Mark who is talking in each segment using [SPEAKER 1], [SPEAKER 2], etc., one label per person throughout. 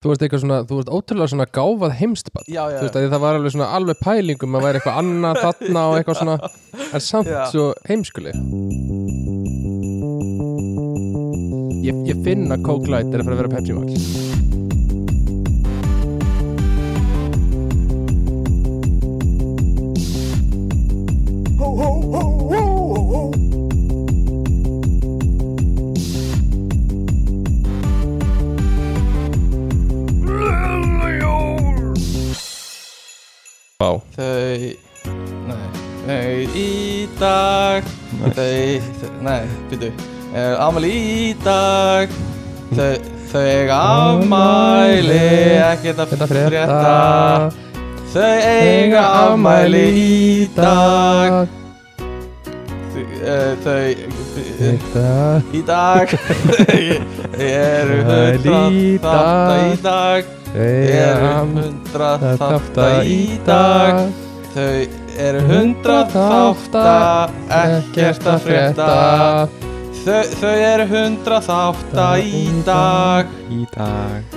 [SPEAKER 1] Þú veist eitthvað svona, þú veist ótrúlega svona gáfað heimstbann
[SPEAKER 2] Já, já,
[SPEAKER 1] Þú veist að það var alveg svona alveg pælingum að væri eitthvað annað þarna og eitthvað svona en samt
[SPEAKER 2] Já.
[SPEAKER 1] svo heimskuli ég, ég finn að Coke Light er að fara að vera Pepsi Max Vá,
[SPEAKER 2] Þau Nei Þau í dag Þau þau- Nei, byrju Er afmæli í dag Þau Þau eiga afmæli Ekkert að
[SPEAKER 1] þetta
[SPEAKER 2] frétta
[SPEAKER 1] frétta
[SPEAKER 2] Þau eiga afmæli í dag Þau, eh, þau
[SPEAKER 1] Þetta
[SPEAKER 2] Í dag Þau eru
[SPEAKER 1] Það er
[SPEAKER 2] hundrað
[SPEAKER 1] í
[SPEAKER 2] þátta í
[SPEAKER 1] dag.
[SPEAKER 2] dag Þau eru
[SPEAKER 1] er
[SPEAKER 2] hundrað
[SPEAKER 1] þetta
[SPEAKER 2] þátta í dag Þau eru hundrað þátta Ekkert að frétta Þau, þau eru hundrað þátta í dag
[SPEAKER 1] Í dag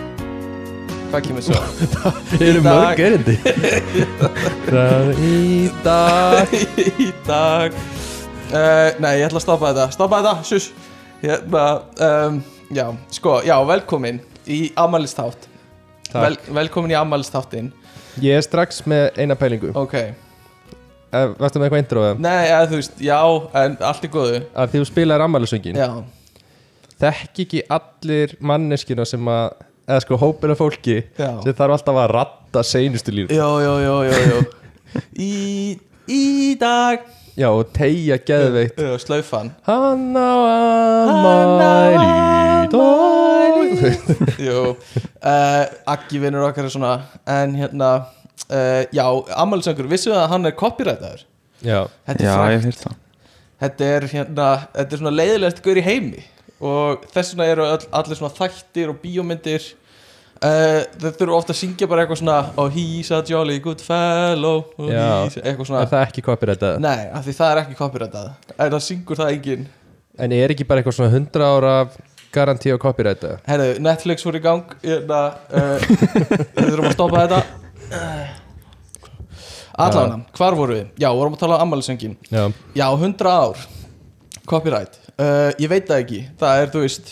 [SPEAKER 2] Hvað kemur svo?
[SPEAKER 1] Þeir
[SPEAKER 2] eru mörg
[SPEAKER 1] erindi Það er í dag
[SPEAKER 2] í dag uh, Nei, ég ætla að stoppa þetta Stoppa þetta, sus Hérna, um, já, sko, já, velkomin í afmælistátt
[SPEAKER 1] Takk.
[SPEAKER 2] Vel, Velkomin í afmælistáttin
[SPEAKER 1] Ég er strax með eina pælingu uh,
[SPEAKER 2] Ok,
[SPEAKER 1] Varstu með eitthvað intro eða?
[SPEAKER 2] nei, eða þú veist, já, en allt er góðu
[SPEAKER 1] Að því þú spilaðir ammælisöngin
[SPEAKER 2] Já,
[SPEAKER 1] Þekki ekki allir manneskina sem að Eða sko hópur af fólki
[SPEAKER 2] Já.
[SPEAKER 1] Sem þarf alltaf að ratta seinustu líf
[SPEAKER 2] já, já, já, já, já. Í, í dag
[SPEAKER 1] Já og tegja geðveikt
[SPEAKER 2] Já, Slaufan
[SPEAKER 1] Hann á
[SPEAKER 2] Hann á
[SPEAKER 1] ammæli
[SPEAKER 2] afmæli. Jú, uh, Aggi vinnur okkar er svona En hérna, uh, já, ammælisöngur, vissu að hann er copyrightaður?
[SPEAKER 1] Já
[SPEAKER 2] Þetta
[SPEAKER 3] Já,
[SPEAKER 2] er, frægt.
[SPEAKER 3] ég hef hýrt það
[SPEAKER 2] þetta er, hérna, þetta er svona leiðilegt gaur í heimi Og þess vegna eru all, allir svona þættir og bíómyndir uh, Þau þurfa ofta að syngja bara eitthvað svona Oh, he's a jolly good fellow oh,
[SPEAKER 1] Já.
[SPEAKER 2] he's a-" Eitthvað
[SPEAKER 1] Er
[SPEAKER 2] svona
[SPEAKER 1] það ekki copyrightað?
[SPEAKER 2] Nei, af því það er ekki copyrightað En það syngur það enginn
[SPEAKER 1] En er ekki bara eitthvað svona 100 ára garantí á copyrighta?
[SPEAKER 2] Herðu, Netflix voru í gang hérna, uh, Við þurfum að stoppa þetta Allána, hvar voru við? Já, vorum að tala um ammælisöngin
[SPEAKER 1] Já.
[SPEAKER 2] Já, 100 ár Copyright uh, Ég veit það ekki, það er, þú veist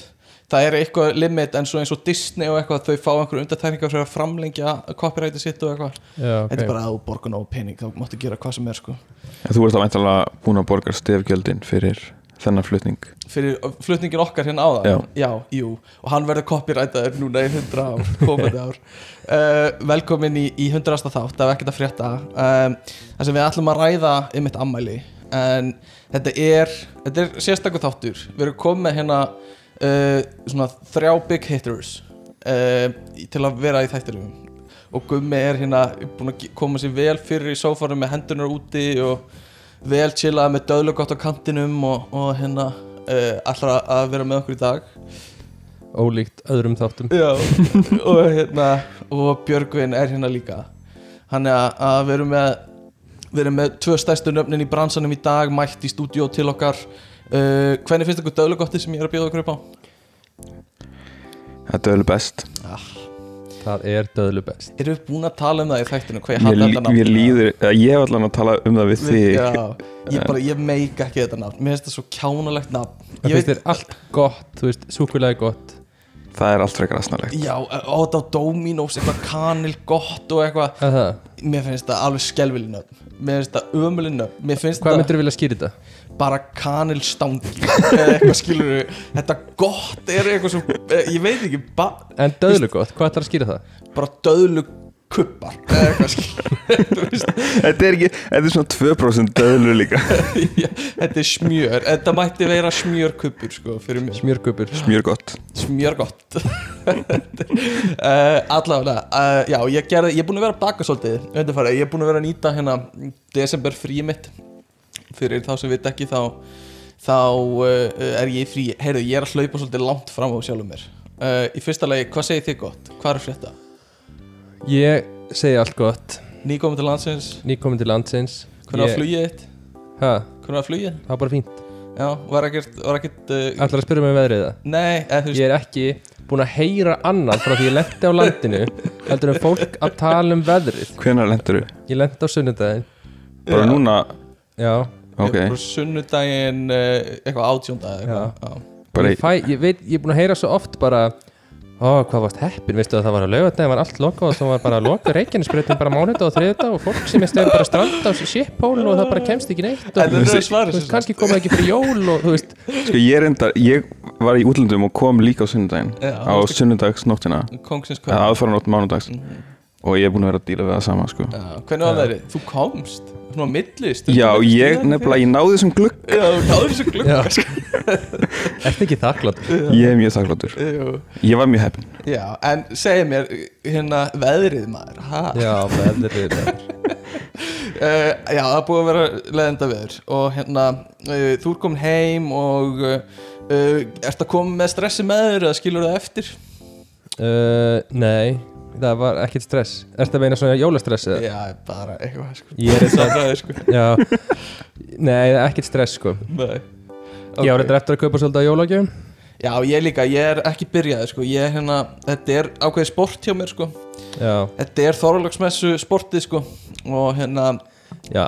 [SPEAKER 2] Það er eitthvað limit en svo eins og Disney og eitthvað Þau fá einhverju undartækningar fyrir að framlengja Copyrighti sitt og eitthvað
[SPEAKER 1] Já,
[SPEAKER 2] Þetta er bara að þú borgar nóg pening Þá máttu gera hvað sem er sko
[SPEAKER 3] En þú ert að væntalega búin að borga stefgjöldin fyrir þennan flutning
[SPEAKER 2] Fyrir flutningin okkar hérna á það
[SPEAKER 3] Já.
[SPEAKER 2] jú Og hann verður copyrightaður núna í 100 ár Komandi ár uh, Velkomin í, í 100. þátt Það er ekkert að frétta um, Það sem við ætlum að ræða um eitt ammæli En þetta er, þetta er sérstakur þáttur Við erum komið með hérna uh, Svona þrjá big hitters uh, í- Til að vera í þættunum Og Gummi er hérna búin að ge- koma sér vel fyrir í sófarum með hendunar úti og vel chillað með döðlugott á kantinum og, og hérna uh, allra að vera með okkur í dag
[SPEAKER 1] Ólíkt öðrum þáttum.
[SPEAKER 2] Já, og hérna og Björgvin er hérna líka hann er að- að vera með við erum með tvö stærstu nöfnin í bransanum í dag mætt í stúdíó til okkar uh, hvernig finnst ykkur döðlugotti sem ég er að bjóða okkur upp á?
[SPEAKER 3] Þetta er alveg best
[SPEAKER 1] Það er döðlu best.
[SPEAKER 2] Erum við búin að tala um það í þættinu? Hvað ég
[SPEAKER 3] Mér,
[SPEAKER 2] hata
[SPEAKER 3] lí-
[SPEAKER 2] þetta nafn?
[SPEAKER 3] mér líður, eða ég hef allan að tala um það við þig
[SPEAKER 2] Já, ég, bara, ég meika ekki þetta nafn Mér finnst þetta svo kjánalegt nafn
[SPEAKER 1] Það
[SPEAKER 2] Ég
[SPEAKER 1] finnst þér allt gott, þú veist, súkulega gott.
[SPEAKER 3] Það er allt frekar aðsnalegt
[SPEAKER 2] Já, á þetta á Dominos, eitthvað kanil gott og eitthvað
[SPEAKER 1] Það er það.
[SPEAKER 2] Mér finnst það alveg skelvilið nöfn Mér finnst það ömulið nöfn Mér finnst
[SPEAKER 1] Hvað
[SPEAKER 2] það
[SPEAKER 1] myndir þú vilja skýra þetta?
[SPEAKER 2] bara kanilstangi Eða eitthvað skilur Þetta gott er eitthvað svo eh, Ég veit ekki, ba
[SPEAKER 1] En döðlu gott, hvað ætlar að skýra það?
[SPEAKER 2] bara döðlu kubbar Eða eitthvað skilur
[SPEAKER 3] Þetta er, ekki, þetta er svona 2% döðlu líka
[SPEAKER 2] Þetta er smjör, þetta mætti vera smjörkubbur sko, fyrir mér
[SPEAKER 1] Smjörgubur.
[SPEAKER 3] Mjög gott
[SPEAKER 2] smjör gott uh, allavega uh, já, ég, gerði, ég er búin að vera að baka svolítið undanfarið. ég er búin að vera að nýta hérna desember frí mitt fyrir þá sem við ekki þá þá uh, er ég í frí heyrðu, ég er að hlaupa svolítið langt fram á sjálfum mér uh, í fyrsta lagi, hvað segir þið gott? hvað er að frétta?
[SPEAKER 1] Ég segi allt gott.
[SPEAKER 2] nýkomið til landsins,
[SPEAKER 1] Nýkomin til landsins.
[SPEAKER 2] hvernig var
[SPEAKER 1] Ég-
[SPEAKER 2] flugið þitt?
[SPEAKER 1] Ha,
[SPEAKER 2] hvernig var flugið?
[SPEAKER 1] það var bara fínt.
[SPEAKER 2] já, var ekkert, var ekkert uh,
[SPEAKER 1] Ætlar að spyrja mig um veðrið það?
[SPEAKER 2] nei, eða þú veist
[SPEAKER 1] Ég er ekki búin að heyra annað frá því ég lendi á landinu heldur en fólk að tala um veðrið
[SPEAKER 3] Hvenær lendur
[SPEAKER 1] ég lendi á sunnudaginn
[SPEAKER 3] Bara núna,
[SPEAKER 1] já,
[SPEAKER 3] ok
[SPEAKER 2] Ég er bara sunnudaginn eh, eitthvað átjónda eitthvað.
[SPEAKER 3] Bara
[SPEAKER 1] ég, fæ, ég veit, ég er búin að heyra svo oft bara Ó, hvað varst heppin, veistu að það var að laugardaginn var allt lokað og það var bara að loka reikinnesbreytin bara mánudag og þriðdag og fólk sem er stöðum bara að stranda á shippólu og það bara kemst ekki neitt og
[SPEAKER 2] En þetta er
[SPEAKER 1] þú
[SPEAKER 2] svarið sem
[SPEAKER 1] veist, kannski koma ekki fyrir jól og þú veist,
[SPEAKER 3] Sko ég reyndar, ég var í útlöndum og kom líka á sunnudaginn
[SPEAKER 2] Já,
[SPEAKER 3] á
[SPEAKER 2] varstu-
[SPEAKER 3] sunnudagsnóttina
[SPEAKER 2] sagt. Kongsins
[SPEAKER 3] eða
[SPEAKER 2] kvöld
[SPEAKER 3] aðfara nótt mánudags
[SPEAKER 2] Mhm.
[SPEAKER 3] og ég er búin að vera að díla við það sama sko.
[SPEAKER 2] Já, Hvernig var það Þú komst Svona á milli stundum.
[SPEAKER 3] Já, ég nefnilega, ég náði þessum glugg
[SPEAKER 2] Já, þú náður þessu glugg
[SPEAKER 1] já Ertu ekki þakklátt?
[SPEAKER 3] Ég er mjög þakklátur
[SPEAKER 2] Jú.
[SPEAKER 3] Ég var mjög heppin
[SPEAKER 2] Já, en segja mér Hérna veðrið maður ha?
[SPEAKER 1] Já, veðrið maður.
[SPEAKER 2] Uh, já, það er búið að vera leðenda veður og hérna, uh, þú er komin heim og uh, uh, ert að koma með stressi með þér eða skilur það eftir?
[SPEAKER 1] uh, Nei, það var ekkert stress Ertu að meina svona jólastress? eða?
[SPEAKER 2] Já, bara eitthvað sko.
[SPEAKER 1] Ég er
[SPEAKER 2] það
[SPEAKER 1] eitthvað,
[SPEAKER 2] fræði sko.
[SPEAKER 1] já Nei, ekkert stress sko
[SPEAKER 2] Nei.
[SPEAKER 1] Ég á
[SPEAKER 2] Ok.
[SPEAKER 1] reyndar eftir að kaupa svolítið á jólagjöfum
[SPEAKER 2] Já, ég líka, ég er ekki byrjaði sko. ég, hérna, þetta er ákveðið sport hjá mér sko.
[SPEAKER 1] Já,
[SPEAKER 2] þetta er þorlagsmessu sportið sko. og hérna,
[SPEAKER 1] já,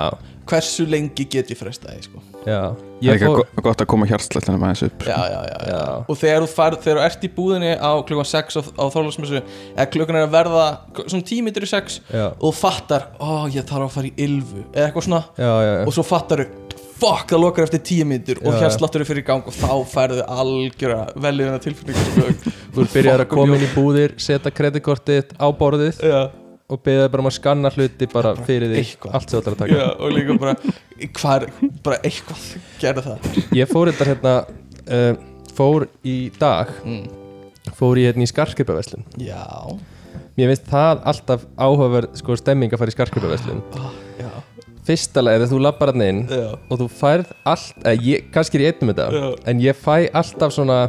[SPEAKER 2] hversu lengi get ég frestaði sko.
[SPEAKER 1] já
[SPEAKER 3] Það er
[SPEAKER 1] Ég
[SPEAKER 3] ekki
[SPEAKER 1] fór,
[SPEAKER 3] go- gott að koma hjartslættina með þessu upp
[SPEAKER 2] já, já, já, já.
[SPEAKER 1] Já.
[SPEAKER 2] og þegar þú, far, þegar þú ert í búðinni á klukkan 6 á, á þorlagsmessu eða klukkan er að verða k- svona tímitur í 6
[SPEAKER 1] já
[SPEAKER 2] og þú fattar, ó ég þarf að fara í ylfu eða eitthvað svona
[SPEAKER 1] já, já, já.
[SPEAKER 2] og svo fattar þú fuck það lokar eftir tíu mínútur og
[SPEAKER 1] Já,
[SPEAKER 2] hér
[SPEAKER 1] já.
[SPEAKER 2] sláttur þú fyrir í gang og þá færðu algjöra veljöðuna tilfinningu
[SPEAKER 1] þú byrjar að koma inn í búðir setja kreditkortið á borðið
[SPEAKER 2] já,
[SPEAKER 1] og byrjaði bara um að skanna hluti bara fyrir því
[SPEAKER 2] eitthvað.
[SPEAKER 1] allt sem þú ætlar að taka
[SPEAKER 2] já, og líka bara hvar, bara eitthvað gerða það
[SPEAKER 1] ég fór þetta hérna uh, fór í dag
[SPEAKER 2] mm.
[SPEAKER 1] fór ég hérna í skarkripaverslun
[SPEAKER 2] já,
[SPEAKER 1] mér finnst það alltaf áhugaverð sko stemming að fara í skarkripaverslun
[SPEAKER 2] ah, já,
[SPEAKER 1] fyrsta leið þegar þú lappar hann inn
[SPEAKER 2] já
[SPEAKER 1] og þú færð allt, eða ég, kannski er ég einn um þetta
[SPEAKER 2] Já.
[SPEAKER 1] en ég fæ alltaf svona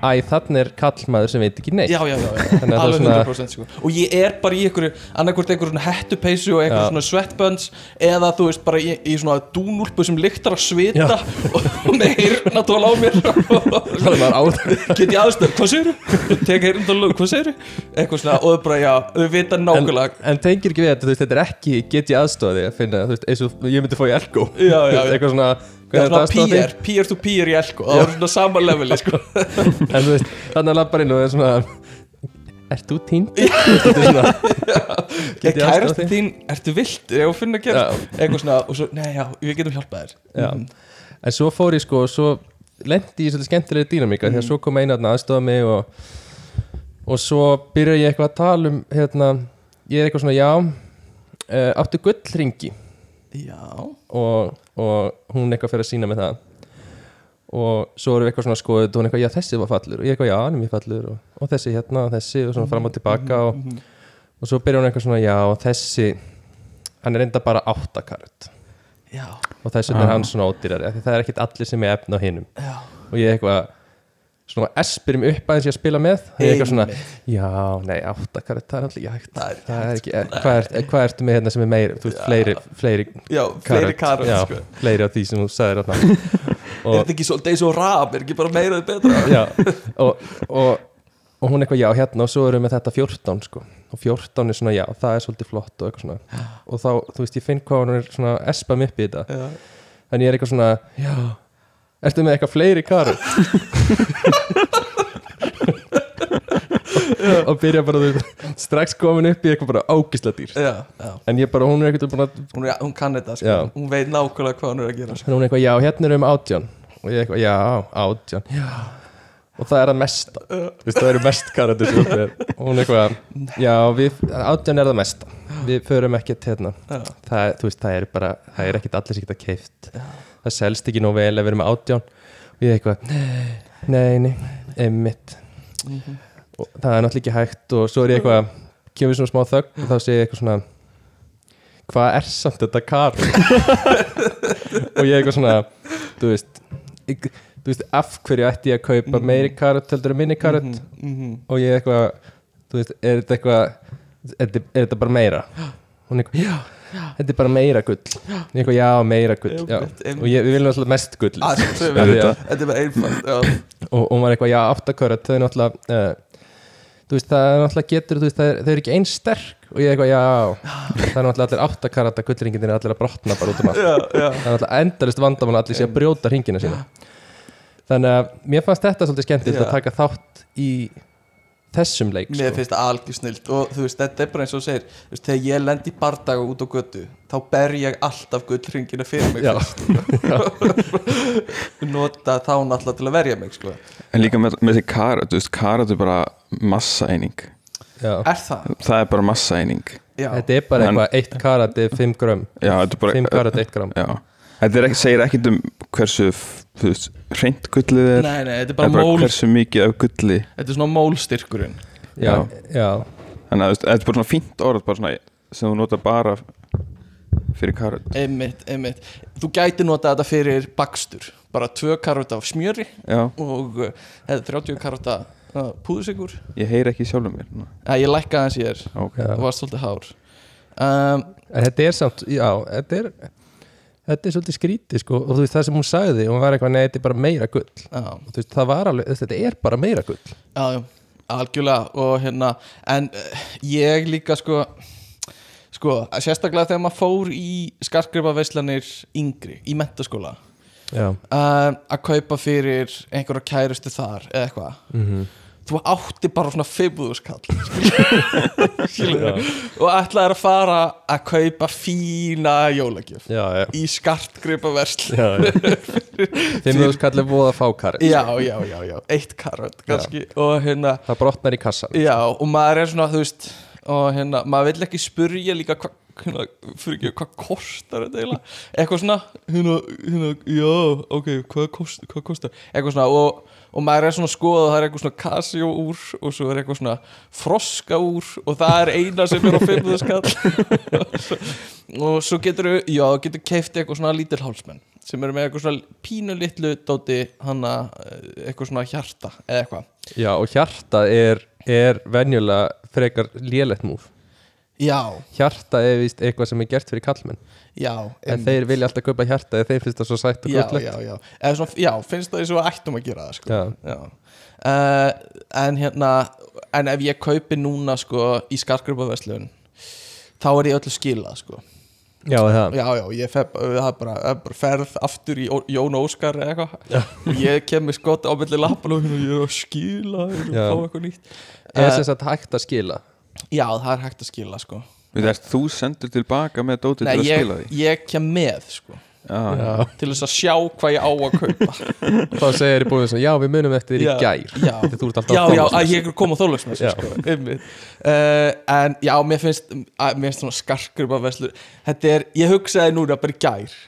[SPEAKER 1] æ, þannig er kallmaður sem veit ekki neitt
[SPEAKER 2] Já, já, já, já.
[SPEAKER 1] Þannig að það er
[SPEAKER 2] alveg
[SPEAKER 1] svona-
[SPEAKER 2] 100% sko. og ég er bara í einhverju annarkvort einhverju svona hettupeysu og einhverju
[SPEAKER 1] Já.
[SPEAKER 2] svona sweatbuns eða þú veist bara í, í svona dúnúlpu sem lyktar að svita og með heyrna tól á mér
[SPEAKER 1] þannig að maður á það
[SPEAKER 2] get ég aðstöð, hvað segir þú? tek heyrndalög, hvað segir þú? eitthvað svona, og þau bara já, þau vita
[SPEAKER 1] en,
[SPEAKER 2] nákvæmlega
[SPEAKER 1] en tengir ekki við þetta, þú veist, þetta er ekki get ég aðstofaði að finna, þú veist, eins og ég myndi fá í elko
[SPEAKER 2] Já, já, já.
[SPEAKER 1] eitthvað svona,
[SPEAKER 2] það
[SPEAKER 1] hvernig
[SPEAKER 2] er svona
[SPEAKER 1] þetta aðstofaði
[SPEAKER 2] peer, peer to peer í elko það var svona sama leveli, sko
[SPEAKER 1] en þú veist, þannig að labbarinn og það er svona ert þú týnd? Þetta er svona,
[SPEAKER 2] ég
[SPEAKER 1] ég aðstoðað
[SPEAKER 2] kærast
[SPEAKER 1] þig?
[SPEAKER 2] þín, ertu vilt, er ég að finna að gera eitthvað svona, og svo, nei já, við getum hjálpað þér Mm.
[SPEAKER 1] Já. en svo fór ég sko svo lendi ég í svolítið skemmtilega dýnamíka mm. því að svo kom eina að aðstofa mig og, og svo byrja ég eitthvað að tala um hérna, ég er eitthvað svona já uh, áttu gullringi
[SPEAKER 2] já,
[SPEAKER 1] og, og hún eitthvað fyrir að sína með það og svo erum við eitthvað svona skoðið og hún eitthvað, já þessi var fallur og ég eitthvað, já hann er mjög fallur og, og þessi hérna og þessi og svona fram og tilbaka og, og svo byrjar hún eitthvað svona, já og þessi hann er enda bara áttakarut
[SPEAKER 2] já,
[SPEAKER 1] og þess vegna er hann svona ódýrari af því það er ekkit allir sem er efna á hinum
[SPEAKER 2] já
[SPEAKER 1] og ég eitthvað svona espirum upp aðeins ég að spila með og ég eitthvað svona, já, nei, áttakarut það er allir ekki hægt
[SPEAKER 2] Það er ekki
[SPEAKER 1] það er ekki, eh, hvað, er, hvað ertu með hérna sem er meiri þú veist, fleiri, fleiri
[SPEAKER 2] já, fleiri karot,
[SPEAKER 1] já,
[SPEAKER 2] sko
[SPEAKER 1] fleiri af því sem þú sagðir þarna
[SPEAKER 2] er þetta ekki svolítið eins og rap, er ekki bara meirað betra
[SPEAKER 1] já, og, og, og hún eitthvað já hérna og svo erum við með þetta 14 sko og 14 er svona já, það er svolítið flott og eitthvað svona og þá, þú veist, ég finn hvað hún er svona espa mig upp í þetta
[SPEAKER 2] já,
[SPEAKER 1] en ég er eitthvað svona, já ertu með eitthvað fleiri karu og byrja bara þú veist, strax komin upp í eitthvað bara ágisla dýr
[SPEAKER 2] já, já
[SPEAKER 1] en ég bara, hún er eitthvað búin að
[SPEAKER 2] hún, er, hún kann þetta, sko,
[SPEAKER 1] Já.
[SPEAKER 2] hún veit nákvæmlega hvað hún er að gera sko.
[SPEAKER 1] Þannig hún er eitthvað, já, hérna erum við átján Og ég eitthvað, já, átján já. Og það er að mesta Þú veist, það eru mest karatir sem við Og hún er eitthvað, já, við, átján er það mesta Við förum ekkert hérna
[SPEAKER 2] Já.
[SPEAKER 1] það, er- Þú veist, það er bara, það er ekkert allir sem geta keift Það selst ekki nóg vel ef við erum átján Og ég eitthvað, nei, nei, nei, Mhm. einmitt Og það er náttúrulega ekki hægt Og svo er ég eitthvað, kemur svona smá þögn Og þá segir ég eitthvað svona Hvað er samt þetta kar? og ég eitthvað svona þú veist, ég, þú veist af hverju ætti ég að kaupa meiri karot heldur en minni karot
[SPEAKER 2] Mhm,
[SPEAKER 1] og ég eitthvað þú veist, er þetta eitthvað er, þetta- er þetta bara meira hún eitthvað, já, þetta er bara meira gull ég eitthvað, já, meira gull já.
[SPEAKER 2] Einmitt, einmitt.
[SPEAKER 1] og ég, við viljum alltaf mest gull
[SPEAKER 2] Ah, þetta
[SPEAKER 1] Já, já.
[SPEAKER 2] er bara einfalt já.
[SPEAKER 1] og og hún var eitthvað, já, áttakarot þau náttúrulega uh, þú veist, það er náttúrulega getur, þú veist, það er, þau eru ekki eins sterk og ég eitthvað, já, það er náttúrulega allir áttakarata gullringinir, allir að brotna bara út um allt
[SPEAKER 2] já, já,
[SPEAKER 1] það er náttúrulega endalist vandamál að allir sé að brjóta hringina sína þannig að mér fannst þetta svolítið skemmtilegt
[SPEAKER 2] Já.
[SPEAKER 1] að taka þátt í þessum leik
[SPEAKER 2] mér
[SPEAKER 1] sko.
[SPEAKER 2] finnst það algjör snilt og þú veist, þetta er bara eins og þú segir þú veist, þegar ég lend í bardaga út á götu þá ber ég alltaf gullringina fyrir mig
[SPEAKER 1] Já.
[SPEAKER 2] fyrst. nota þá náttúrulega til að verja mig sko.
[SPEAKER 3] En líka með, með þessi karat, þú veist, karat er bara massaeining.
[SPEAKER 1] Já.
[SPEAKER 2] er það?
[SPEAKER 3] Það er bara massaeining.
[SPEAKER 2] Já,
[SPEAKER 1] þetta er bara
[SPEAKER 3] En-
[SPEAKER 1] eitthvað, eitt karat er 5 gram
[SPEAKER 3] Já, þetta er bara...
[SPEAKER 1] 5 karat 1 gram
[SPEAKER 3] Já. Þetta er ekki, segir ekkit um hversu, þú veist, hreint gullið er.
[SPEAKER 2] nei, nei, þetta er
[SPEAKER 3] Það
[SPEAKER 2] bara,
[SPEAKER 3] er bara
[SPEAKER 2] mól
[SPEAKER 3] hversu mikið af gulli.
[SPEAKER 2] þetta er svona mólstyrkurinn
[SPEAKER 1] já,
[SPEAKER 3] Já.
[SPEAKER 1] já,
[SPEAKER 3] Þannig að þú veist, þetta er bara svona fínt orð, bara svona sem þú nota bara fyrir karat.
[SPEAKER 2] einmitt, einmitt þú gæti nota þetta fyrir bakstur bara tvö karota af smjöri
[SPEAKER 3] Já,
[SPEAKER 2] og uh, hefði 30 karota uh, púðusigur
[SPEAKER 3] ég heyri ekki sjálfum mér. Nú,
[SPEAKER 2] ja, ég lækka aðeins ég er
[SPEAKER 3] Ok.
[SPEAKER 1] já.
[SPEAKER 2] það var svolítið hár um,
[SPEAKER 1] En þetta er samt, já, þetta er þetta er svolítið skrítið sko og þú veist það sem hún sagði, hún var eitthvað, nei, þetta er bara meira gull
[SPEAKER 2] já,
[SPEAKER 1] og þú veist, það var alveg, þetta er bara meira gull
[SPEAKER 2] já, já, algjörlega og hérna, en uh, ég líka sko sko, að sérstaklega þegar maður fór í skarkripaveislanir yngri, í mentaskóla
[SPEAKER 1] já,
[SPEAKER 2] uh, að kaupa fyrir einhverja kærustu þar eða eitthvað
[SPEAKER 1] Mhm.
[SPEAKER 2] þú átti bara svona fimmúðuskall og ætlaði að fara að kaupa fína jólagjöf
[SPEAKER 1] já, já,
[SPEAKER 2] í skartgripaversl
[SPEAKER 1] já, já. þeim þú skallir búið að fá karið
[SPEAKER 2] já, já, já, já, eitt karot kannski og hérna
[SPEAKER 1] það brotnar í kassan
[SPEAKER 2] já, og maður er svona, þú veist og hérna, maður vill ekki spurja líka hvað hérna, fyrir ekki, hvað kostar þetta eiginlega, eitthvað svona hérna, hérna, já, ok, hvað kostar, hvað kostar eitthvað svona, og, og maður er svona að skoða, það er eitthvað svona Casio úr og svo er eitthvað svona froska úr og það er eina sem er á 50 skall og svo getur já, getur keift eitthvað svona lítil hálsmenn sem eru með eitthvað svona pínu litlu dóti hana, eh, eitthvað svona hjarta eða eitthvað
[SPEAKER 1] Já, og hjarta er, er venjulega frekar lélegt múf
[SPEAKER 2] Já,
[SPEAKER 1] Hjarta er vist eitthvað sem er gert fyrir kallmenn
[SPEAKER 2] já
[SPEAKER 1] En þeir vilja alltaf kaupa hjarta eða þeir finnst það svo sætt og
[SPEAKER 2] já,
[SPEAKER 1] gullegt
[SPEAKER 2] já, já. Eða Svona, já, finnst það eins og við ættum að gera það sko.
[SPEAKER 1] Já.
[SPEAKER 2] Uh, en hérna en ef ég kaupi núna sko, í skarkrupaverslun þá er ég öllu skilað sko.
[SPEAKER 1] já, það
[SPEAKER 2] já, já, ég feb, það er bara, það er bara ferð aftur í Ó- Jón Óskar eða eitthvað og ég kem með skott á milli lappan og hérna, ég er að skila ég er
[SPEAKER 1] Já.
[SPEAKER 2] að fá eitthvað nýtt
[SPEAKER 1] Er
[SPEAKER 2] Eh,
[SPEAKER 1] sem sagt hægt að skila
[SPEAKER 2] já, það er hægt að skila sko.
[SPEAKER 3] Við þess, þú sendur tilbaka með dótið
[SPEAKER 2] Nei,
[SPEAKER 3] til að
[SPEAKER 2] ég,
[SPEAKER 3] skila því.
[SPEAKER 2] ég kem með sko,
[SPEAKER 3] Já,
[SPEAKER 1] Já.
[SPEAKER 2] til þess að sjá hvað ég á að kaupa
[SPEAKER 1] Þá segir í búinu þess að já, við munum eftir þér í gær
[SPEAKER 2] já,
[SPEAKER 1] Þetta þú ert alltaf
[SPEAKER 2] já,
[SPEAKER 1] að
[SPEAKER 2] já,
[SPEAKER 1] komast.
[SPEAKER 2] að ég er komið á þólagsmessu
[SPEAKER 1] Já.
[SPEAKER 2] sko, einmitt. uh, en já, mér finnst að, mér finnst svona skarkrupaverslur þetta er, ég hugsaði núna bara í gær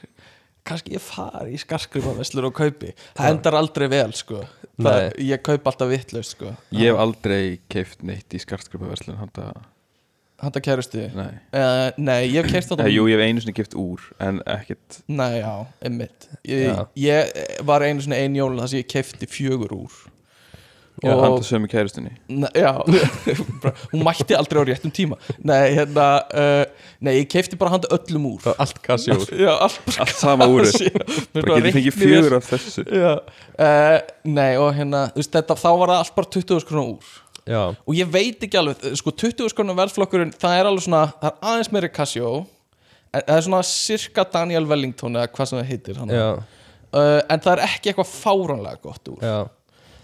[SPEAKER 2] kannski ég fari í skarkrupaverslur og kaupi, það endar aldrei vel sko, það,
[SPEAKER 1] Nei.
[SPEAKER 2] ég kaup alltaf vitlaust sko,
[SPEAKER 3] Ég hef aldrei keift neitt í skartskripaverslun handa,
[SPEAKER 2] handa kærustu uh,
[SPEAKER 3] nei
[SPEAKER 2] nei, ég hef kært
[SPEAKER 3] Eða,
[SPEAKER 2] þetta
[SPEAKER 3] Eh, Jú, ég hef einu sinni keift úr en ekkert,
[SPEAKER 2] nei, já, einmitt ég,
[SPEAKER 1] Já.
[SPEAKER 2] ég var einu svona ein jól þar sem ég keifti fjögur úr
[SPEAKER 3] og handa sömu kærustunni
[SPEAKER 2] Nei, já, bara, hún mætti aldrei á réttum tíma Nei, hérna uh, Nei, ég keipti bara handa öllum úr
[SPEAKER 1] Það er Allt kassi úr
[SPEAKER 2] Já, allt bara
[SPEAKER 3] Allt sama úr
[SPEAKER 2] Já, mér
[SPEAKER 3] Bara getur fengið
[SPEAKER 2] reiknið
[SPEAKER 3] fjögur af þessu
[SPEAKER 2] er- Já, uh, nei, og hérna þú veist, þetta, Þá var það allt bara 20 skrona úr
[SPEAKER 1] Já,
[SPEAKER 2] Og ég veit ekki alveg, eh, sko 20 skrona verðflokkurinn Það er alveg svona, það er aðeins meiri Casio en Það er svona cirka Daniel Wellington Eða hvað sem það heitir hann
[SPEAKER 1] já,
[SPEAKER 2] uh, En það er ekki eitthvað fáránlega gott úr
[SPEAKER 1] já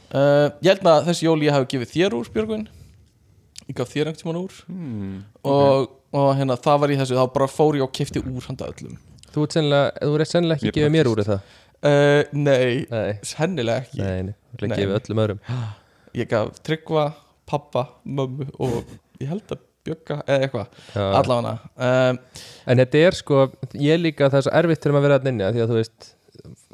[SPEAKER 2] Uh, ég held að þessi jól ég hafi gefið þér úr Björgvin Ég gaf þér einhvern tímann úr Hmm. og, og hérna það var í þessu Þá bara fór ég og kefti úr handa öllum
[SPEAKER 1] Þú ert sennilega, þú ert sennilega
[SPEAKER 3] Ég
[SPEAKER 1] ekki gefið mér úr það
[SPEAKER 2] uh, Nei,
[SPEAKER 1] Nei,
[SPEAKER 2] hennilega ekki
[SPEAKER 1] nei, nei, þú ert
[SPEAKER 2] Nei.
[SPEAKER 1] ekki gefið öllum öðrum
[SPEAKER 2] Ég gaf Tryggva, pappa, mömmu Og ég held að Björga eða eitthvað
[SPEAKER 1] Já.
[SPEAKER 2] Allavega um,
[SPEAKER 1] En þetta er sko, ég líka það er svo erfitt þegar maður verið að nynja því að þú veist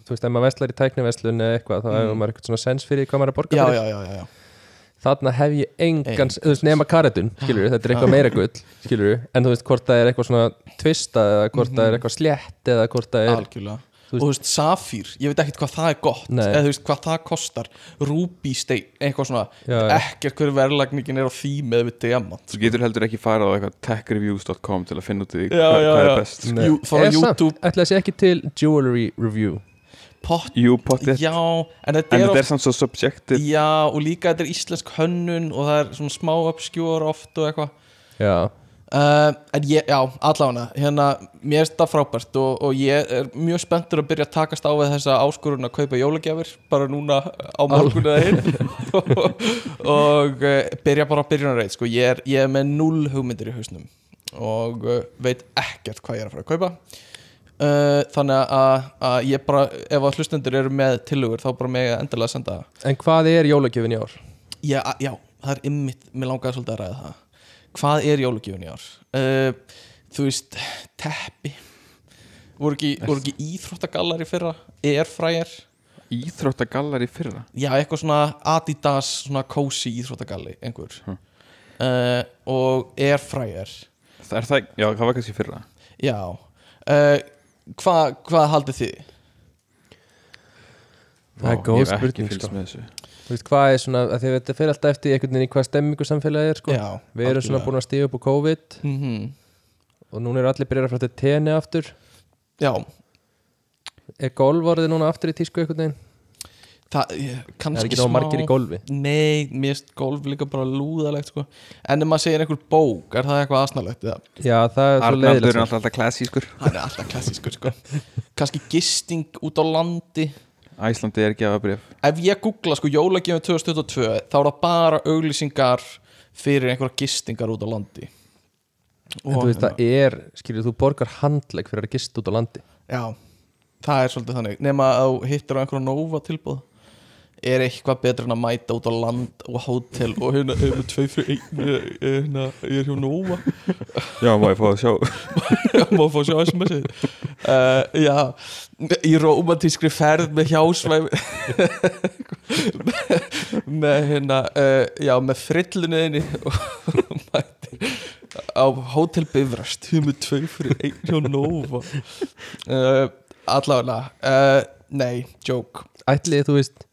[SPEAKER 1] þú veist, ef maður veslar í tækniveslun eða eitthvað þá hefur maður eitthvað svona sens fyrir því hvað maður er að borga
[SPEAKER 2] Mm. Já,
[SPEAKER 1] fyrir
[SPEAKER 2] já, já, já, já.
[SPEAKER 1] þarna hef ég engan, þú veist, nema karatun skilur þetta er eitthvað meira gull, skilur en þú veist, hvort það er eitthvað svona tvista eða hvort það
[SPEAKER 2] Mhm.
[SPEAKER 1] er eitthvað slétt eða hvort það er
[SPEAKER 2] algjörlega
[SPEAKER 1] Þú veist-
[SPEAKER 2] og þú veist, safír, ég veit ekkert hvað það er gott
[SPEAKER 1] Nei.
[SPEAKER 2] eða þú veist hvað það kostar rúbístein, eitthvað svona
[SPEAKER 1] Já, já.
[SPEAKER 2] ekkert hver verðlagningin er á því með við diamant
[SPEAKER 3] Þú getur heldur ekki farað á eitthvað techreviews.com til að finna út í
[SPEAKER 2] Já,
[SPEAKER 3] hvað,
[SPEAKER 2] já,
[SPEAKER 3] hvað
[SPEAKER 2] já.
[SPEAKER 3] er best
[SPEAKER 2] Jú, fara á
[SPEAKER 1] Er samt,
[SPEAKER 2] YouTube.
[SPEAKER 1] ætla að sé ekki til jewelry review
[SPEAKER 2] pott
[SPEAKER 3] Jú, potið
[SPEAKER 2] Já, en þetta
[SPEAKER 3] En
[SPEAKER 2] er,
[SPEAKER 3] þetta
[SPEAKER 2] oft
[SPEAKER 3] er samt svo subjective
[SPEAKER 2] Já, og líka þetta er íslensk hönnun og það er svona smá obskjúr oft og eitthvað
[SPEAKER 1] já,
[SPEAKER 2] uh, En ég, já, allavega hérna, mér er þetta frábært og, og ég er mjög spenntur að byrja að takast á við þessa áskorun að kaupa jólagjafir bara núna á morgunu eða hinn og, og uh, byrja bara að byrja reyð, sko, ég er, ég er með null hugmyndir í hausnum og uh, veit ekkert hvað ég er að fara að kaupa Uh, þannig að, að ég bara ef að hlustendur eru með tillögur þá bara með endilega að senda það
[SPEAKER 1] en hvað er jólagjöfin í ár?
[SPEAKER 2] Já, a- já, það er ymmit, mér langaði svolítið að ræða það Hvað er jólugjöfun í ár? Uh, þú veist, teppi Voru ekki, voru ekki íþróttagallar í fyrra? Airfryer?
[SPEAKER 3] Íþróttagallar í fyrra
[SPEAKER 2] Já, eitthvað svona Adidas, svona cozy íþróttagalli einhver
[SPEAKER 1] Hm.
[SPEAKER 2] uh, Og Airfryer
[SPEAKER 3] Það er það, já, það var kannski í fyrra
[SPEAKER 2] Já uh, Hvað hva haldið þið?
[SPEAKER 1] Það er
[SPEAKER 3] Vá,
[SPEAKER 1] góð
[SPEAKER 3] ég hef ekki
[SPEAKER 1] spurning,
[SPEAKER 3] fylgst
[SPEAKER 1] sko.
[SPEAKER 3] með þessu.
[SPEAKER 1] Þú veist, hvað er svona, af því að þetta fer alltaf eftir í einhvern veginn í hvað stemmingu samfélagið er sko.
[SPEAKER 2] Já,
[SPEAKER 1] við erum svona búin að stíða upp á COVID
[SPEAKER 2] mm
[SPEAKER 1] og núna eru allir byrjar að fræta tenni aftur
[SPEAKER 2] Já,
[SPEAKER 1] er golf orðið núna aftur í tísku einhvern veginn?
[SPEAKER 2] það, ég-
[SPEAKER 1] Það er
[SPEAKER 2] kannski
[SPEAKER 1] ekki ná margir í golfi
[SPEAKER 2] Nei, mér finnst golf líka bara lúðalegt sko. En ef maður segir einhver bók, er það eitthvað aðsnalegt? eða?
[SPEAKER 1] Já, það er svo sko.
[SPEAKER 3] Arnaldur er
[SPEAKER 1] leiðilegt
[SPEAKER 3] alltaf klassískur
[SPEAKER 2] Hann er alltaf klassískur sko. Kanski gisting út á landi
[SPEAKER 3] Æslandi er ekki aða bref
[SPEAKER 2] Ef ég googla sko jólagjöfum 2022 Þá er það bara auglýsingar fyrir einhverja gistingar út á landi hérna,
[SPEAKER 1] En þú veist, það er, skilur, þú borgar handleg fyrir að gista út á landi
[SPEAKER 2] Já, það er svolítið þannig Nefna að þú hittir á einhverja Nova tilbúð Er eitthvað betra en að mæta út á land og hótel og hérna, hérna, tvei fyrir einu, hérna, ég er hjá Nova
[SPEAKER 3] Já, má ég fá að sjá
[SPEAKER 2] má fá að sjá SMS-ið uh, já, í romantískri ferð með hjásvæm með hérna uh, já, með frillunniðinni og mætir á Hotel Bifrast, humur tvei fyrir einn hjá Nova uh, allavega uh, nei, joke
[SPEAKER 1] Ætli, þú veist,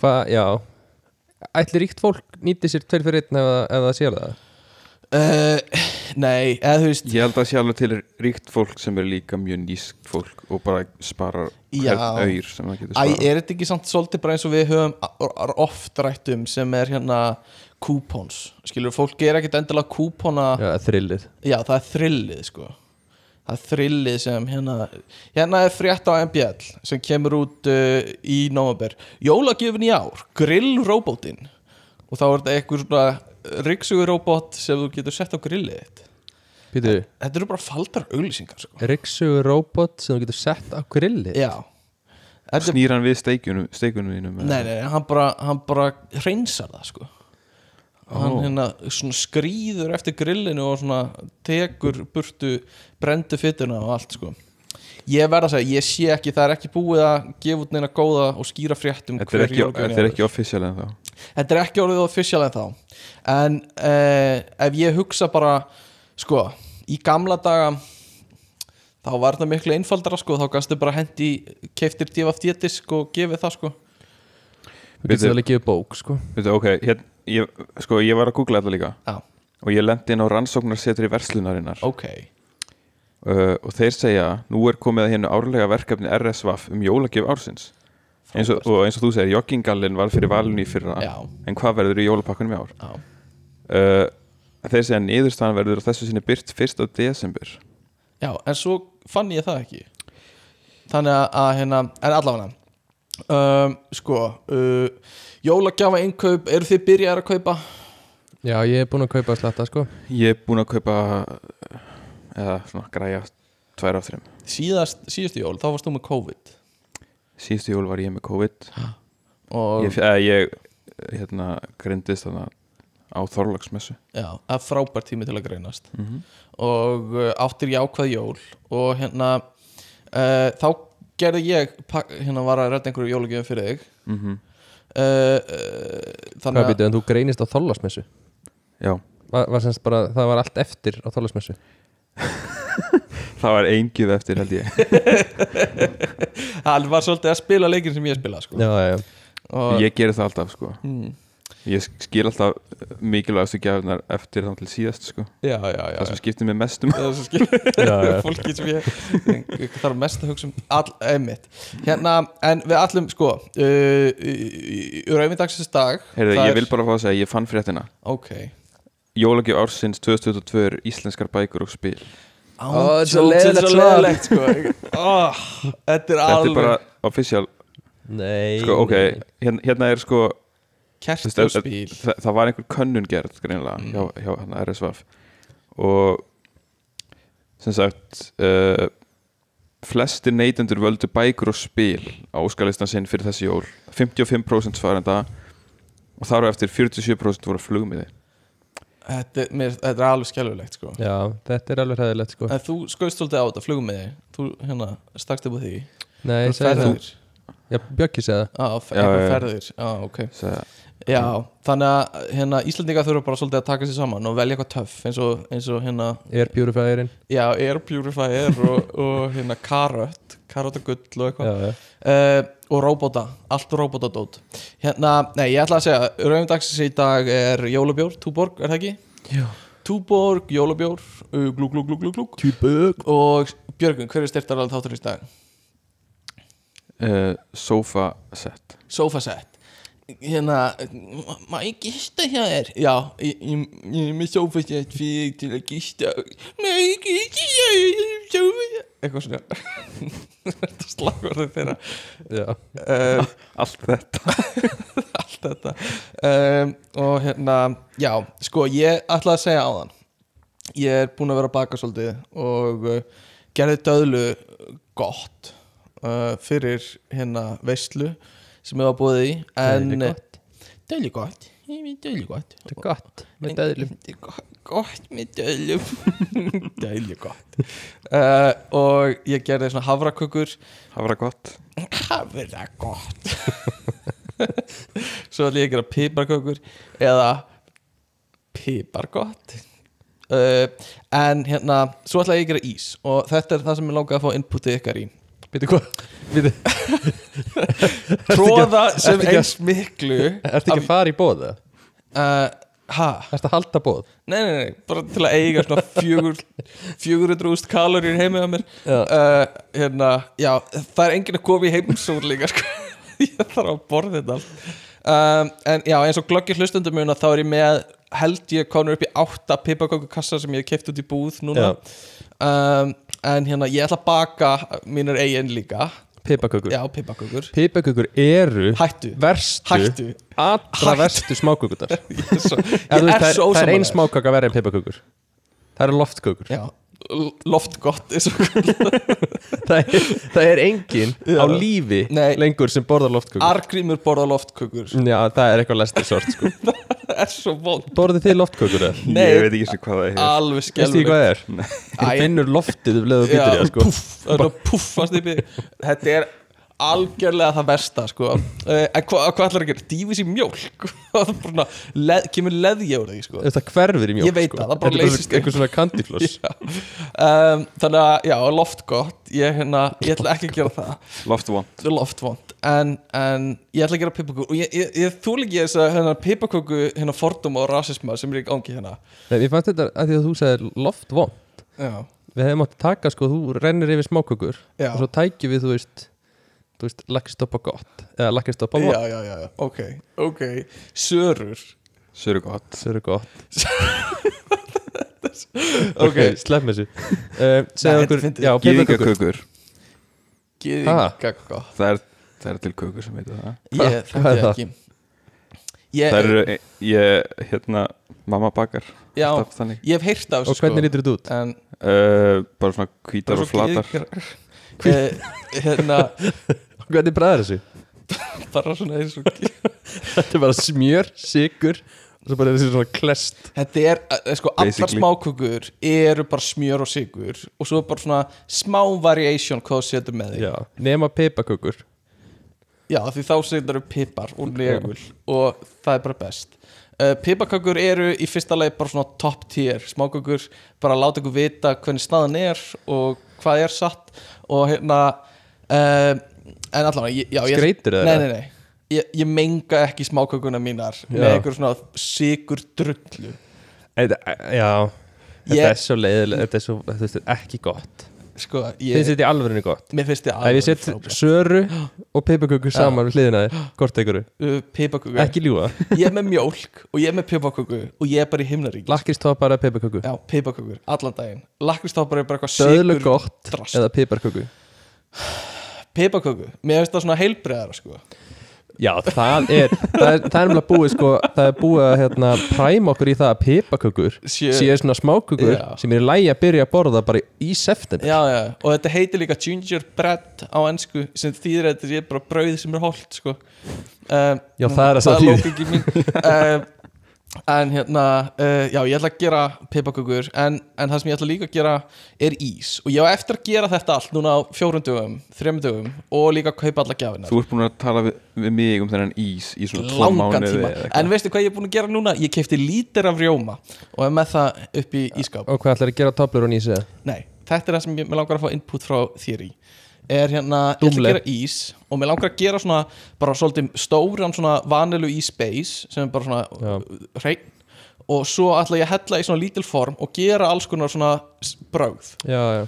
[SPEAKER 1] hvað, já Ætli ríkt fólk nýti sér tveir fyrir einn ef, það- ef það sér það
[SPEAKER 2] uh, nei, eða þú veist
[SPEAKER 3] Ég held að sé alveg til ríkt fólk sem er líka mjög nýst fólk og bara sparar
[SPEAKER 2] Já.
[SPEAKER 3] hvern auður sem það getur
[SPEAKER 2] Æ,
[SPEAKER 3] sparað
[SPEAKER 2] er þetta ekki samt svolítið bara eins og við höfum a- a- oft rætt um sem er hérna kúpons, skilur, fólk er ekkit endilega kúpona, já.
[SPEAKER 1] Já, þrillið
[SPEAKER 2] það er þrillið sko það er þrillið sem hérna hérna er frétt á MBL sem kemur út uh, í november jólagjöfin í ár, grillrobótin og þá er þetta einhver svona ryggsuguróbót sem þú getur sett á grillið þitt
[SPEAKER 1] Býtu,
[SPEAKER 2] þetta eru bara faldar auglýsingar sko
[SPEAKER 1] ryggsugur robot sem þú getur sett á grilli
[SPEAKER 2] já, þetta er
[SPEAKER 3] Snýr hann við steikunum, steikunum þínum eða?
[SPEAKER 2] Nei, nei, hann bara, hann bara hreinsar það sko Hann
[SPEAKER 3] Ó.
[SPEAKER 2] hérna svona skrýður eftir grillinu og svona tekur burtu brendu fytuna og allt sko Ég verð að segja, ég sé ekki, það er ekki búið að gefa út neina góða og skýra fréttum
[SPEAKER 3] Þetta er
[SPEAKER 2] hver
[SPEAKER 3] ekki,
[SPEAKER 2] jólagjöfin
[SPEAKER 3] þetta er
[SPEAKER 2] er.
[SPEAKER 3] ekki offisjál en þá
[SPEAKER 2] Þetta er ekki orðið official en þá En eh, ef ég hugsa bara Sko, í gamla daga Þá var þetta miklu einfaldara sko Þá gæstu bara hendi Keftir DFD disk og gefið það sko
[SPEAKER 1] Þú getur
[SPEAKER 3] Bíddu.
[SPEAKER 1] alveg gefið bók, sko
[SPEAKER 3] Veitu, ok, hér, ég, sko, ég var að googla þetta líka
[SPEAKER 2] Já,
[SPEAKER 3] og ég lendi inn á rannsóknarsetri verslunarinnar
[SPEAKER 2] ok
[SPEAKER 3] uh, og þeir segja nú er komið að hérna árlega verkefni RSVAF um jólagjöf ársins eins og, og eins og þú segir, joggingallin var fyrir valinu í
[SPEAKER 1] hérna.
[SPEAKER 3] fyrra
[SPEAKER 2] Já,
[SPEAKER 3] en hvað verður í jólapakkunum í ár?
[SPEAKER 2] já
[SPEAKER 3] Uh, þeir segja niðurstaðan verður að þessu sinni byrt 1. desember
[SPEAKER 2] Já, en svo fann ég það ekki Þannig að, að hérna, en allavega um, Sko uh, Jólagjafa innkaup, eru þið byrjaðar að kaupa?
[SPEAKER 1] Já, ég er búin að kaupa að slatta, sko
[SPEAKER 3] ég er búinn að kaupa eða svona græja tvær af þreim
[SPEAKER 2] Síðast, síðustu jól, þá varst þú með COVID
[SPEAKER 3] síðustu jól var ég með COVID
[SPEAKER 2] Og,
[SPEAKER 3] ég, eða, ég hérna, grindist þarna á Þorlagsmessu
[SPEAKER 2] já, það er frábært tími til að greinast
[SPEAKER 3] mm -hmm.
[SPEAKER 2] Og uh, áttir jákvæð jól Og hérna uh, Þá gerði ég, pak- hérna var að redda einhverju jólagjöfum fyrir þig
[SPEAKER 3] Mhm.
[SPEAKER 2] uh, uh,
[SPEAKER 1] Hvað
[SPEAKER 2] Þannig að
[SPEAKER 1] býtu, en þú greinist á þólasmessu
[SPEAKER 3] já,
[SPEAKER 1] var, var semst bara, það var allt eftir á þólasmessu
[SPEAKER 3] það var eingjöf eftir held ég
[SPEAKER 2] hann var svolítið að spila leikinn sem ég spila sko.
[SPEAKER 1] Já, já, já
[SPEAKER 2] Og-
[SPEAKER 3] ég geri það alltaf sko
[SPEAKER 2] Mm.
[SPEAKER 3] Ég skil alltaf mikilvægastu gæfnar eftir þá til síðast sko.
[SPEAKER 2] já, já, já,
[SPEAKER 3] Það
[SPEAKER 2] já.
[SPEAKER 3] sem skiptir mig mestum
[SPEAKER 2] Það er svo skil
[SPEAKER 1] já.
[SPEAKER 2] fólki sem ég, ég þarf mest að hugsa um all, einmitt hérna, en við allum sko uh, raumindagsins dag
[SPEAKER 3] Heyrðu,
[SPEAKER 2] það
[SPEAKER 3] ég
[SPEAKER 2] er-
[SPEAKER 3] vil bara fá að segja, ég fann fréttina
[SPEAKER 2] ok
[SPEAKER 3] Jólagjöf ársins 2022 er íslenskar bækur og spil
[SPEAKER 1] Ó, þetta er svo leiðilegt, svo leiðilegt,
[SPEAKER 2] sko. oh, þetta er
[SPEAKER 3] Þetta er
[SPEAKER 2] alveg
[SPEAKER 3] bara official
[SPEAKER 1] Nei
[SPEAKER 3] sko, Ok,
[SPEAKER 1] nei.
[SPEAKER 3] hérna, hérna er sko þú veist,
[SPEAKER 2] kertu
[SPEAKER 3] að-
[SPEAKER 2] og spíl
[SPEAKER 3] að- það, það var einhver könnun gerð greinilega hjá, hjá hérna hann RSVF og sem sagt uh, flestir neytendur völdu bækur og spil á óskalistan sinn fyrir þessi jól 55% svarenda og þar á eftir 47% voru flugmiði
[SPEAKER 2] þetta, er- mér- þetta er alveg skelvilegt sko.
[SPEAKER 1] Já, þetta er alveg hæðilegt sko
[SPEAKER 2] en þú skoðst svolítið á þetta, flugum með þig þú hérna, stakst upp á því
[SPEAKER 1] Nei, ég segi það
[SPEAKER 2] ferðir
[SPEAKER 1] Já, Bjöggi segi það
[SPEAKER 2] á, fer,
[SPEAKER 3] Já, já, já.
[SPEAKER 2] ferðir. Ah, Á, okay.
[SPEAKER 3] Sæ,
[SPEAKER 2] já, þannig að hérna, Íslandinga þurfa bara svolítið að taka sér saman og velja eitthvað töff eins og, eins og hérna
[SPEAKER 1] Air Purifierinn
[SPEAKER 2] já, air purifier og, og hérna karött karött og gull og eitthvað
[SPEAKER 1] Já, já
[SPEAKER 2] uh, og róbóta, allt róbótadót hérna, nei ég ætla að segja rauðindagsins í dag er jólabjór, túborg er það ekki?
[SPEAKER 1] Já.
[SPEAKER 2] túborg, jólabjór, uh, glúk, glúk, glúk, glúk, glúk túborg og Björgun, hver er styrtar alveg þáttur í dag?
[SPEAKER 3] uh, sofa set
[SPEAKER 2] sofasett hérna, má ég gista hjá þér? Já, ég, ég, ég er með sofasett fyrir þig til að gista má ég gista hjá þér sófasett? eitthvað svona þetta slagverður þeirra
[SPEAKER 1] Já,
[SPEAKER 2] uh,
[SPEAKER 3] allt þetta
[SPEAKER 2] allt þetta um, og hérna, já, sko ég ætla að segja á þann ég er búin að vera að baka svolítið og uh, gerði döðlu gott uh, fyrir hérna veislu sem ég var búið í en
[SPEAKER 1] Döðlu gott?
[SPEAKER 2] döðlu gott, ég með döðlu gott
[SPEAKER 1] þetta er gott Með döðlum
[SPEAKER 2] Þetta er go- gott með döðlum döðlu gott uh, og ég gerði svona hafrakökur
[SPEAKER 3] það var gott
[SPEAKER 2] Það verða gott Svo ætlum ég að gera piparkökur Eða Pipargott uh, En hérna Svo ætla ég að gera ís Og þetta er það sem ég langaði að fá inputið ykkar í
[SPEAKER 1] Býtu hvað Býtu
[SPEAKER 2] Tróða
[SPEAKER 1] ertu
[SPEAKER 2] sem
[SPEAKER 1] ekki að-
[SPEAKER 2] eins miklu
[SPEAKER 1] Ertu ekki að fara í bóð það?
[SPEAKER 2] uh, Ha?
[SPEAKER 1] Ertu að halda bóð?
[SPEAKER 2] Nei, nei, nei, bara til að eiga svona fjögur, 400.000 kaloríur heimið á mér
[SPEAKER 1] Já.
[SPEAKER 2] uh, Hérna, já, það er enginn að koma í heimsól líka sko. Ég þarf að borða þetta allt um, En já, eins og glöggir hlustundum muna þá er ég með held ég konur upp í átta pipakökukassa sem ég hef keift út í búð núna um, En hérna, ég ætla að baka mínur eigin líka
[SPEAKER 1] Pipakökur
[SPEAKER 2] Já, pipakökur
[SPEAKER 1] Pipakökur eru
[SPEAKER 2] Hættu,
[SPEAKER 1] Verstu
[SPEAKER 2] hættu
[SPEAKER 1] Allra
[SPEAKER 2] Hættu.
[SPEAKER 1] verstu smákökurnar
[SPEAKER 2] Ég er svo,
[SPEAKER 1] Ef þú
[SPEAKER 2] ég
[SPEAKER 1] veist,
[SPEAKER 2] er
[SPEAKER 1] það, er- það er ein
[SPEAKER 2] svo ósammála þér.
[SPEAKER 1] smákaka verið en pipakökur Það eru loftkökur
[SPEAKER 2] Já, loftgott er svo
[SPEAKER 1] það, er, það er engin á lífi
[SPEAKER 2] Nei.
[SPEAKER 1] lengur sem borðar loftkökur
[SPEAKER 2] Argrímur borða loftkökur
[SPEAKER 1] Já, það er eitthvað lestir sort sko.
[SPEAKER 2] Það er svo vond
[SPEAKER 1] Borðið þið loftkökur eða?
[SPEAKER 3] ég
[SPEAKER 2] Nei,
[SPEAKER 3] veit ekki sem hvað það er
[SPEAKER 2] alveg
[SPEAKER 1] Veistu ekki
[SPEAKER 2] skelvur
[SPEAKER 1] hvað það er? Þú
[SPEAKER 2] Æ.
[SPEAKER 1] finnur loftið um leðu býtur í það sko.
[SPEAKER 2] Það er að puffast í bygg Þetta er algjörlega það versta sko. Eh, En hva, hvað ætlar að gera? Dýfis í mjólk Það er bara svona, leð, Kemur leðja úr því sko.
[SPEAKER 1] Þetta hverfir í mjólk
[SPEAKER 2] Ég veit
[SPEAKER 1] sko.
[SPEAKER 2] það, það bara
[SPEAKER 1] Þetta er
[SPEAKER 2] leysist
[SPEAKER 1] Einhver svona kandifloss
[SPEAKER 2] Já. um, Þannig að já, loftgott ég, hérna, ég ætla ekki að gera það
[SPEAKER 3] loft one
[SPEAKER 2] Þetta er loftvond en, en ég ætla að gera pipaköku og ég, ég, ég þúl ekki þess að hérna, pipaköku hérna fordum og rasisma sem er í gangi hérna
[SPEAKER 1] Nei, Ég fannst þetta að því að þú sagði loftvon
[SPEAKER 2] já,
[SPEAKER 1] Við hefum átt að taka sko, þú rennir yfir smákökur
[SPEAKER 2] já,
[SPEAKER 1] Og svo tækjum við, þú veist Þú veist, lakkistoppa gott Eða lakkistoppa
[SPEAKER 2] já,
[SPEAKER 1] vond
[SPEAKER 2] já, já, já. ok, ok sörur
[SPEAKER 3] söru gott
[SPEAKER 1] Svo eru gott
[SPEAKER 2] Ok.
[SPEAKER 1] Ok, slepp með þessu um,
[SPEAKER 2] Nei,
[SPEAKER 1] Segðu okkur,
[SPEAKER 2] þetta er fyndið.
[SPEAKER 1] já, pipakökur
[SPEAKER 3] gyðingakökur
[SPEAKER 2] Gýðingakko
[SPEAKER 3] það er, það er til kökur sem heitir það
[SPEAKER 1] Hva-
[SPEAKER 2] Ég
[SPEAKER 1] hvað
[SPEAKER 2] þekki
[SPEAKER 1] er það?
[SPEAKER 2] ekki ég,
[SPEAKER 3] Það eru, eh, ég, hérna, mamma bakar
[SPEAKER 2] Já,
[SPEAKER 3] alltaf þannig
[SPEAKER 2] ég hef heyrt af sko,
[SPEAKER 1] Og hvernig lítur þetta út?
[SPEAKER 2] En
[SPEAKER 3] uh, Bara svona hvítar og flatar
[SPEAKER 2] Hví- Eh, Hérna
[SPEAKER 1] Hvernig bræðir þessu?
[SPEAKER 2] Bara svona eins og
[SPEAKER 1] Þetta er bara smjör, sigur Og svo bara er þessi svona klest
[SPEAKER 2] Þetta er, eh, sko, allar
[SPEAKER 3] Basically.
[SPEAKER 2] smákökur Eru bara smjör og sigur Og svo bara svona smá variation Hvað þú setur með þig
[SPEAKER 1] Já, nema pipakökur
[SPEAKER 2] Já, því þá setur þau pipar og negul og það er bara best uh, Piparkökur eru í fyrsta leið bara svona top tier smákökur, bara láta ykkur vita hvernig staðan er og hvað er satt og hérna uh, en allavega, ég- já ég-
[SPEAKER 1] Skreytirðu þær,
[SPEAKER 2] Nei,
[SPEAKER 1] eða?
[SPEAKER 2] nei, nei ég, ég menga ekki smákökuna mínar með
[SPEAKER 1] Já.
[SPEAKER 2] einhver svona sigur drullu
[SPEAKER 1] Þetta- eh, Já, þetta
[SPEAKER 2] Ég-
[SPEAKER 1] er svo leiðilega Þetta er svo, þú veist, ekki gott
[SPEAKER 2] sko,
[SPEAKER 1] Þið
[SPEAKER 2] ég,
[SPEAKER 1] setja í alvörinu gott
[SPEAKER 2] mér finnst ég
[SPEAKER 1] Ef ég set söru og peipaköku saman við hliðina þér, hvort ekkur
[SPEAKER 2] pipaköku,
[SPEAKER 1] Ekki ljúga,
[SPEAKER 2] Uh, ég er með mjólk og ég er með pipaköku og ég er bara í himnarík
[SPEAKER 1] lakkistoppar eða peipaköku
[SPEAKER 2] já, pipakökur, allan daginn lakristoppar er bara eitthvað
[SPEAKER 1] Döðlu
[SPEAKER 2] sigur
[SPEAKER 1] gott
[SPEAKER 2] drast.
[SPEAKER 1] eða peiparköku
[SPEAKER 2] pipaköku, mér finnst það svona heilbreiðara sko.
[SPEAKER 1] Já, það er, það er, það er umlega búið sko, það er búið að hérna, præma okkur í það að pipakökur
[SPEAKER 2] Sjö-
[SPEAKER 1] séu svona smákökur
[SPEAKER 2] Já.
[SPEAKER 1] sem er lægi að byrja að borða bara í september
[SPEAKER 2] já, já, og þetta heitir líka gingerbread á ennsku sem þýðir að þetta er bara brauð sem er holdt sko. um,
[SPEAKER 1] Já, það er að
[SPEAKER 2] það
[SPEAKER 1] sá
[SPEAKER 2] er
[SPEAKER 1] þýðir.
[SPEAKER 2] lókugin mín um, en hérna uh, já, ég ætla að gera pipakökur en, en það sem ég ætla líka að gera er ís og ég á eftir að gera þetta allt núna á fjórum dögum, þrem dögum og líka kaupa alla gjafina
[SPEAKER 3] Þú ert búin að tala við, við mig um þennan ís í svona tvo
[SPEAKER 2] langan
[SPEAKER 3] mánuði Eh,
[SPEAKER 2] tíma
[SPEAKER 3] eða eitthvað.
[SPEAKER 2] en veistu hvað ég er búin að gera núna? ég kefti lítir af rjóma og er með það upp í ískáp
[SPEAKER 1] Og hvað ætlar að gera töflur og nýsa
[SPEAKER 2] nei, þetta er það sem ég mig langar að fá input frá þér í er hérna, ég ætla að
[SPEAKER 1] Dúmleg.
[SPEAKER 2] gera ís og mér langar að gera svona bara svolítið stóran svona vanilu ís base sem er bara svona
[SPEAKER 1] Já.
[SPEAKER 2] uh, hreinn og svo ætla ég að hella í svona lítil form og gera alls konar svona s- brögð
[SPEAKER 1] Já, já,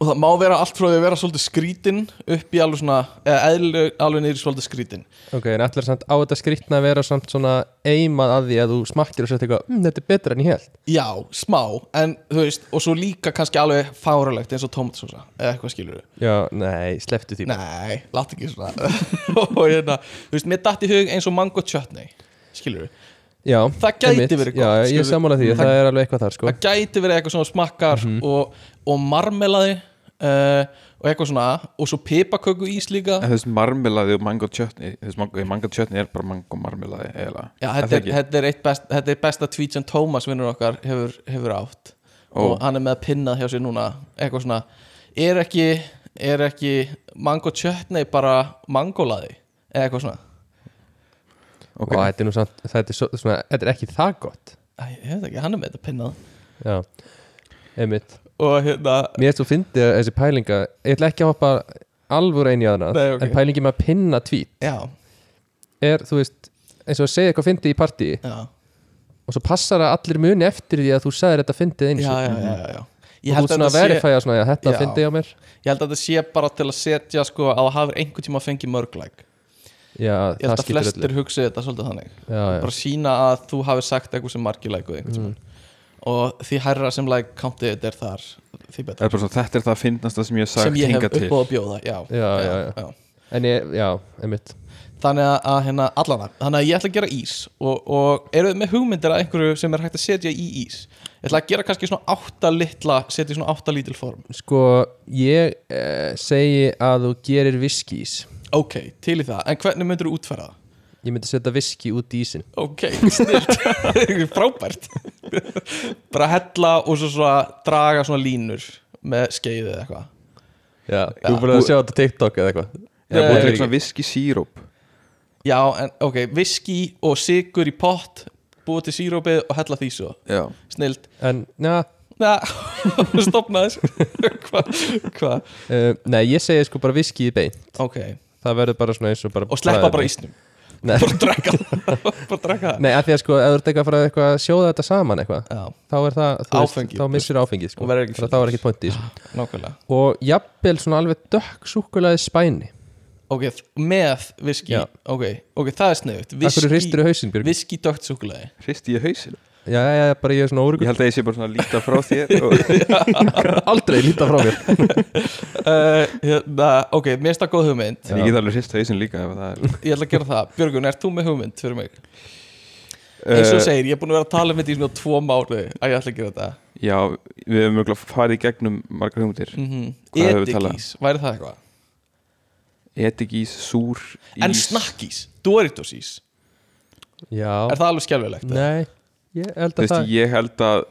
[SPEAKER 2] og það má vera allt frá því að vera svolítið skrítin upp í alveg svona, eða eðlileg- alveg niður í svolítið skrítin
[SPEAKER 1] ok, en ætlar samt á þetta skrýtna að vera samt svona eimað að því að þú smakkir og sett eitthvað, mm, þetta er betra en ég held
[SPEAKER 2] Já, smá, en þú veist og svo líka kannski alveg fáralegt eins og tómatsósa eða eitthvað skilur við
[SPEAKER 1] Já, nei, slepptu því
[SPEAKER 2] Nei, látt ekki svona og hérna, þú veist, mér datt í hug eins og mango chutney, skilur við
[SPEAKER 1] Já,
[SPEAKER 2] Það gæti
[SPEAKER 1] einmitt.
[SPEAKER 2] verið gott,
[SPEAKER 1] Já,
[SPEAKER 2] skilur.
[SPEAKER 1] ég sammála því, það er alveg eitthvað þar sko
[SPEAKER 2] Það gæti verið eitthvað svona smakkar og, og marmelaði uh, og eitthvað svona og svo pipaköku ís líka
[SPEAKER 3] En þessi marmelaði og mango chutney þessi mango, mango chutney er bara mango marmelaði eiginlega.
[SPEAKER 2] Já,
[SPEAKER 3] Er
[SPEAKER 2] þetta
[SPEAKER 3] það
[SPEAKER 2] er,
[SPEAKER 3] ekki?
[SPEAKER 2] þetta er, eitt best, þetta er besta tweet sem Tómas vinnur okkar hefur, hefur átt
[SPEAKER 3] Ó.
[SPEAKER 2] og hann er með að pinnað hjá sér núna eitthvað svona, er ekki er ekki mango chutney bara mangolaði eða eitthvað svona
[SPEAKER 1] Og
[SPEAKER 3] Ok.
[SPEAKER 1] þetta er nú samt, þetta er, svo, svona, þetta er ekki það gott
[SPEAKER 2] Æ, ég veit ekki, hann er með þetta pinnað
[SPEAKER 1] Já, einmitt
[SPEAKER 2] og hérna,
[SPEAKER 1] Mér erst þú fyndi að þessi pælinga Ég ætla ekki að hoppa alvor einu í aðra
[SPEAKER 2] Nei, ok.
[SPEAKER 1] En pælingi með að pinna tvít
[SPEAKER 2] já,
[SPEAKER 1] Er, þú veist, eins og að segja eitthvað fyndi í partí
[SPEAKER 2] já
[SPEAKER 1] Og svo passar að allir muni eftir því að þú sagðir þetta fyndið
[SPEAKER 2] já,
[SPEAKER 1] eins og
[SPEAKER 2] já, já, já, já. Ég,
[SPEAKER 1] Og þú
[SPEAKER 2] held að
[SPEAKER 1] svona
[SPEAKER 2] þetta sé,
[SPEAKER 1] verifæja svona að þetta
[SPEAKER 2] Já.
[SPEAKER 1] fyndið á mér
[SPEAKER 2] ég held að þetta sé bara til að setja sko að það hafur einhvern tíma að fengi mörglæk
[SPEAKER 1] Já,
[SPEAKER 2] ég held
[SPEAKER 1] það
[SPEAKER 2] að
[SPEAKER 1] skiptir öllu
[SPEAKER 2] flestir hugsi þetta svolítið þannig
[SPEAKER 1] Já, já. Mm.
[SPEAKER 2] bara sína að þú hafi sagt eitthvað sem margir lækuð einhvern tímann og því hærra sem læk countið þetta er þar því
[SPEAKER 3] Það
[SPEAKER 2] betra
[SPEAKER 3] er bara svona, þetta er það fyndnasta sem ég hef sagt
[SPEAKER 2] sem ég hef
[SPEAKER 3] hingað til.
[SPEAKER 2] upp á að bjóða já,
[SPEAKER 1] Já, já, já. En ég, já, einmitt
[SPEAKER 2] þannig að, að hérna allana þannig að ég ætla að gera ís og, og eru þið með hugmyndir að einhverju sem er hægt að setja í ís ég ætla að gera kannski svona átta litla setja í svona átta lítil form
[SPEAKER 1] Sko, ég eh, segi að þú gerir viskís
[SPEAKER 2] ok, til í það, en hvernig myndir þú útfæra það?
[SPEAKER 1] Ég myndi setja viski út í ísin
[SPEAKER 2] ok, snilt frábært bara hella og svo svona draga svona línur með skeiðið eða eitthvað
[SPEAKER 1] Já,
[SPEAKER 2] þú ert búin
[SPEAKER 1] að sjá þetta TikTok eða eitthvað
[SPEAKER 3] Ég hef búin til
[SPEAKER 2] Eh,
[SPEAKER 1] Nei.
[SPEAKER 3] eitthvað svona viski síróp.
[SPEAKER 2] já, en ok, viski og sigur í pott búið til sírópið og hella því svo
[SPEAKER 3] Já.
[SPEAKER 2] snilt,
[SPEAKER 1] En, já,
[SPEAKER 2] na, stopnaðis hvað, hva?
[SPEAKER 1] Uh, nei, ég segi sko bara viski í bein
[SPEAKER 2] ok,
[SPEAKER 1] Það verður bara svona eins og bara
[SPEAKER 2] og sleppa bara ísnum
[SPEAKER 1] Nei.
[SPEAKER 2] bara drekka það bara drekka það
[SPEAKER 1] Nei, af því að sko, ef þú ert eitthvað að fara að eitthvað að sjóða þetta saman eitthvað
[SPEAKER 2] já,
[SPEAKER 1] Þá er það, þú
[SPEAKER 2] Áfengi.
[SPEAKER 1] þá missir áfengið sko
[SPEAKER 2] Og verður ekki Ah.
[SPEAKER 1] Þannig að Þá er ekki point í þessu.
[SPEAKER 2] nákvæmlega
[SPEAKER 1] Og jafnvel svona alveg dökk súkulaði spæni
[SPEAKER 2] ok, með viski
[SPEAKER 1] Já.
[SPEAKER 2] ok, ok, það er sniðut
[SPEAKER 1] Akkur er hristur í hausinn, Björg
[SPEAKER 2] viski dögt súkulega
[SPEAKER 3] Hristi ég hausin.
[SPEAKER 1] Já, já, já, bara ég er svona
[SPEAKER 3] Ég
[SPEAKER 1] órugur
[SPEAKER 3] held að ég sé bara svona að líta frá þér og
[SPEAKER 1] Aldrei líta frá mér
[SPEAKER 2] uh, hérna, ok, mér finnst það góð hugmynd
[SPEAKER 3] en ég get alveg hrist hausin líka ef það er.
[SPEAKER 2] ég ætla að gera það, Björgun, ert þú með hugmynd fyrir mig? eins og þú
[SPEAKER 3] Eh,
[SPEAKER 2] segir, ég er búin að vera að tala um þetta í svona tvo mánu að ég ætla að gera þetta
[SPEAKER 3] Eh, Já, við hefum mjög farið í gegnum margar hugmyndir.
[SPEAKER 2] mm -hmm.
[SPEAKER 3] Hvað hefur við talað?
[SPEAKER 2] etikís, væri það eitthvað?
[SPEAKER 3] Etikís, súr, ís.
[SPEAKER 2] en snakkís, Doritosís er
[SPEAKER 1] Já,
[SPEAKER 2] það alveg skelvilegt?
[SPEAKER 1] nei Ég held að
[SPEAKER 3] Þú veist,
[SPEAKER 1] það
[SPEAKER 3] ég held að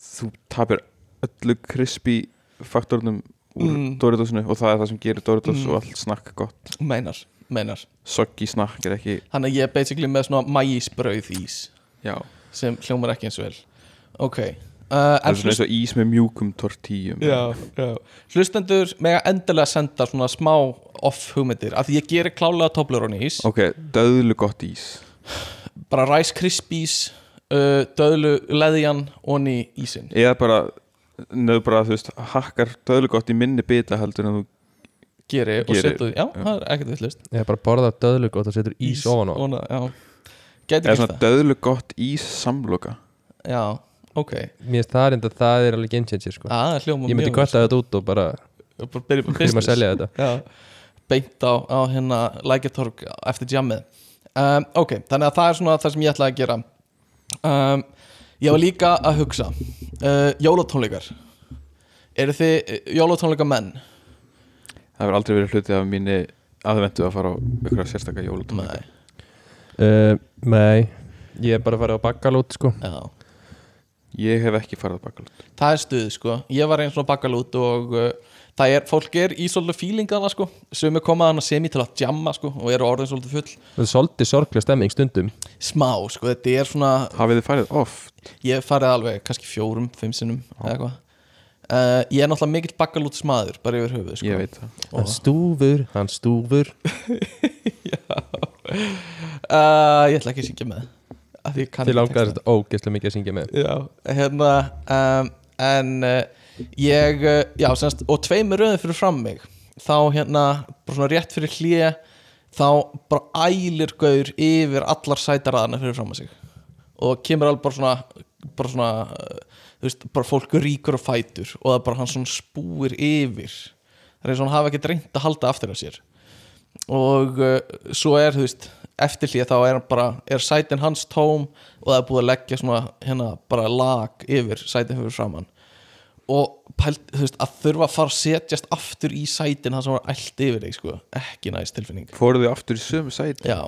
[SPEAKER 3] þú tapir öllu crispy faktornum úr
[SPEAKER 2] Mm.
[SPEAKER 3] Doritosinu og það er það sem gerir Doritos
[SPEAKER 2] Mm.
[SPEAKER 3] og allt snakk gott
[SPEAKER 2] meinar, meinar
[SPEAKER 3] soggy snakk er ekki
[SPEAKER 2] þannig að ég er basically með svona mægisbrauð ís
[SPEAKER 3] já,
[SPEAKER 2] sem hljómar ekki eins vel ok, uh,
[SPEAKER 3] það er svona eins og ís með mjúkum tortíum
[SPEAKER 2] já, já. Hlustendur mega endilega senda svona smá off hugmyndir af því ég gerir klálega toblur í ís
[SPEAKER 3] ok, döðlu gott ís
[SPEAKER 2] bara Rice Krispies uh, döðlu leðjan onni ísin
[SPEAKER 3] eða bara, nöðu bara þú veist hakkar döðlu gott í minni bita heldur en þú
[SPEAKER 2] geri og
[SPEAKER 3] Geri,
[SPEAKER 2] setja því já,
[SPEAKER 3] já.
[SPEAKER 2] það er ekkert villust
[SPEAKER 1] Ég bara borða döðlugótt og setur ís ofan á
[SPEAKER 2] gæti
[SPEAKER 3] eða
[SPEAKER 2] ekki
[SPEAKER 3] svona
[SPEAKER 2] það
[SPEAKER 3] döðlu gott ís samloka
[SPEAKER 2] já, ok
[SPEAKER 1] Mér finnst það er enda, það er alveg game changer sko.
[SPEAKER 2] Ah, það er hljóma
[SPEAKER 1] Ég myndi
[SPEAKER 2] vel,
[SPEAKER 1] kvarta þetta út og bara
[SPEAKER 2] sko. bara byrjum
[SPEAKER 1] byrjum að selja þetta
[SPEAKER 2] já, beint á, á hérna lækjartorg eftir jammið um, ok, þannig að það er svona það sem ég ætlaði að gera um, ég var líka að hugsa uh, jólatónleikar eru þið uh, jólatónleika menn?
[SPEAKER 3] það hefur aldrei verið hluti af minni aðventu að fara á einhverja sérstaka jólutónleika
[SPEAKER 2] nei,
[SPEAKER 1] uh, Nei, ég er bara að fara á bakkalút sko.
[SPEAKER 2] já
[SPEAKER 3] ég hef ekki farið á bakalút
[SPEAKER 2] það er stuð sko, ég var einn svona bakalút og uh, það er, fólk er í svolítið fílingana sko, sem er komað hann að semi til að jamma sko og eru orðin svolítið full
[SPEAKER 1] Það er svolítið sorglega stemming stundum
[SPEAKER 2] smá sko, þetta er svona
[SPEAKER 3] hafið þið farið oft
[SPEAKER 2] ég hef farið alveg kannski fjórum, fimm sinnum eða eitthvað uh, ég er náttúrulega mikill bakalút smaður bara yfir höfuð sko
[SPEAKER 3] ég veit það
[SPEAKER 1] Hann stúfur, hann stúfur
[SPEAKER 2] uh, ég ætla ekki að syngja með af því ég kann
[SPEAKER 1] Þið
[SPEAKER 2] ekki
[SPEAKER 1] langar
[SPEAKER 2] textann.
[SPEAKER 1] þetta ógeðslega mikið að syngja með
[SPEAKER 2] Já, hérna um, En uh, ég uh, Já, semst, og tveimur röðum fyrir fram mig Þá hérna, bara svona rétt fyrir hlýja Þá bara ælir gaur Yfir allar sætaraðana fyrir fram að sig Og kemur alveg bara svona Bara svona uh, Þú veist, bara fólk ríkur og fætur Og það er bara hann svona spúir yfir Það er eins og hann hafa ekki reynt að halda aftur af sér og uh, svo er þú veist eftir hlýja þá er hann bara er sætin hans tóm og það er búið að leggja svona hérna bara lag yfir sætin fyrir framann og pælt, þú veist að þurfa að fara að setjast aftur í sætin hann sem var allt yfir þig sko ekki næst tilfinning
[SPEAKER 3] fóruð þið aftur í sömu sæti
[SPEAKER 2] já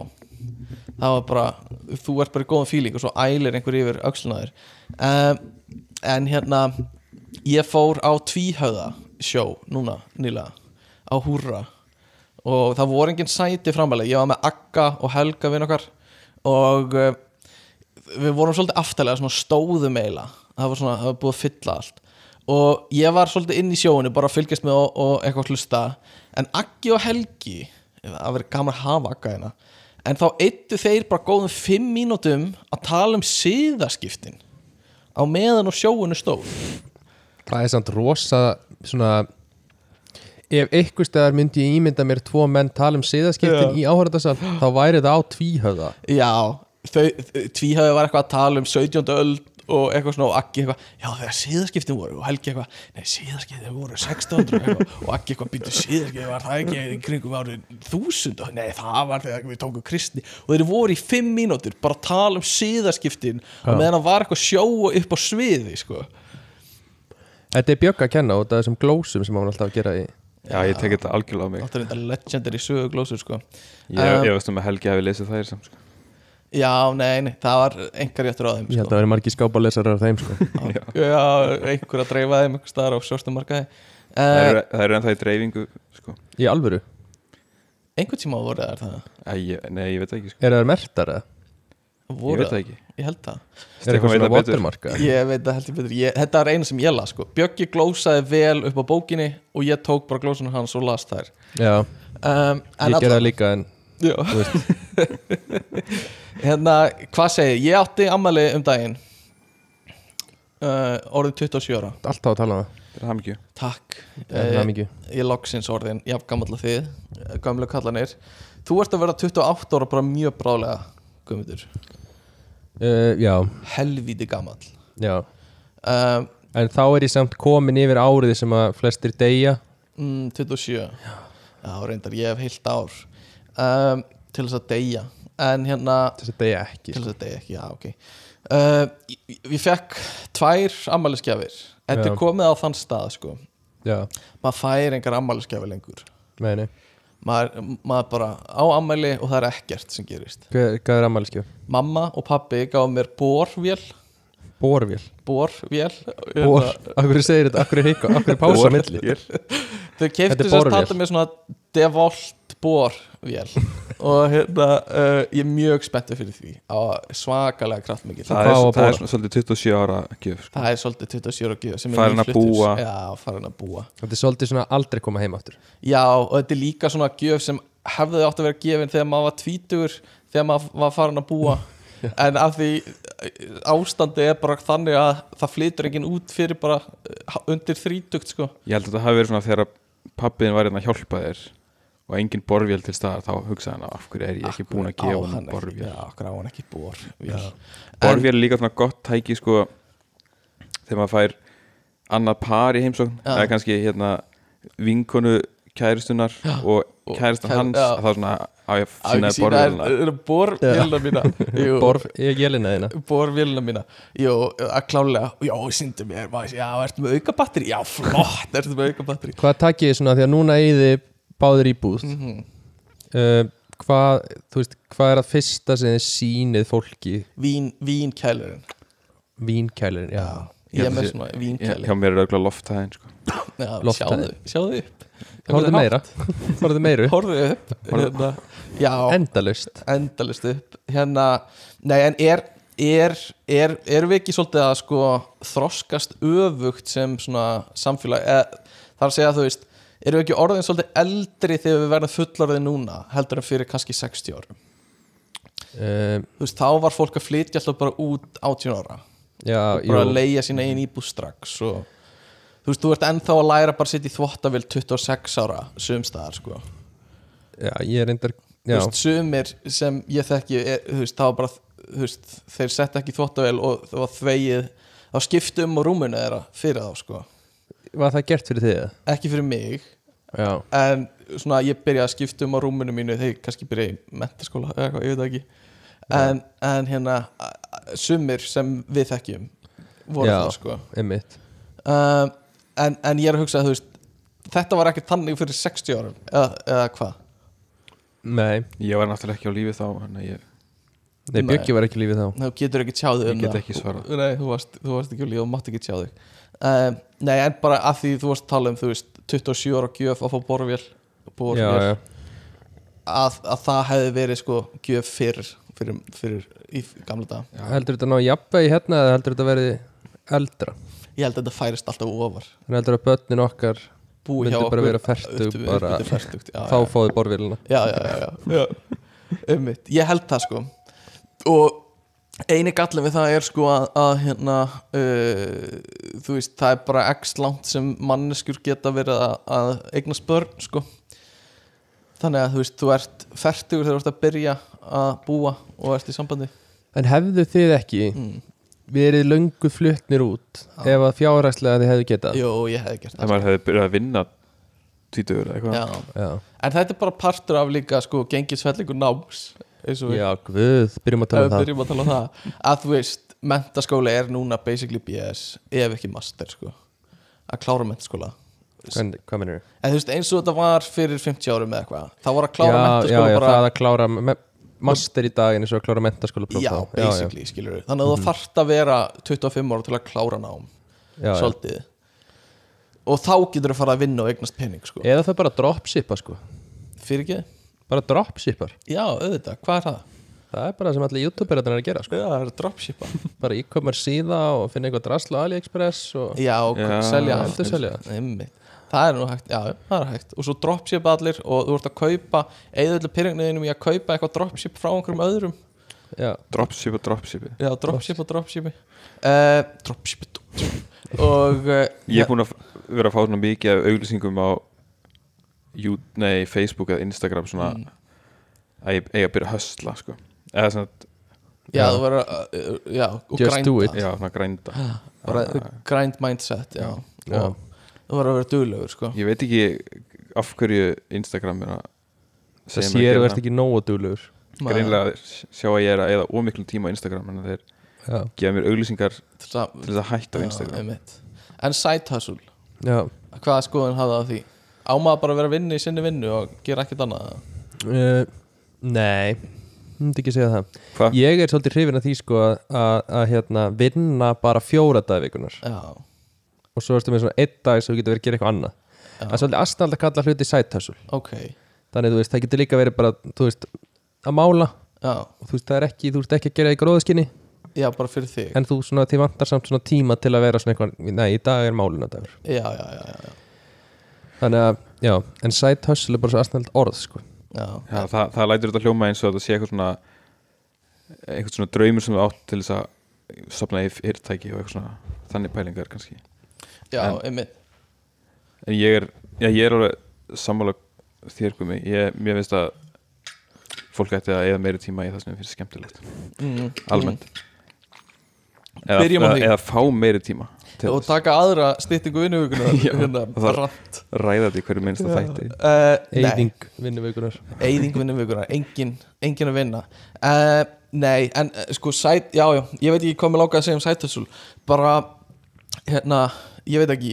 [SPEAKER 2] það var bara þú ert bara í góðum fíling og svo ælir einhver yfir öxlunaður um, en hérna ég fór á tvíhauða sjó núna nýlega á Húrra og það voru engin sæti framalega ég var með Akka og Helga vinn okkar og uh, við vorum svolítið aftalega svona stóðum eiginlega það var svona, það var búið að fylla allt og ég var svolítið inn í sjóinu bara að fylgjast með og, og eitthvað hlusta en Akki og Helgi það verið gaman að hafa Akka hérna en þá eittu þeir bara góðum fimm mínútum að tala um síðaskiptin á meðan og sjóinu stóð
[SPEAKER 1] Það er samt rosa svona Ef einhver staðar myndi ég ímynda mér tvo menn tala um siðaskiptin í áhörðasal þá væri það á tvíhöða
[SPEAKER 2] Já, þau, tvíhauði var eitthvað að tala um 17. öld og eitthvað svona og Aggi eitthvað, já þegar síðaskiptin voru og Helgi eitthvað, nei síðaskiptin voru 1600 og eitthvað, og Aggi eitthvað býttu síðaskiptin var það ekki í kringum árið 1000 og nei það var þegar við tókum kristni og þeir voru í 5 mínútur bara að tala um síðaskiptin og meðan það var eitthvað sjóa upp á sviði sko.
[SPEAKER 1] Þetta er Björk að kenna og það er sem glósum sem hann var alltaf að gera í
[SPEAKER 3] já, ég tek þetta algjörlega á mig
[SPEAKER 2] þetta er þetta legendary söguglósur sko.
[SPEAKER 3] ég, ég veist um að Helgi hafi lesið þær samt sko.
[SPEAKER 2] já, nei, nei, það var einhver réttur á þeim sko.
[SPEAKER 1] Ég held að það væri margir skápalesarar af þeim sko
[SPEAKER 2] Já, einhver að dreifa þeim einhver staðar á svörstum markaði
[SPEAKER 3] það
[SPEAKER 2] uh,
[SPEAKER 3] eru- það eru ennþá í dreifingu sko.
[SPEAKER 1] Í alvöru,
[SPEAKER 2] Einhvern tíma voru það það
[SPEAKER 3] Æ, ég, nei, ég veit það ekki sko.
[SPEAKER 1] eru það mertar eða?
[SPEAKER 3] ég
[SPEAKER 2] voru
[SPEAKER 3] veit það ekki
[SPEAKER 2] Ég held það
[SPEAKER 1] Er
[SPEAKER 3] Stefán
[SPEAKER 1] eitthvað
[SPEAKER 3] veit
[SPEAKER 1] svona
[SPEAKER 3] það betur.
[SPEAKER 1] watermarka?
[SPEAKER 2] Ég veit það heldur betur ég, Þetta er eina sem ég las sko Bjöggi glósaði vel upp á bókinni og ég tók bara glósunar hans og las þær
[SPEAKER 1] Já,
[SPEAKER 2] um,
[SPEAKER 1] ég gerði það líka en
[SPEAKER 2] það Hérna, hvað segir Ég átti ammali um daginn uh, Orðin 27 ára
[SPEAKER 1] alltaf að tala um það
[SPEAKER 3] Til hamingju.
[SPEAKER 2] Takk
[SPEAKER 1] Það er
[SPEAKER 2] Eh,
[SPEAKER 1] mikið
[SPEAKER 2] ég loksins orðin jafn gammal að þið, eh, gamlu kallanir þú ert að vera 28 ára bara mjög brálega guðmundur,
[SPEAKER 1] Uh, já,
[SPEAKER 2] helvíti gammal
[SPEAKER 1] já
[SPEAKER 2] um,
[SPEAKER 1] En þá er ég samt komin yfir árið sem að flestir deyja
[SPEAKER 2] mm, 27 já. reyndar, ég hef heilt ár um, til þess að deyja en hérna,
[SPEAKER 1] Þess að deyja ekki sko.
[SPEAKER 2] til þess að deyja ekki já, ok uh, ég, ég fekk tvær ammælisgjafir þetta
[SPEAKER 1] Já.
[SPEAKER 2] er komið á þann stað sko
[SPEAKER 1] Já,
[SPEAKER 2] maður fær engar ammælisgjafir lengur
[SPEAKER 1] meðinni
[SPEAKER 2] maður, maður bara á ammæli og það er ekkert sem gerist
[SPEAKER 1] Hvað hvað er sko? ammæliskef?
[SPEAKER 2] mamma og pappi gáðu mér borvél
[SPEAKER 1] Borvél
[SPEAKER 2] borvél hérna,
[SPEAKER 1] Bor, akkur segir þetta, akkur er heika, akkur er pása á
[SPEAKER 3] Bor-
[SPEAKER 1] milli
[SPEAKER 2] þau
[SPEAKER 3] Ég-
[SPEAKER 1] Þetta
[SPEAKER 2] keiftu
[SPEAKER 1] er
[SPEAKER 2] sérst
[SPEAKER 1] borvél.
[SPEAKER 2] handa með svona devolt borvél og hérna, uh, ég er mjög spenntur fyrir því á svakalega kraftmikið
[SPEAKER 3] það,
[SPEAKER 2] það,
[SPEAKER 1] á
[SPEAKER 3] er,
[SPEAKER 1] að
[SPEAKER 3] það er
[SPEAKER 1] borða?
[SPEAKER 3] svona svolítið 27 ára gjöf sko.
[SPEAKER 2] er svolítið 27 og gjöf sem er
[SPEAKER 3] Farin að
[SPEAKER 2] nýfluttur.
[SPEAKER 3] búa.
[SPEAKER 2] Já, farin að búa
[SPEAKER 1] Þetta er svolítið svona aldrei koma heim aftur
[SPEAKER 2] Já, og þetta er líka svona gjöf sem hefði átt að vera gefin þegar maður var tvítugur þegar maður var farin að búa en af því eh, ástandið er bara þannig að það flytur enginn út fyrir bara eh, undir þrítugt sko
[SPEAKER 3] ég held að þetta hafi verið svona þegar pappiðin var hérna að hjálpa þér og engin borfjöld til staðar þá hugsaði hann af hverju er ég ekki búin að
[SPEAKER 2] Á
[SPEAKER 3] gefa hann
[SPEAKER 2] hann ekki-
[SPEAKER 3] borfjöld
[SPEAKER 2] Já, gráði hann ekki bor Já,
[SPEAKER 3] borfjöld er líka svona gott tæki sko þegar maður fær annað par í heimsókn
[SPEAKER 2] Já.
[SPEAKER 3] eða kannski hérna vinkonu kæristunar og
[SPEAKER 2] og
[SPEAKER 3] kæristan
[SPEAKER 2] kæri-
[SPEAKER 3] hans
[SPEAKER 2] já.
[SPEAKER 3] að það er svona á
[SPEAKER 2] Á
[SPEAKER 3] ég
[SPEAKER 2] ekki
[SPEAKER 3] sína
[SPEAKER 2] sína er,
[SPEAKER 3] borfjöldina
[SPEAKER 2] er borvélina mína Jú,
[SPEAKER 1] Borf, ég gélina þína
[SPEAKER 2] borvélina mína Jú, að klálega Já, síndu mér, maður, já, ertu með auka batteri Já, flott, ertu með auka batteri
[SPEAKER 1] Hvað takið þið svona, því að núna eigið þið báðir í búð
[SPEAKER 2] Mhm.
[SPEAKER 1] uh, Hvað, þú veist, hvað er að fyrsta sem þið sýnið fólki
[SPEAKER 2] Vín, vínkælurinn
[SPEAKER 1] Vínkælirinn, já Hérna
[SPEAKER 2] Ég
[SPEAKER 3] held
[SPEAKER 2] er
[SPEAKER 3] að
[SPEAKER 2] með
[SPEAKER 3] sé-
[SPEAKER 2] svona
[SPEAKER 3] Hjá-
[SPEAKER 2] vínkæli
[SPEAKER 3] hjá mér er auðvitað lofthæðin sko.
[SPEAKER 2] Já,
[SPEAKER 1] Lofthæð.
[SPEAKER 2] sjáðu, sjáðu upp
[SPEAKER 1] Horfðu meira, horfðu meiru
[SPEAKER 2] Horfðu upp hérna, Já,
[SPEAKER 1] Endalaust
[SPEAKER 2] endalist upp Hérna, nei en er Er, er, erum við ekki svolítið að sko þroskast öfugt sem svona samfélag eð, þar að segja þú veist, erum við ekki orðin svolítið eldri þegar við verðum fullarðið núna heldur en fyrir kannski 60 árum
[SPEAKER 1] uh,
[SPEAKER 2] þú veist, þá var fólk að flytja alltaf bara út 18 ára
[SPEAKER 1] Já,
[SPEAKER 2] bara að
[SPEAKER 1] jú,
[SPEAKER 2] leia sína eigin íbúð strax og þú veist, þú ert ennþá að læra bara að sitja í þvottavél 26 ára sumstaðar, sko
[SPEAKER 1] já, ég er endar
[SPEAKER 2] þú
[SPEAKER 1] Já,
[SPEAKER 2] veist, sumir sem ég þekki er, þú veist, þá var bara, þú veist þeir sett ekki í þvottavél og það var þvegið þá skiptum og rúmuna þeirra fyrir þá, sko,
[SPEAKER 1] var það gert fyrir þið?
[SPEAKER 2] ekki fyrir mig
[SPEAKER 1] Já,
[SPEAKER 2] en svona ég byrjaði að skipta um á rúminu mínu þegar ég kannski byrjaði í mentaskóla eða eitthvað, ég veit það ekki en, en hérna, a- a- sumir sem við þekkjum voru
[SPEAKER 1] Já.
[SPEAKER 2] það sko
[SPEAKER 1] einmitt
[SPEAKER 2] um, en, en ég er að hugsa að þú veist þetta var ekkert þannig fyrir 60 árum eða, eða hvað
[SPEAKER 1] Nei,
[SPEAKER 3] ég var náttúrulega ekki á lífi þá þannig að ég,
[SPEAKER 1] nei,
[SPEAKER 2] Nei.
[SPEAKER 1] Bjöggi var ekki í lífi þá
[SPEAKER 2] þú getur ekki tjáðið
[SPEAKER 3] ég
[SPEAKER 2] um
[SPEAKER 3] get
[SPEAKER 2] það
[SPEAKER 3] ekki svarað
[SPEAKER 2] Nei, þú varst, þú varst ekki úr líf og mátt ekki tjá þig um, Nei, en bara að því þú varst að tala um þú veist, 27 ára gjöf að fá borvél borvél,
[SPEAKER 1] Já, já,
[SPEAKER 2] Að, að það hefði verið sko gjöf fyrir, fyrir, fyrir í gamla dag
[SPEAKER 1] heldur þetta ná jafnvegi hérna eða heldur þetta verið eldra
[SPEAKER 2] Ég held að þetta færist alltaf ofar
[SPEAKER 1] Þannig heldur að börnin okkar
[SPEAKER 2] Búið
[SPEAKER 1] Myndi
[SPEAKER 2] hjá
[SPEAKER 1] bara
[SPEAKER 2] okkur
[SPEAKER 1] vera fertug,
[SPEAKER 2] upp- upp-
[SPEAKER 1] bara-
[SPEAKER 2] upp- upp- fertugt, já,
[SPEAKER 1] þá fáðu borvilina
[SPEAKER 2] já, já, já, já, já. Einmitt. Ég held það sko Og eini gallin við það er sko að, að hérna uh, Þú veist, það er bara x langt sem manneskjur geta verið að, að eigna spörn sko Þannig að þú veist, þú ert fertugur þegar þú ert að byrja að búa og ert í sambandi
[SPEAKER 1] En hefðu þið ekki
[SPEAKER 2] mm.
[SPEAKER 1] verið löngu fluttnir út
[SPEAKER 2] Já.
[SPEAKER 1] ef að fjárhagslega þið hefðu getað
[SPEAKER 2] Jó, ég hefði gert
[SPEAKER 3] þegar
[SPEAKER 2] það sko.
[SPEAKER 3] maður hefði byrjað að vinna tvítugur eða eitthvað
[SPEAKER 2] Já,
[SPEAKER 1] Já,
[SPEAKER 2] En þetta er bara partur af líka sko gengisfellingu náms eins og við
[SPEAKER 1] já guð, byrjum að tala um
[SPEAKER 2] ef við
[SPEAKER 1] það
[SPEAKER 2] byrjum að tala um það að þú veist, mentaskóla er núna basically BS ef ekki master sko að klára mentaskóla
[SPEAKER 1] En, Hvað mennur þið?
[SPEAKER 2] en þú veist eins og þetta var fyrir 50 árum eða eitthvað þá var að
[SPEAKER 1] Já,
[SPEAKER 2] klára
[SPEAKER 1] já,
[SPEAKER 2] mentaskóla
[SPEAKER 1] já,
[SPEAKER 2] bara
[SPEAKER 1] það að klára me- master í dag en eins og að klára mentaskóla
[SPEAKER 2] já, basically, skilur við þannig að þú þarft að vera 25 ára til að klára nám
[SPEAKER 1] Mhm. já, já.
[SPEAKER 2] svolítið og þá getur þú fara að vinna og eignast pening sko
[SPEAKER 1] Eða það bara dropshipa sko
[SPEAKER 2] fyrir ekki?
[SPEAKER 1] Bara dropshipar
[SPEAKER 2] Já, auðvitað, hvað er það?
[SPEAKER 1] Það er bara það sem allir youtuber er að gera sko
[SPEAKER 2] Já, það er dropshipa
[SPEAKER 1] Bara e-commerce síða og finna eitthvað drasl á AliExpress og
[SPEAKER 2] Já, og
[SPEAKER 3] Já,
[SPEAKER 2] selja
[SPEAKER 1] Já, endurselja.
[SPEAKER 2] Einmitt. Það er nú hægt, já, það er hægt Og svo dropship allir og þú ert að kaupa Eðurlega pyrringniðinum í að kaupa eitthvað dropship Frá einhverjum öðrum
[SPEAKER 1] Já,
[SPEAKER 3] dropship og dropship ég
[SPEAKER 2] Já, dropship og dropshipi uh, Dropship dropship. Og uh,
[SPEAKER 3] er búin að f- vera að fá svona mikið af auglýsingum á jú, nei, Facebook eða Instagram svona
[SPEAKER 2] Mm.
[SPEAKER 3] að ég eiga að byrja að hösla sko. eða svona,
[SPEAKER 2] já, þú verður að uh, Já, og
[SPEAKER 1] Just
[SPEAKER 2] grænda
[SPEAKER 1] do it.
[SPEAKER 3] já, svona grænda
[SPEAKER 2] Bara, Grind mindset, já,
[SPEAKER 1] Já.
[SPEAKER 2] Og þú verður að vera duglegur, sko
[SPEAKER 3] ég veit ekki af hverju Instagram er að
[SPEAKER 1] það
[SPEAKER 3] mér að
[SPEAKER 1] sér
[SPEAKER 3] gera
[SPEAKER 1] þú ert ekki nógu duglegur
[SPEAKER 2] Maður-
[SPEAKER 3] greinlega sjá að ég er að eða ómiklum tíma á Instagram en þeir
[SPEAKER 1] Já,
[SPEAKER 3] gefa mér auglýsingar til
[SPEAKER 2] til að-
[SPEAKER 3] þess að hætta á
[SPEAKER 2] Já,
[SPEAKER 3] Instagram
[SPEAKER 2] einmitt. En side hustle
[SPEAKER 1] já
[SPEAKER 2] Hvaða skoðun hafði á því? Á maður bara að vera að vinna í sinni vinnu og gera ekkert annað
[SPEAKER 1] Uh, nei, myndi ekki segja það
[SPEAKER 3] hvað?
[SPEAKER 1] Ég er svolítið hrifin að því sko að, að, að hérna, vinna bara fjóra dag vikunar
[SPEAKER 2] Já,
[SPEAKER 1] og svo erstu með svona einn dag sem þú getur verið að gera eitthvað annað
[SPEAKER 2] Já.
[SPEAKER 1] Það er svolítið astanlega að kalla hluti sæthasul
[SPEAKER 2] ok
[SPEAKER 1] Þannig þú veist, það getur líka verið bara, þú veist að mála
[SPEAKER 2] já,
[SPEAKER 1] og þú veist, það er ekki, þú veist ekki að gera það í gróðaskinni
[SPEAKER 2] já, bara fyrir þig
[SPEAKER 1] en þú svona, þið vantar samt svona tíma til að vera svona eitthvað, nei, í dag er málunadagur
[SPEAKER 2] já, já, já, já, já.
[SPEAKER 1] þannig að, já, en side hustle er bara svo aðsnælt orð, sko
[SPEAKER 2] já.
[SPEAKER 3] Já, það, það lætur þetta hljóma eins og þetta sé eitthvað svona eitthvað svona draumur sem þú átt til þess að sopna í fyrirtæki og eitthvað svona þannig pælingar kannski
[SPEAKER 2] Já,
[SPEAKER 3] En-
[SPEAKER 2] einmitt
[SPEAKER 3] en ég er, já, ég er alveg sammála þér komi ég, mér finnst að fólk ætti að eða meiri tíma í það sem þeim finnst skemmtilegt
[SPEAKER 2] mm.
[SPEAKER 3] almennt
[SPEAKER 1] Mhm.
[SPEAKER 3] eða,
[SPEAKER 2] Byrjum á
[SPEAKER 3] eða,
[SPEAKER 2] því.
[SPEAKER 3] eða fá meiri tíma til
[SPEAKER 2] Og
[SPEAKER 3] þess
[SPEAKER 2] taka aðra styttingu vinnuvikunar
[SPEAKER 3] Já,
[SPEAKER 2] hérna,
[SPEAKER 3] það-
[SPEAKER 2] brant
[SPEAKER 3] ræða því hverju minnst að þætti
[SPEAKER 2] uh, Nei,
[SPEAKER 1] Eyðing vinnuvikunar
[SPEAKER 2] eyðing vinnuvikunar Engin, engin að vinna uh, Nei, en uh, sko sæt, Já, já, ég veit ekki hvað mér lákaði að segja um sætthössul Bara, hérna Ég veit ekki,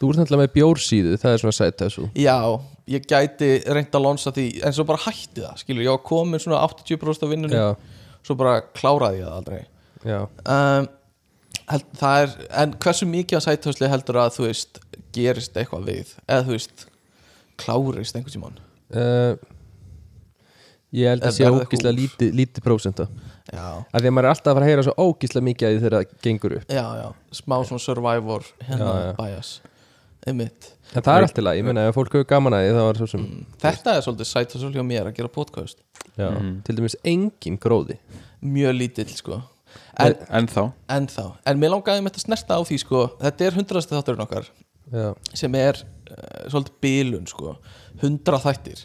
[SPEAKER 1] Þú ert náttúrulega með bjórsíðu, það er svona side hustle
[SPEAKER 2] já Ég gæti reynt að lónsa því En svo bara hætti það, skilur Ég var komin svona 80% af vinnunum
[SPEAKER 1] Já,
[SPEAKER 2] Svo bara kláraði ég það aldrei
[SPEAKER 1] já,
[SPEAKER 2] um, held, það er, en hversu mikið á sæthösli heldur að þú veist gerist eitthvað við eða þú veist klárist einhvern tímann
[SPEAKER 1] uh, Ég held
[SPEAKER 2] Eða
[SPEAKER 1] að sé
[SPEAKER 2] verða
[SPEAKER 1] ógíslega
[SPEAKER 2] kúl.
[SPEAKER 1] lítið líti prósenta
[SPEAKER 2] já,
[SPEAKER 1] að því að maður er alltaf að fara að heyra svo ógíslega mikið að því þegar það gengur upp
[SPEAKER 2] já, já, smá svona survivor hérna
[SPEAKER 1] Já, já.
[SPEAKER 2] bias einmitt
[SPEAKER 1] en það er alltaf læg, ég meina ef fólk hefur gaman að því það var svo sem,
[SPEAKER 2] þetta er svolítið sæthösli hjá mér að gera podcast
[SPEAKER 1] já, til dæmis engin gróði
[SPEAKER 2] mjög lítill sko en,
[SPEAKER 3] en þá
[SPEAKER 2] en þá, en mér langaði með þetta snerta á því sko, þetta er hundrasti þátturinn okkar
[SPEAKER 1] já,
[SPEAKER 2] sem er uh, svolítið bilun sko, 100 þættir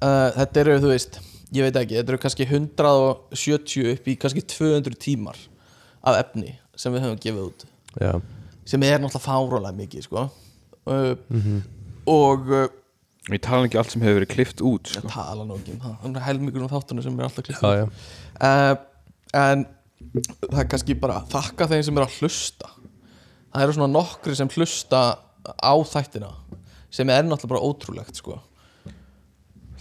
[SPEAKER 2] uh, þetta eru þú veist ég veit ekki, þetta eru kannski 170 upp í kannski 200 tímar af efni sem við höfum gefið út
[SPEAKER 1] já,
[SPEAKER 2] sem er náttúrulega fárólega mikið sko. uh, og uh,
[SPEAKER 3] ég tala ekki allt sem hefur verið klift út
[SPEAKER 2] ég
[SPEAKER 3] sko.
[SPEAKER 2] tala nú ekki um það það er helmingur um þáttunum sem er alltaf klipp
[SPEAKER 1] já, já.
[SPEAKER 2] uh, en það er kannski bara að þakka þeim sem eru að hlusta það eru svona nokkri sem hlusta á þættina sem er náttúrulega bara ótrúlegt sko.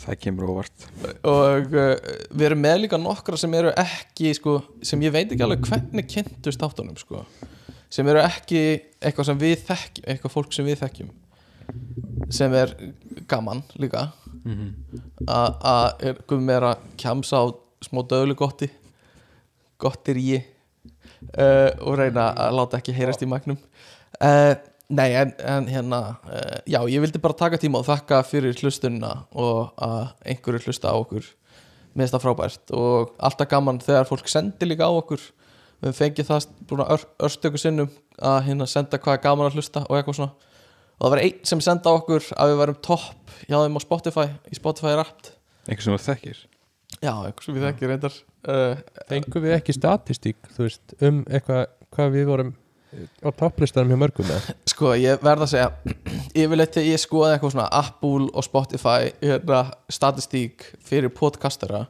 [SPEAKER 3] það kemur óvart
[SPEAKER 2] og uh, við erum með líka nokkra sem eru ekki sko, sem ég veit ekki alveg hvernig kynntust áttunum sko. sem eru ekki eitthvað sem við þekkjum eitthvað fólk sem við þekkjum sem er gaman líka að mm -hmm. er að kjamsa á smá döðlu gotti gottir ég uh, og reyna að láta ekki heyrast í magnum uh, nei en, en hérna uh, já ég vildi bara taka tíma og þakka fyrir hlustunina og að einhverju hlusta á okkur mér finnst það frábært og alltaf gaman þegar fólk sendir líka á okkur við höfum fengið það búin að ör, örstöku sinnum að hérna senda hvað er gaman að hlusta og eitthvað svona og það var einn sem senda á okkur að við varum topp hjá þeim á Spotify í Spotify Rapt
[SPEAKER 3] einhver sem þú þekkir
[SPEAKER 2] já, eitthvað sem við þekki reyndar uh,
[SPEAKER 1] fengum við ekki statistík þú veist, um eitthvað hvað við vorum á topplistanum hjá mörgum eða?
[SPEAKER 2] Sko, ég verð að segja Yfirleitt þegar ég skoði eitthvað svona Apple og Spotify hérna, statistík fyrir podcastera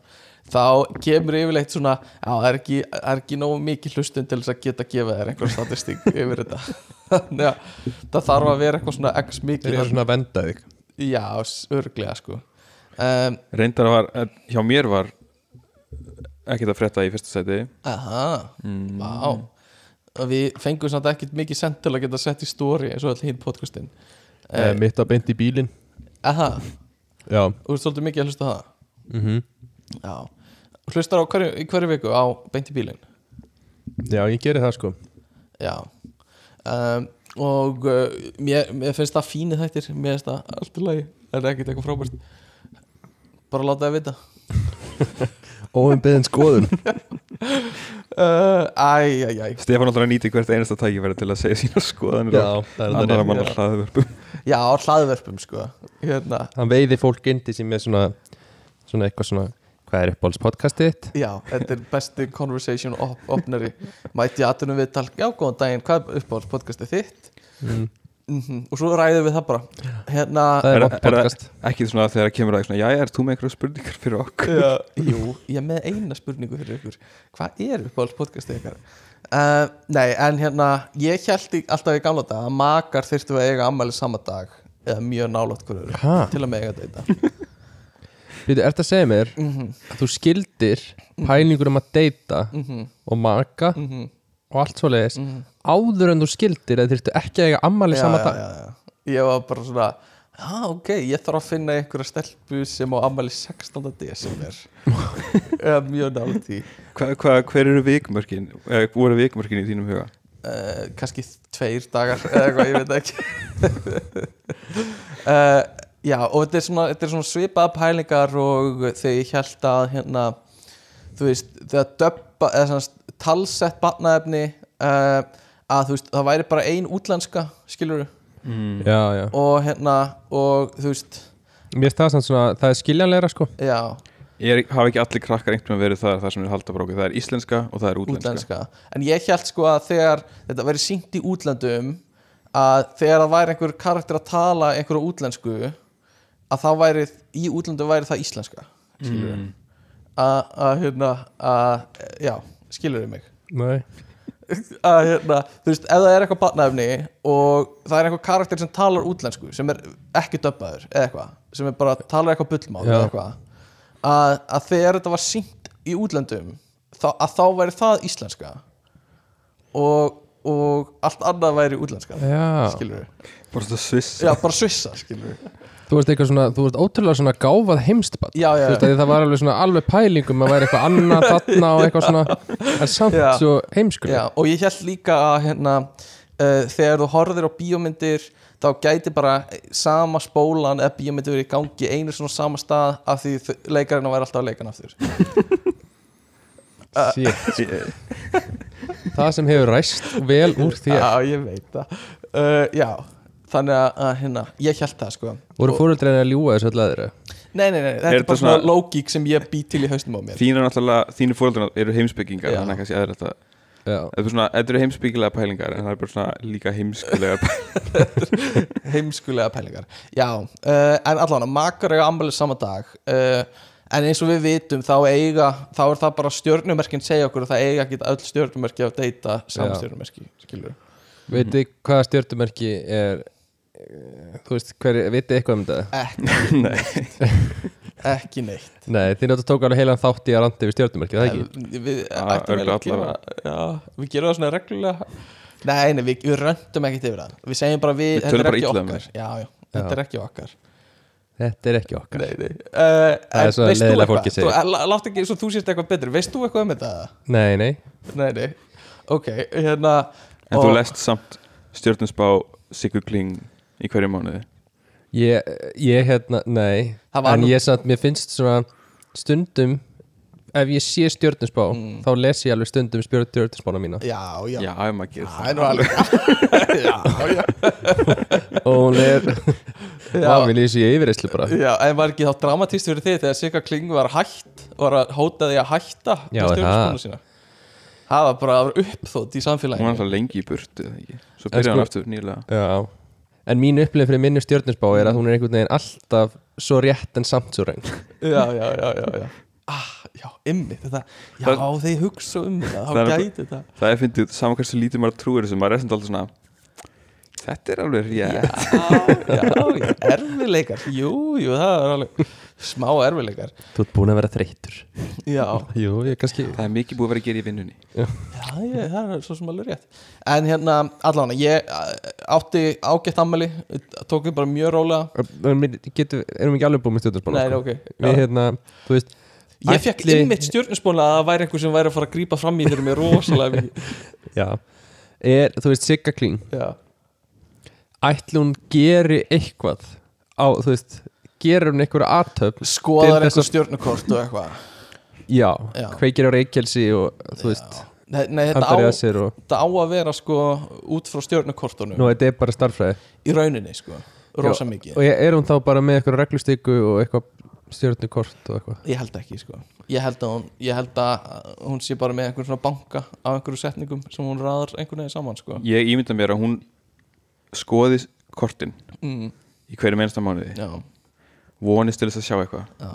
[SPEAKER 2] þá kemur yfirleitt svona já, það er ekki, það er ekki nógu mikið hlustun til þess að geta að gefa þér einhver statistík yfir þetta Þannig að það þarf að vera eitthvað svona x
[SPEAKER 1] þeir
[SPEAKER 2] mikið
[SPEAKER 1] eru svona að venda þig
[SPEAKER 2] Já, s- örugglega sko um,
[SPEAKER 3] reyndar var, eh, hjá mér var ekkert að frétta í fyrsta sæti
[SPEAKER 2] Aha,
[SPEAKER 3] mm.
[SPEAKER 2] vá Og Við fengum samt ekkert mikið sent til að geta sett í story eins og all hinn podcastin
[SPEAKER 1] Eh, mitt á beint í bílinn
[SPEAKER 2] Aha,
[SPEAKER 1] já,
[SPEAKER 2] þú ert svolítið mikið að hlusta á það
[SPEAKER 1] mm
[SPEAKER 2] Já, hlustar á hverju, í hverju viku á beint í bílinn
[SPEAKER 1] já, ég geri það sko
[SPEAKER 2] Já um, Og uh, mér, mér finnst það fínu þættir Mér finnst það allt í lagi Það er ekkert eitthvað frábært Bara láta það vita
[SPEAKER 1] óumbeðin skoðun
[SPEAKER 2] uh, Æ, æ, æ
[SPEAKER 3] Stefán alltaf nýti hvert einasta tækifæri til að segja sína skoðanir og
[SPEAKER 1] það er
[SPEAKER 3] annara
[SPEAKER 1] þetta
[SPEAKER 3] mann að hlaða verpum
[SPEAKER 2] Já, á hlaðverpum sko Hérna,
[SPEAKER 1] hann veiði fólk indi sem er svona svona eitthvað svona, hvað er uppáhalds podcastið þitt?
[SPEAKER 2] já, þetta er besti conversation op opnari Mæti aðtunum við tal Já, góðan daginn, hvað er uppáhalds podcastið þitt?
[SPEAKER 1] Mm.
[SPEAKER 2] Mm Og svo ræðum við það bara Hérna
[SPEAKER 1] það er
[SPEAKER 3] Er-
[SPEAKER 1] vant
[SPEAKER 3] er það-
[SPEAKER 1] podcast
[SPEAKER 3] ekki svona þegar það kemur að því svona, jæja, er þú með einhverja spurningar fyrir okkur
[SPEAKER 2] Já, jú, ég er með eina spurningu fyrir ykkur Hvað er uppáhalds podcastið ykkar? Uh, nei, en hérna Ég held í, alltaf í gamla dag að makar þyrftu að eiga ammæli sama dag eða mjög nálátt hverju
[SPEAKER 1] ha,
[SPEAKER 2] til að mega þetta
[SPEAKER 1] Býtu, ert að segja mér
[SPEAKER 2] Mhm.
[SPEAKER 1] að þú skildir pælingur um að deyta
[SPEAKER 2] Mhm.
[SPEAKER 1] og maka og allt svoleiðis áður en þú skildir að þurftu ekki að eiga ammali sama dag
[SPEAKER 2] já, já. Ég var bara svona Já, ok, ég þarf að finna einhverja stelpu sem á ammæli 16. desember Eða Mjög nálægt því
[SPEAKER 3] hva, hva, hver eru vikmörkin eh, voru vikmörkin í þínum huga
[SPEAKER 2] uh, Kannski tveir dagar eða eitthvað, ég veit ekki uh, Já, og þetta er svona, þetta er svona svipaða pælingar og þegar ég held að hérna, þú veist, þegar döbba, eða svona talsett barnaefni uh, að þú veist, það væri bara ein útlenska, skilur
[SPEAKER 3] mm.
[SPEAKER 1] já, já
[SPEAKER 2] og hérna, og þú veist
[SPEAKER 1] Mér finnst það samt svona, það er skiljanlegra sko
[SPEAKER 2] Já,
[SPEAKER 3] ég hafa ekki allir krakkar einhvern veginn verið það það sem er haldabrókið, það er íslenska og það er útlenska,
[SPEAKER 2] útlenska. en ég held sko að þegar þetta verið sínt í útlöndum að þegar það væri einhver karakter að tala einhverju útlensku að þá væri, í útlöndum væri það íslenska skilur mm. að hérna að, já, skilur mig
[SPEAKER 1] Nei.
[SPEAKER 2] að hérna, þú veist, ef það er eitthvað batnaefni og það er einhver karakter sem talar útlensku, sem er ekki döbbaður eða eitthvað, sem er bara talar eitthvað bullmál
[SPEAKER 1] Já.
[SPEAKER 2] eða eitthvað að, að þegar þetta var sínt í útlöndum þá, að þá væri það íslenska og, og allt annað væri útlenska
[SPEAKER 1] Já.
[SPEAKER 2] skilur við,
[SPEAKER 3] bara svona sviss
[SPEAKER 2] já, bara svissa skilur við,
[SPEAKER 1] Þú veist eitthvað svona, þú veist ótrúlega svona gáfað heimstbann
[SPEAKER 2] já, já,
[SPEAKER 1] Þú veist að það var alveg svona alveg pælingum að væri eitthvað annað þarna og eitthvað svona en samt
[SPEAKER 2] Já.
[SPEAKER 1] svo heimskuleg
[SPEAKER 2] Já, og ég held líka að hérna, uh, þegar þú horfir á bíómyndir þá gæti bara sama spólan eða bíómyndir verið í gangi einu svona sama stað af því þau- leikarinn væri alltaf að leika hann aftur
[SPEAKER 1] Shit.
[SPEAKER 3] eh,
[SPEAKER 1] Það sem hefur ræst vel úr því
[SPEAKER 2] Já, ég veit það uh, Já, þannig að, að hérna, ég held það sko
[SPEAKER 1] voru fóröldreinu að ljúga þessu öll aðra
[SPEAKER 2] Nei, nei, nei, þetta
[SPEAKER 3] Er
[SPEAKER 2] er,
[SPEAKER 3] þetta
[SPEAKER 2] bara svona
[SPEAKER 3] svona-
[SPEAKER 2] lógík sem ég bý til í haustum á mér
[SPEAKER 3] þín er náttúrulega, þínu fóröldunar eru heimsbyggingar
[SPEAKER 2] Já.
[SPEAKER 3] þannig að kannski aðra þetta
[SPEAKER 1] Já,
[SPEAKER 3] þetta er svona, þetta eru heimsbyggilega pælingar en það er bara svona líka heimskulega pælingar
[SPEAKER 2] heimskulega pælingar já, uh, en allan að makar eiga ammælið sama dag uh, en eins og við vitum þá eiga þá er það bara stjörnumerkin segja okkur og það eiga ekki öll stjörnumerki að deyta saman
[SPEAKER 1] Já.
[SPEAKER 2] stjörnumerki, skilur
[SPEAKER 1] veitu hvaða stjörtumerki er eh, þú veist, hver, veitu eitthvað um þetta?
[SPEAKER 2] ekki,
[SPEAKER 3] Nei.
[SPEAKER 2] ekki neitt
[SPEAKER 1] Nei, þið náttúrulega tók alveg heilan þátt í að randi við stjörtumerki, það ekki?
[SPEAKER 2] En við,
[SPEAKER 3] Já,
[SPEAKER 2] ættum eiginlega
[SPEAKER 3] örugglega
[SPEAKER 2] að gera, já, við gerum það svona reglulega nei, nei, við, við röndum ekkert yfir það við segjum bara við,
[SPEAKER 3] Við
[SPEAKER 2] þetta
[SPEAKER 3] tölum
[SPEAKER 2] er
[SPEAKER 3] bara
[SPEAKER 2] ekki
[SPEAKER 3] illa um
[SPEAKER 2] okkar já, já, þetta
[SPEAKER 1] Já.
[SPEAKER 2] er ekki okkar
[SPEAKER 1] Þetta er ekki okkar
[SPEAKER 2] nei, nei. Uh,
[SPEAKER 1] Það er svo leiðilega fólkið segir.
[SPEAKER 2] látt ekki eins og þú sést eitthvað betri veist þú eitthvað um þetta?
[SPEAKER 1] Nei, nei,
[SPEAKER 2] Nei, nei, ok, hérna
[SPEAKER 3] en
[SPEAKER 2] og-
[SPEAKER 3] þú lest samt stjórnusbá Sigur Kling í hverju mánuði
[SPEAKER 1] ég, ég hérna, nei
[SPEAKER 2] Það var
[SPEAKER 1] en
[SPEAKER 2] nú-
[SPEAKER 1] ég samt, mér finnst svona stundum, ef ég sé stjörnusbá
[SPEAKER 2] Mm.
[SPEAKER 1] þá les ég alveg stundum stjörnusbána mína
[SPEAKER 2] Já, já,
[SPEAKER 3] já,
[SPEAKER 2] já
[SPEAKER 3] ef maður gerir
[SPEAKER 2] Það er nú alveg Já, já,
[SPEAKER 1] og hún er,
[SPEAKER 2] Já.
[SPEAKER 1] maður minn lýsi ég yfirreyslu bara
[SPEAKER 2] já, en var ekki þá dramatist fyrir þig þegar Sigga Kling var hætt var að hóta því að hætta
[SPEAKER 1] Já,
[SPEAKER 2] með
[SPEAKER 1] er
[SPEAKER 2] stjórnarskólann
[SPEAKER 1] það?
[SPEAKER 2] sína. Það var bara að vera uppþótt í
[SPEAKER 3] hún var
[SPEAKER 2] samfélaginu
[SPEAKER 3] alltaf lengi í burtu eða ekki?
[SPEAKER 1] En
[SPEAKER 3] svo byrjaði
[SPEAKER 1] sko-
[SPEAKER 3] hann aftur nýlega
[SPEAKER 1] Já. en mín upplifin fyrir minni stjörnusbá er
[SPEAKER 2] Mm.
[SPEAKER 1] að hún er einhvern veginn alltaf svo rétt en samt svo röng
[SPEAKER 2] Já, já, já, já, já Ah, já, ymmi, þetta Já,
[SPEAKER 3] Það-
[SPEAKER 2] þeir hugsa um það,
[SPEAKER 3] Það
[SPEAKER 2] þá
[SPEAKER 3] er-
[SPEAKER 2] gæti þetta
[SPEAKER 3] það er fyndið saman hversu lítið maður trúir þessu maður er samt alltaf svona þetta er alveg rétt
[SPEAKER 2] Já, já, erfileikar Jú, jú, það er alveg smá erfileikar
[SPEAKER 1] þú ert búin að vera þreytur
[SPEAKER 2] Já,
[SPEAKER 1] jú, ég kannski
[SPEAKER 3] það er mikið búið að vera að gera í vinnunni
[SPEAKER 2] Já, ég, það er svo sem alveg rétt En hérna, allan, ég eh, átti ágætt ammæli Tók við bara mjög rólega
[SPEAKER 1] erum við getum- erum við ekki alveg búin með stjörnusbána
[SPEAKER 2] Nei, ok
[SPEAKER 1] við
[SPEAKER 2] já.
[SPEAKER 1] hérna, þú veist
[SPEAKER 2] Ég fekk
[SPEAKER 1] ætli-
[SPEAKER 2] einmitt stjörnusbóla að það væri einhver sem væri að fara að grípa fram í fyrir mér rosalega mikið
[SPEAKER 1] já, er, þú veist Sigga Kling
[SPEAKER 2] Já,
[SPEAKER 1] ætli hún geri eitthvað á, þú veist, gerir hún einhverja aðtöfn, Til
[SPEAKER 2] skoðar
[SPEAKER 1] þess
[SPEAKER 2] einhver
[SPEAKER 1] að-
[SPEAKER 2] stjörnukort og eitthvað
[SPEAKER 1] já,
[SPEAKER 2] Já.
[SPEAKER 1] kveikir á reykjelsi og þú veist,
[SPEAKER 2] Nei, nei þetta,
[SPEAKER 1] handar í að
[SPEAKER 2] á,
[SPEAKER 1] sér og
[SPEAKER 2] þetta á að vera sko út frá stjörnukortunum
[SPEAKER 1] nú, þetta er bara starffræði
[SPEAKER 2] Í rauninni sko, rosa
[SPEAKER 1] Já,
[SPEAKER 2] mikið
[SPEAKER 1] og er hún þá bara með eitthvað reglustyku og eitthvað stjórnukort og eitthvað
[SPEAKER 2] Ég held ekki sko Ég held að hún, ég held að hún sé bara með einhvern svona banka af einhverju setningum sem hún raðar einhvern veginn saman sko
[SPEAKER 3] ég ímynda mér að hún skoði kortin
[SPEAKER 2] mm,
[SPEAKER 3] í hverju mennsta mánuði
[SPEAKER 2] Já,
[SPEAKER 3] vonist til þess að sjá eitthvað
[SPEAKER 2] já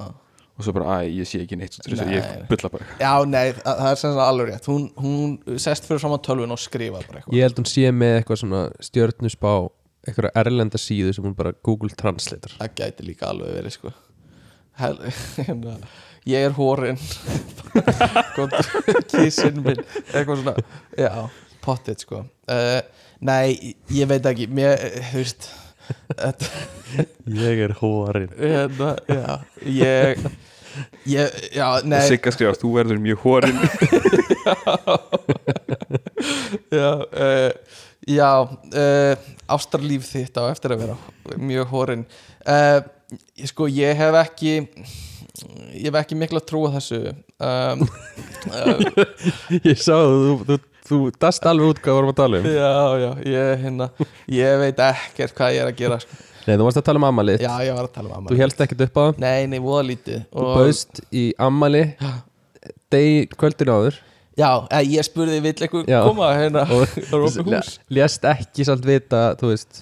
[SPEAKER 3] og svo bara, æ, ég sé ekki neitt svo til þess að
[SPEAKER 2] Nei.
[SPEAKER 3] ég bulla bara
[SPEAKER 2] Já, nei, þa- það er sem sagt alveg rétt Hún, hún sest fyrir saman tölvun og skrifar bara eitthvað
[SPEAKER 1] ég held hún sé með eitthvað svona stjórnusbá eitthvað erlenda síðu sem hún bara Google Translator
[SPEAKER 2] Það gæti líka alveg verið, sko Hel, hérna, Ég er hórin Kísinn minn Eitthvað svona, já, pottit, sko uh, Nei, ég veit ekki Mér, eh, þú veist þetta,
[SPEAKER 4] Ég er hóarinn
[SPEAKER 2] hérna, já, ég, ég, já, nei
[SPEAKER 3] Sigga skrifast, þú verður mjög hórin
[SPEAKER 2] Já, uh, já uh, ástarlíf þitt á eftir að vera mjög horin uh, ég- Sko, ég hef ekki ég hef ekki mikla trú á þessu um, uh,
[SPEAKER 1] Ég sá að þú, þú, þú dast alveg út hvað við vorum að tala um
[SPEAKER 2] Já, já, ég, hérna, ég veit ekkert hvað ég er að gera sko.
[SPEAKER 1] Nei, þú varst að tala um ammali
[SPEAKER 2] Já, ég var að tala um
[SPEAKER 1] Þú
[SPEAKER 2] ammali
[SPEAKER 1] helst ekkert upp á það
[SPEAKER 2] Nei, nei, voða lítið
[SPEAKER 1] Þú
[SPEAKER 2] Og-
[SPEAKER 1] baust í ammali degi kvöldin áður
[SPEAKER 2] Já, eh, ég spurði, vill eitthvað
[SPEAKER 1] Já.
[SPEAKER 2] koma hérna
[SPEAKER 1] og
[SPEAKER 2] Það er opið hús
[SPEAKER 1] lést ekki samt vita þú veist,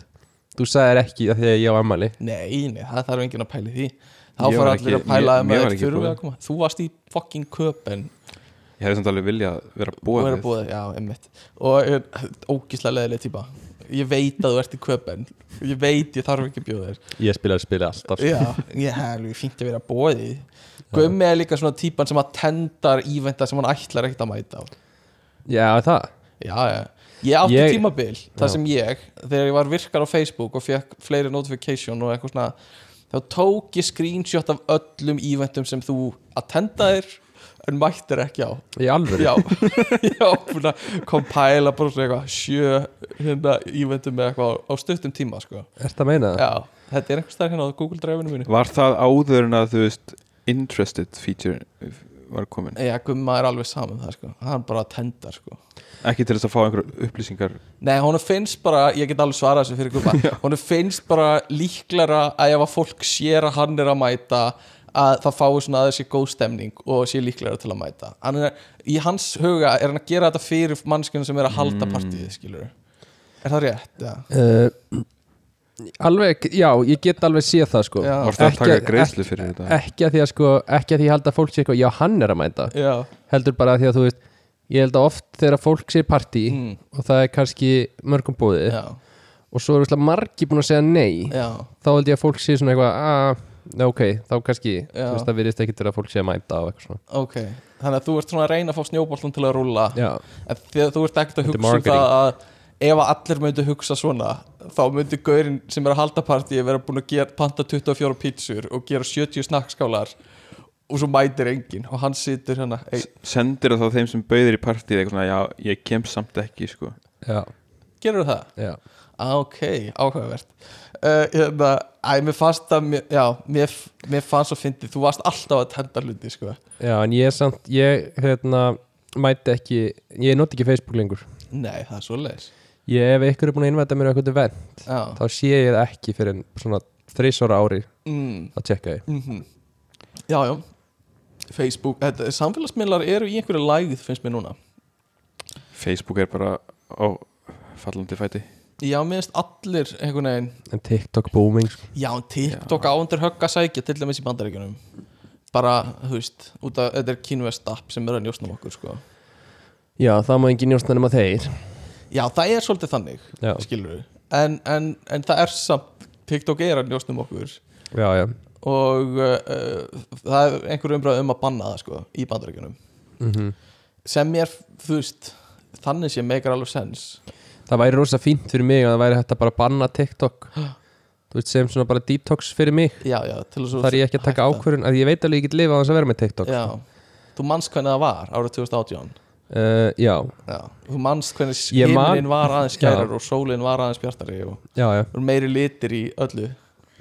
[SPEAKER 1] þú sagðir ekki að því að ég á ammali
[SPEAKER 2] Nei, nei, það þarf enginn að pæla í því Þá
[SPEAKER 3] Ég
[SPEAKER 2] fara
[SPEAKER 3] var
[SPEAKER 2] allir
[SPEAKER 3] ekki-
[SPEAKER 2] að pæla um
[SPEAKER 3] mér- mér
[SPEAKER 2] að
[SPEAKER 3] var
[SPEAKER 2] þeir
[SPEAKER 3] ekki
[SPEAKER 2] þurfa
[SPEAKER 3] boðið.
[SPEAKER 2] að koma Þú varst í fucking köpen
[SPEAKER 3] Ég hefði samt alveg viljað vera
[SPEAKER 2] Þú
[SPEAKER 3] búið
[SPEAKER 2] er að búa þig, já, emmitt Og er ógíslega leðileg típa Ég veit að þú ert í köpen Ég veit, ég þarf ekki að bjóða þér
[SPEAKER 1] ég spilaði spilið alltaf sko.
[SPEAKER 2] Já, ég hef alveg fínt að vera að búa þig Gummi er líka svona típan sem að tendar ívenda sem hann ætlar ekkert að mæta á
[SPEAKER 1] já, það
[SPEAKER 2] Já, já Ég átti
[SPEAKER 1] Ég-
[SPEAKER 2] tímabil, það
[SPEAKER 1] Já.
[SPEAKER 2] sem ég Þegar ég var virkar á Facebook og fekk fleiri notification og eitthvað svona Þá tók ég screenshot af öllum íventum sem þú attendaðir En mættir ekki á
[SPEAKER 1] í alvöru
[SPEAKER 2] Já, já, búin að kompæla bara svona eitthvað sjö hérna ívendum með eitthvað á, á stuttum tíma sko.
[SPEAKER 1] ert að meina það?
[SPEAKER 2] Já, þetta er einhvers staðar hérna á Google Drive-inu mínu
[SPEAKER 3] Var það áður en að þú veist interested feature var komin
[SPEAKER 2] Já, Gumma er alveg saman það sko, hann bara tendar sko
[SPEAKER 3] ekki til þess að fá einhverjar upplýsingar
[SPEAKER 2] Nei, honum finnst bara, ég get alveg svarað þessu fyrir Gumma Honum finnst bara líklara að ef að fólk sér að hann er að mæta að það fái svona að þessi góð stemning og sé líklega til að mæta hann er, í hans huga er hann að gera þetta fyrir mannskjörn sem er að halda partíð skilur er það rétt? Já,
[SPEAKER 1] Uh, alveg, já, ég get alveg séð það sko
[SPEAKER 2] Já.
[SPEAKER 3] Varst það að
[SPEAKER 1] Ekki-
[SPEAKER 3] taka greiðslu fyrir þetta?
[SPEAKER 1] ekki að því að sko, ekki að því að halda að fólk sé eitthvað já, hann er að mæta
[SPEAKER 2] já.
[SPEAKER 1] heldur bara að því að þú veist ég held að oft þegar fólk sé í partí
[SPEAKER 2] Mm.
[SPEAKER 1] og það er kannski mörgum búði
[SPEAKER 2] já.
[SPEAKER 1] og svo eru svona margi búin að segja nei
[SPEAKER 2] já.
[SPEAKER 1] þá held ég að fólk sé svona eitthvað að, ok, þá kannski þú
[SPEAKER 2] Já.
[SPEAKER 1] veist, það virðist ekki til að fólk sé að mæta og eitthvað svona
[SPEAKER 2] Ok, þannig að þú ert svona að reyna að fá snjóboltan til að rúlla
[SPEAKER 1] já,
[SPEAKER 2] en þegar þú ert ekkert
[SPEAKER 1] Þetta
[SPEAKER 2] að
[SPEAKER 1] er
[SPEAKER 2] hugsa um
[SPEAKER 1] marketing.
[SPEAKER 2] það að ef að allir myndu hugsa svona þá myndi gaurinn sem er að halda partíi vera búin að gera, panta 24 pítsur og gera 70 snakkskálar og svo mætir enginn og hann situr hérna hey,
[SPEAKER 3] Sendir það þá þeim sem bauðir í partíð eitthvað svona, já, ég kem samt ekki sko.
[SPEAKER 1] já,
[SPEAKER 2] gerur það?
[SPEAKER 1] já
[SPEAKER 2] Ah, ok, áhugavert uh, hérna, æ, mér fannst það mér, já, mér, mér fannst það fyndið þú varst alltaf að tenda hluti, sko
[SPEAKER 1] Já, en ég samt, ég hérna mæti ekki, ég noti ekki Facebook lengur
[SPEAKER 2] nei, það er svo leis
[SPEAKER 1] Ég ef ykkur er búin að innvæta mér á eitthvað event
[SPEAKER 2] já,
[SPEAKER 1] þá sé ég það ekki fyrir en svona þrísóra ári
[SPEAKER 2] mm.
[SPEAKER 1] að tjekka ég
[SPEAKER 2] mm Já, já Facebook, þetta, samfélagsmiðlar eru í einhverju lægð finnst mér núna
[SPEAKER 3] Facebook er bara á fallandi fæti
[SPEAKER 2] Já, minnst allir einhvern veginn
[SPEAKER 1] en TikTok booming sko.
[SPEAKER 2] Já, en TikTok á undir högg að sækja til dæmis í bandaríkjunum Bara, þú veist, út af þetta er kínvest app sem er að njósna um okkur, sko
[SPEAKER 1] Já, það má engin njóstna nema þeir
[SPEAKER 2] Já, það er svolítið þannig,
[SPEAKER 1] Já,
[SPEAKER 2] skilur við en, en, en það er samt, TikTok er að njósna um okkur
[SPEAKER 1] já, já
[SPEAKER 2] Og uh, uh, það er einhverju umræð um að banna það, sko, í bandaríkjunum
[SPEAKER 1] mm
[SPEAKER 2] Sem mér, þú veist, þannig sem meikar alveg sens
[SPEAKER 1] Það væri rosa fínt fyrir mig að það væri hægt að bara banna TikTok Þú veist, sem svona bara detox fyrir mig
[SPEAKER 2] Já, já, til þess að
[SPEAKER 1] þar ég ekki að taka
[SPEAKER 2] hætta.
[SPEAKER 1] ákvörun að ég veit alveg ég get lifað á þess að vera með TikTok
[SPEAKER 2] Já, þú manst hvernig það var árið 2018
[SPEAKER 1] uh, já,
[SPEAKER 2] Já. Þú manst hvernig
[SPEAKER 1] Ég man-
[SPEAKER 2] himnin var aðeins skærar og sólin var aðeins bjartari og
[SPEAKER 1] já, já
[SPEAKER 2] og meiri litir í öllu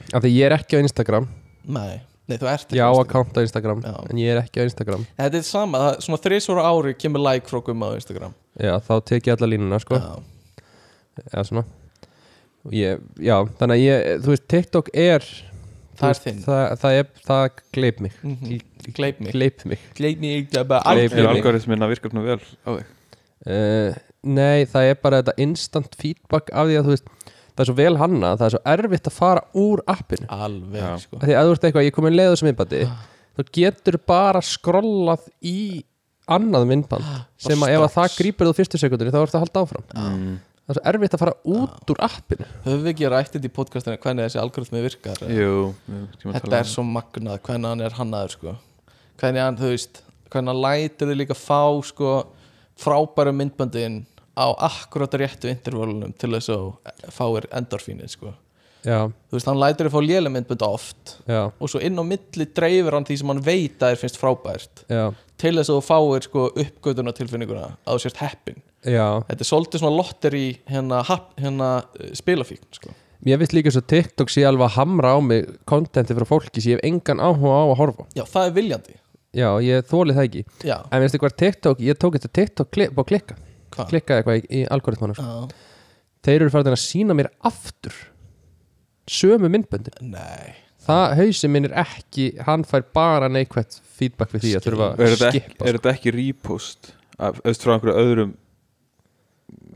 [SPEAKER 1] af því ég er ekki á Instagram
[SPEAKER 2] Nei, nei þú ert
[SPEAKER 1] ég á
[SPEAKER 2] á
[SPEAKER 1] account á Instagram
[SPEAKER 2] Já.
[SPEAKER 1] en ég er ekki á Instagram
[SPEAKER 2] Þetta er sama, það, svona þrísóra ári kemur like frá gumma á Instagram
[SPEAKER 1] já, þá tek ég alla línuna sko
[SPEAKER 2] Já,
[SPEAKER 1] eða svona Og ég, já, þannig að ég, þú veist, TikTok er þú
[SPEAKER 2] Það er
[SPEAKER 1] veist,
[SPEAKER 2] þinn.
[SPEAKER 1] það, það, er, það gleip mig
[SPEAKER 2] Mhm. Gleip mig
[SPEAKER 1] gleip mig
[SPEAKER 2] Gleip mig Það er bara
[SPEAKER 1] Gleyp
[SPEAKER 2] aldrei-
[SPEAKER 3] Er
[SPEAKER 1] mig.
[SPEAKER 3] algoritmin að virka svona vel á þig?
[SPEAKER 1] uh, nei, það er bara þetta instant feedback af því að þú veist það er svo vel hanna, það er svo erfitt að fara úr appinu,
[SPEAKER 2] Alveg,
[SPEAKER 3] Já.
[SPEAKER 2] sko
[SPEAKER 1] af því að þú ert eitthvað ég kom inn leiðu sem innbandi,
[SPEAKER 2] Ah.
[SPEAKER 1] þú getur bara skrollað í annað myndband sem að ef að það
[SPEAKER 2] Ah, strax. Ah.
[SPEAKER 1] grýpur þú fyrstu sekundinu þá ertu að halda áfram
[SPEAKER 3] Mm.
[SPEAKER 1] það er svo erfitt að fara út úr appinu
[SPEAKER 2] Höfum við ekki rætt þetta í podcastinu hvernig þessi algoritmi virkar
[SPEAKER 3] Jú, við tíma að
[SPEAKER 2] Þetta
[SPEAKER 3] tala um
[SPEAKER 2] er svo magnað hvernig hann er hannaður sko. hvernig hann, þú veist hvernig hann lætur þið líka fá sko, frábæru myndböndin á akkurat réttu intervallunum til þess að þú fáir endorfínin sko.
[SPEAKER 1] já,
[SPEAKER 2] þú veist, hann lætur þau fá lélega myndbönd oft
[SPEAKER 1] já,
[SPEAKER 2] og svo inn á milli dreifir hann því sem hann veit að þér finnst frábært
[SPEAKER 1] já,
[SPEAKER 2] til þess að þú fáir sko uppgötuna tilfinninguna að þú sért heppin
[SPEAKER 1] já
[SPEAKER 2] þetta er svolítið svona lotter í hérna, hap- hérna eh, spilafíkn sko.
[SPEAKER 1] Mér finnst líka svo TikTok sé alveg að hamra á mig kontenti frá fólki sem ég hef engan áhuga á að horfa á.
[SPEAKER 2] já, það er viljandi
[SPEAKER 1] Já, ég þóli það ekki
[SPEAKER 2] já,
[SPEAKER 1] En veistu hvað TikTok, ég tók þetta TikTok klip og klikka
[SPEAKER 2] hvað?
[SPEAKER 1] klikkaði eitthvað í, í algoritmanum sko.
[SPEAKER 2] Já.
[SPEAKER 1] Þeir eru farin að sína mér aftur sömu myndböndin
[SPEAKER 2] nei,
[SPEAKER 1] Það hausin minn er ekki, hann fær bara neikvætt feedback við sko. því að þurfa
[SPEAKER 3] er
[SPEAKER 1] að
[SPEAKER 3] þetta ekki,
[SPEAKER 1] skipa
[SPEAKER 3] er
[SPEAKER 2] sko.
[SPEAKER 3] þetta ekki repost af, öst frá einhverju öðrum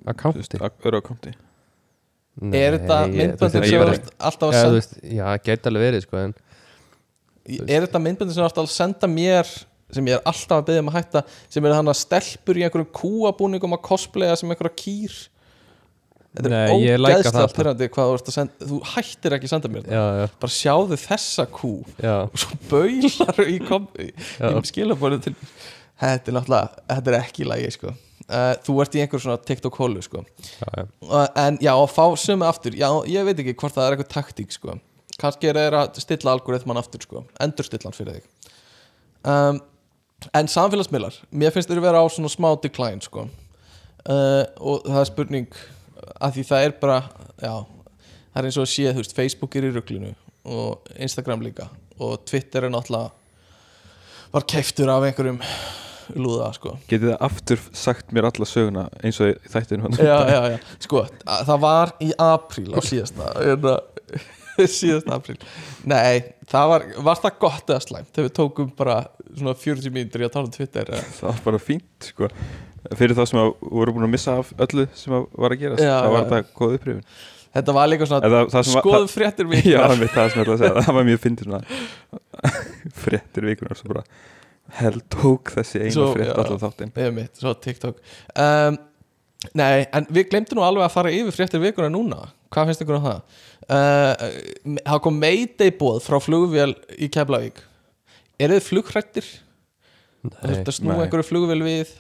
[SPEAKER 1] að
[SPEAKER 3] þú veist,
[SPEAKER 1] kanti
[SPEAKER 3] ak- öðru akkanti
[SPEAKER 2] er þetta myndböndin sem
[SPEAKER 3] ég
[SPEAKER 2] þú
[SPEAKER 3] veit
[SPEAKER 2] ert alltaf að
[SPEAKER 1] Já, þú
[SPEAKER 2] senda
[SPEAKER 1] veist, já, gæti alveg verið sko, en,
[SPEAKER 2] er þetta myndböndin sem þú ert alltaf að senda mér sem ég er alltaf að beðja um að hætta sem er hann að stelpur í einhverjum kúabúningum að cosplaya sem einhverja kýr þetta er
[SPEAKER 1] Nei, ég læka það
[SPEAKER 2] ógeðslega
[SPEAKER 1] alltaf.
[SPEAKER 2] pyrrandi hvað þú ert að senda þú hættir ekki að senda mér þetta
[SPEAKER 1] já, já,
[SPEAKER 2] bara sjáðu þessa kú
[SPEAKER 1] já,
[SPEAKER 2] og svo baular í, kom, í
[SPEAKER 1] Já.
[SPEAKER 2] skilabónu til þetta er náttúrulega, þetta er ekki í lagi sko. uh, þú ert í einhver svona TikTok-hólu sko.
[SPEAKER 1] já, já.
[SPEAKER 2] uh, en já, að fá sömu aftur já, ég veit ekki hvort það er eitthvað taktík sko. kannski er það að stilla algoritman aftur sko. endurstilla hann fyrir þig um, en samfélagsmiðlar mér finnst þeir vera á svona smá decline sko. uh, og það er spurning að því það er bara já, það er eins og að sé þú veist, Facebook er í ruglinu og Instagram líka og Twitter er náttúrulega var keiftur af einhverjum lúða sko
[SPEAKER 3] getið það aftur sagt mér alla söguna eins og í þættinu hann
[SPEAKER 2] já, já, já, sko, að- það var í apríl á síðasta hérna, síðasta apríl nei, það var, var það gott eða slæmt þegar við tókum bara svona 40 mínútur í að tala um Twitter eða?
[SPEAKER 3] það var bara fínt sko. fyrir þá sem að voru búin að missa af öllu sem að var að gerast
[SPEAKER 2] Já,
[SPEAKER 3] það var
[SPEAKER 2] já.
[SPEAKER 3] þetta góð upprifin
[SPEAKER 2] þetta var líka svona,
[SPEAKER 3] það, það sem
[SPEAKER 2] skoðum fréttir
[SPEAKER 3] var,
[SPEAKER 2] við
[SPEAKER 3] já, mitt, það sem ég ætla að segja það var mjög fyndið svona fréttir vikunar svo bara held tók þessi eina
[SPEAKER 2] Svo,
[SPEAKER 3] frétt
[SPEAKER 2] já.
[SPEAKER 3] alltaf þáttinn
[SPEAKER 2] eða mitt, svo TikTok um, Nei, en við glemtum nú alveg að fara yfir fréttir vikuna núna Hvað finnst ykkur um það? Uh, það kom meiteibóð frá flugvél í Keflavík Er þið flugrættir? Það
[SPEAKER 1] Nei.
[SPEAKER 2] þurfti að snúa
[SPEAKER 3] Nei.
[SPEAKER 2] einhverju flugvél við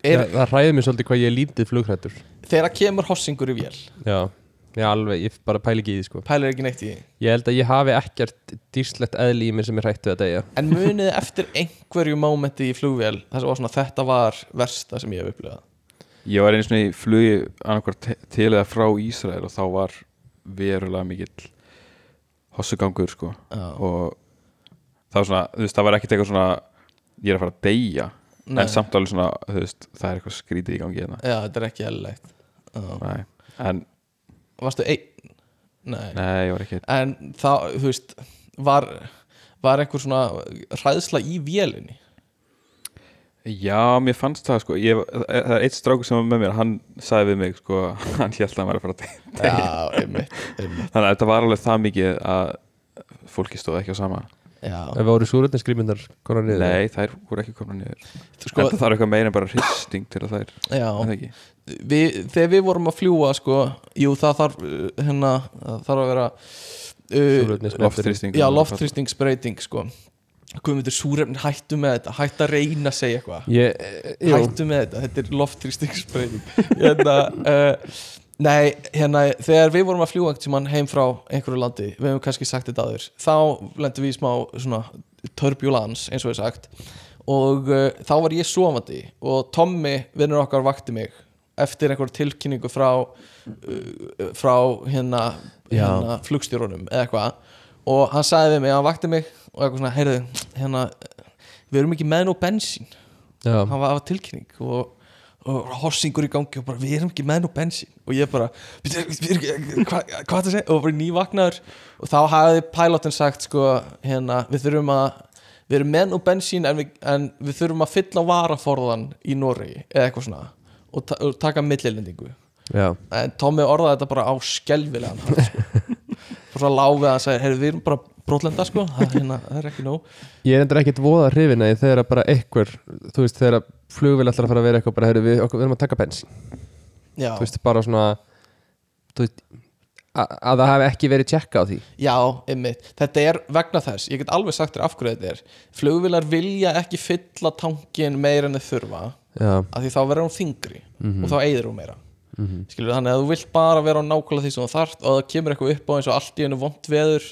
[SPEAKER 1] Já,
[SPEAKER 2] er,
[SPEAKER 1] Það hræði mér svolítið hvað ég er lítið flugrættur
[SPEAKER 2] Þegar kemur hossingur í vél
[SPEAKER 1] Já, já alveg, ég bara pæli ekki í því sko
[SPEAKER 2] Pælir ekki neitt í því
[SPEAKER 1] Ég held að ég hafi ekkert dýrslegt eðli í mér sem er hrætt við að deyja
[SPEAKER 2] En muniði eftir einhverju mómenti í flugvél Það sem var svona þetta var versta sem ég hef upplifað
[SPEAKER 3] Ég var einu svona í flugi annarkvart til eða frá Ísrael og þá var verulega mikill hossugangur sko
[SPEAKER 2] Já.
[SPEAKER 3] og það var svona, þú veist, það var ekkert eitthvað svona ég er að fara að deyja
[SPEAKER 2] Nei,
[SPEAKER 3] en samt alveg svona, þú veist, það er eitthvað skrítið í gangi hérna
[SPEAKER 2] Já, þetta er ekki eðlilegt Já.
[SPEAKER 3] Nei, en,
[SPEAKER 2] Varstu einn? Nei
[SPEAKER 3] nei, ég var ekki
[SPEAKER 2] en þá, þú veist var, var einhver svona hræðsla í vélinni
[SPEAKER 3] Já, mér fannst það sko ég, það er eitt strákur sem var með mér, hann sagði við mig sko, hann held að hann var að fara að deyja
[SPEAKER 2] já, einmitt, einmitt.
[SPEAKER 3] þannig að þetta var alveg það mikið að fólki stóð ekki á sama
[SPEAKER 2] Já.
[SPEAKER 1] Ef við voru súröndin skrýmyndar konar niður
[SPEAKER 3] Nei, þær voru ekki komin niður
[SPEAKER 2] Sko,
[SPEAKER 3] en það er eitthvað meira en bara hristing til að þær er það
[SPEAKER 2] já.
[SPEAKER 3] ekki?
[SPEAKER 2] Við, þegar við vorum að fljúa sko, jú það þarf uh, hérna, það þarf að vera uh,
[SPEAKER 1] Súrefnismetur.
[SPEAKER 3] loftþrýsting
[SPEAKER 2] já, loftþrýstingsbreyting sko. Guðmundur Súrefnin hættu með þetta hættu að reyna að segja eitthvað
[SPEAKER 1] Ég, e, jú,
[SPEAKER 2] hættu með þetta, þetta er loftþrýstingsbreyting hérna, uh, nei, hérna þegar við vorum að fljúa einhvern tímann heim frá einhverju landi, við hefum kannski sagt þetta aður þá lendum við í smá svona turbulans, eins og við sagt og uh, þá var ég sofandi og Tommy, vinnur okkar, vakti mig eftir einhver tilkynningu frá uh, frá hérna,
[SPEAKER 1] Já.
[SPEAKER 2] hérna flugstjórunum eða eitthvað og hann sagði við mig, hann vakti mig og eitthvað svona, heyrðu, hérna við erum ekki með nóg bensín
[SPEAKER 1] já,
[SPEAKER 2] hann var af tilkynning og, og hossingur í gangi og bara við erum ekki með nú bensín og ég bara "Bíddu, við erum ekki- hvað hva það segja og bara nývagnar og þá hafði pilotin sagt sko hérna við þurfum að við erum með nú bensín en við, en við þurfum að fylla varaforðan í Noregi eða eitthvað svona og, ta og taka millilendingu
[SPEAKER 1] já,
[SPEAKER 2] en Tommy orðaði þetta bara á skelvilegan hann sko. og svo láfið að hann sagði heyrðu við erum bara brotlenda sko það, hérna, það er ekki nóg
[SPEAKER 1] ég er endur ekkert voða hrifin að þegar að bara einhver, þú veist, þegar að flugvél ætlar að fara að vera eitthvað bara, heyrðu, við, okkur, við erum að taka bensin,
[SPEAKER 2] Já.
[SPEAKER 1] þú veist, bara svona þú veist a- að það hafi ekki verið tjekka á því
[SPEAKER 2] Já, einmitt, þetta er vegna þess ég get alveg sagt þér af hverju þetta er flugvilar vilja ekki fylla tankin meira en þau þurfa
[SPEAKER 1] Já,
[SPEAKER 2] af því þá verður hún þingri og þá eyðir hún meira skilur þannig að þú vilt bara vera á nákvæmlega því sem þú þarft og það kemur eitthvað upp á eins og allt í einu vond veður